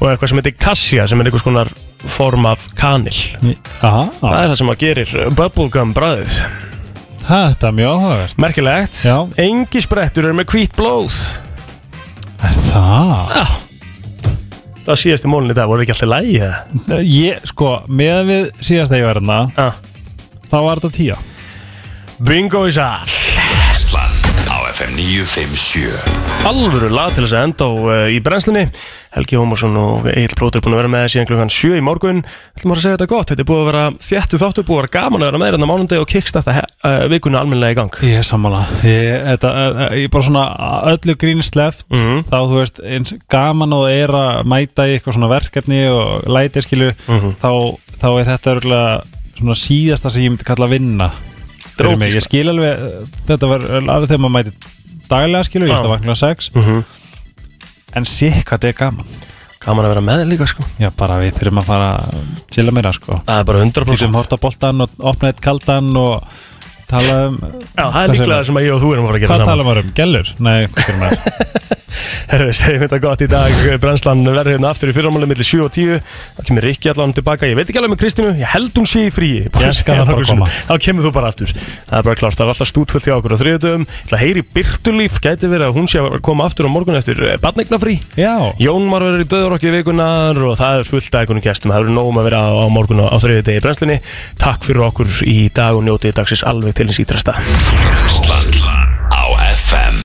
Speaker 2: Og eitthvað sem heitir cassia sem er einhvers konar form af kanil
Speaker 3: í- aha,
Speaker 2: Það er það sem að gerir uh, bubblegum bragðið
Speaker 3: Ha, þetta er mjög áhugavert.
Speaker 2: Merkilegt
Speaker 3: Já.
Speaker 2: Engi sprettur eru með hvít blóð
Speaker 3: Er það?
Speaker 2: Já Það síðast í mólun í dag, voru ekki alltaf lægi það?
Speaker 3: Ég, sko, með að við síðast að ég var hérna,
Speaker 2: Já
Speaker 3: þá var þetta tíja.
Speaker 2: Bingo í sall
Speaker 1: Ísland á FM 957
Speaker 2: Alvöru lag til þess að enda á, uh, í brennslunni Helgi Ómarsson og Egil Plóter búin að vera með síðan klukkan 7 í morgun Ætlum bara að segja þetta gott, þetta er búið að vera þjættu þáttu Búið að vera gaman að vera með þetta mánundi og kickstarta uh, vikuna almennilega í gang
Speaker 3: Ég er sammála. Ég, þetta, eh, ég er bara svona öllu grín sleft,
Speaker 2: Mhm.
Speaker 3: þá, þú veist, eins gaman og er að mæta í eitthvað svona verkefni og læti, skilju,
Speaker 2: Mhm.
Speaker 3: þá, þá er þetta örgulega svona síðasta sem ég myndi kalla að vinna. fyrir mig, ég
Speaker 2: Drókist
Speaker 3: skil alveg uh, þetta var alveg þegar maður mæti daglega skilu, ég
Speaker 2: Já.
Speaker 3: ætla að vakna sex
Speaker 2: Mhm.
Speaker 3: en sér hvað þetta er gaman
Speaker 2: Gaman að vera með líka sko
Speaker 3: Já, bara við þurfum að fara að chilla meira sko
Speaker 2: Það er bara 100%
Speaker 3: Getum horta boltan og opna eitt kaldan og tala um
Speaker 2: Já, það er líklega það sem að ég og þú erum að fara að gera
Speaker 3: Hvað
Speaker 2: saman.
Speaker 3: tala maður um? Gellur?
Speaker 2: *laughs*
Speaker 3: Nei, hvað gerum maður?
Speaker 2: Herru, segjum þetta gott í dag Brennslan verður hérna aftur í fyrramálið millir 7 og 10 Þá kemur Rikki allan tilbaka Ég veit ekki alveg með Kristínu, ég held hún sé í fríi
Speaker 3: Ég skal það bara koma.
Speaker 2: Þá kemur þú bara aftur Það er bara klart, það er alltaf stútfullt hjá okkur á þriðutum Það heyri Byrtulíf, gæti verið að hún sé að koma aftur á morgun eftir badnegnafrí
Speaker 3: Já
Speaker 2: Jón Már verður í döðurokki vikunar og það er fullt af einhvern gestum Það verður nóg um að vera á morgun á þriðutegi í brennslunni Takk fyrir okkur í dag og njótið dagsins alveg til hins ítrasta
Speaker 1: Brennslan á FM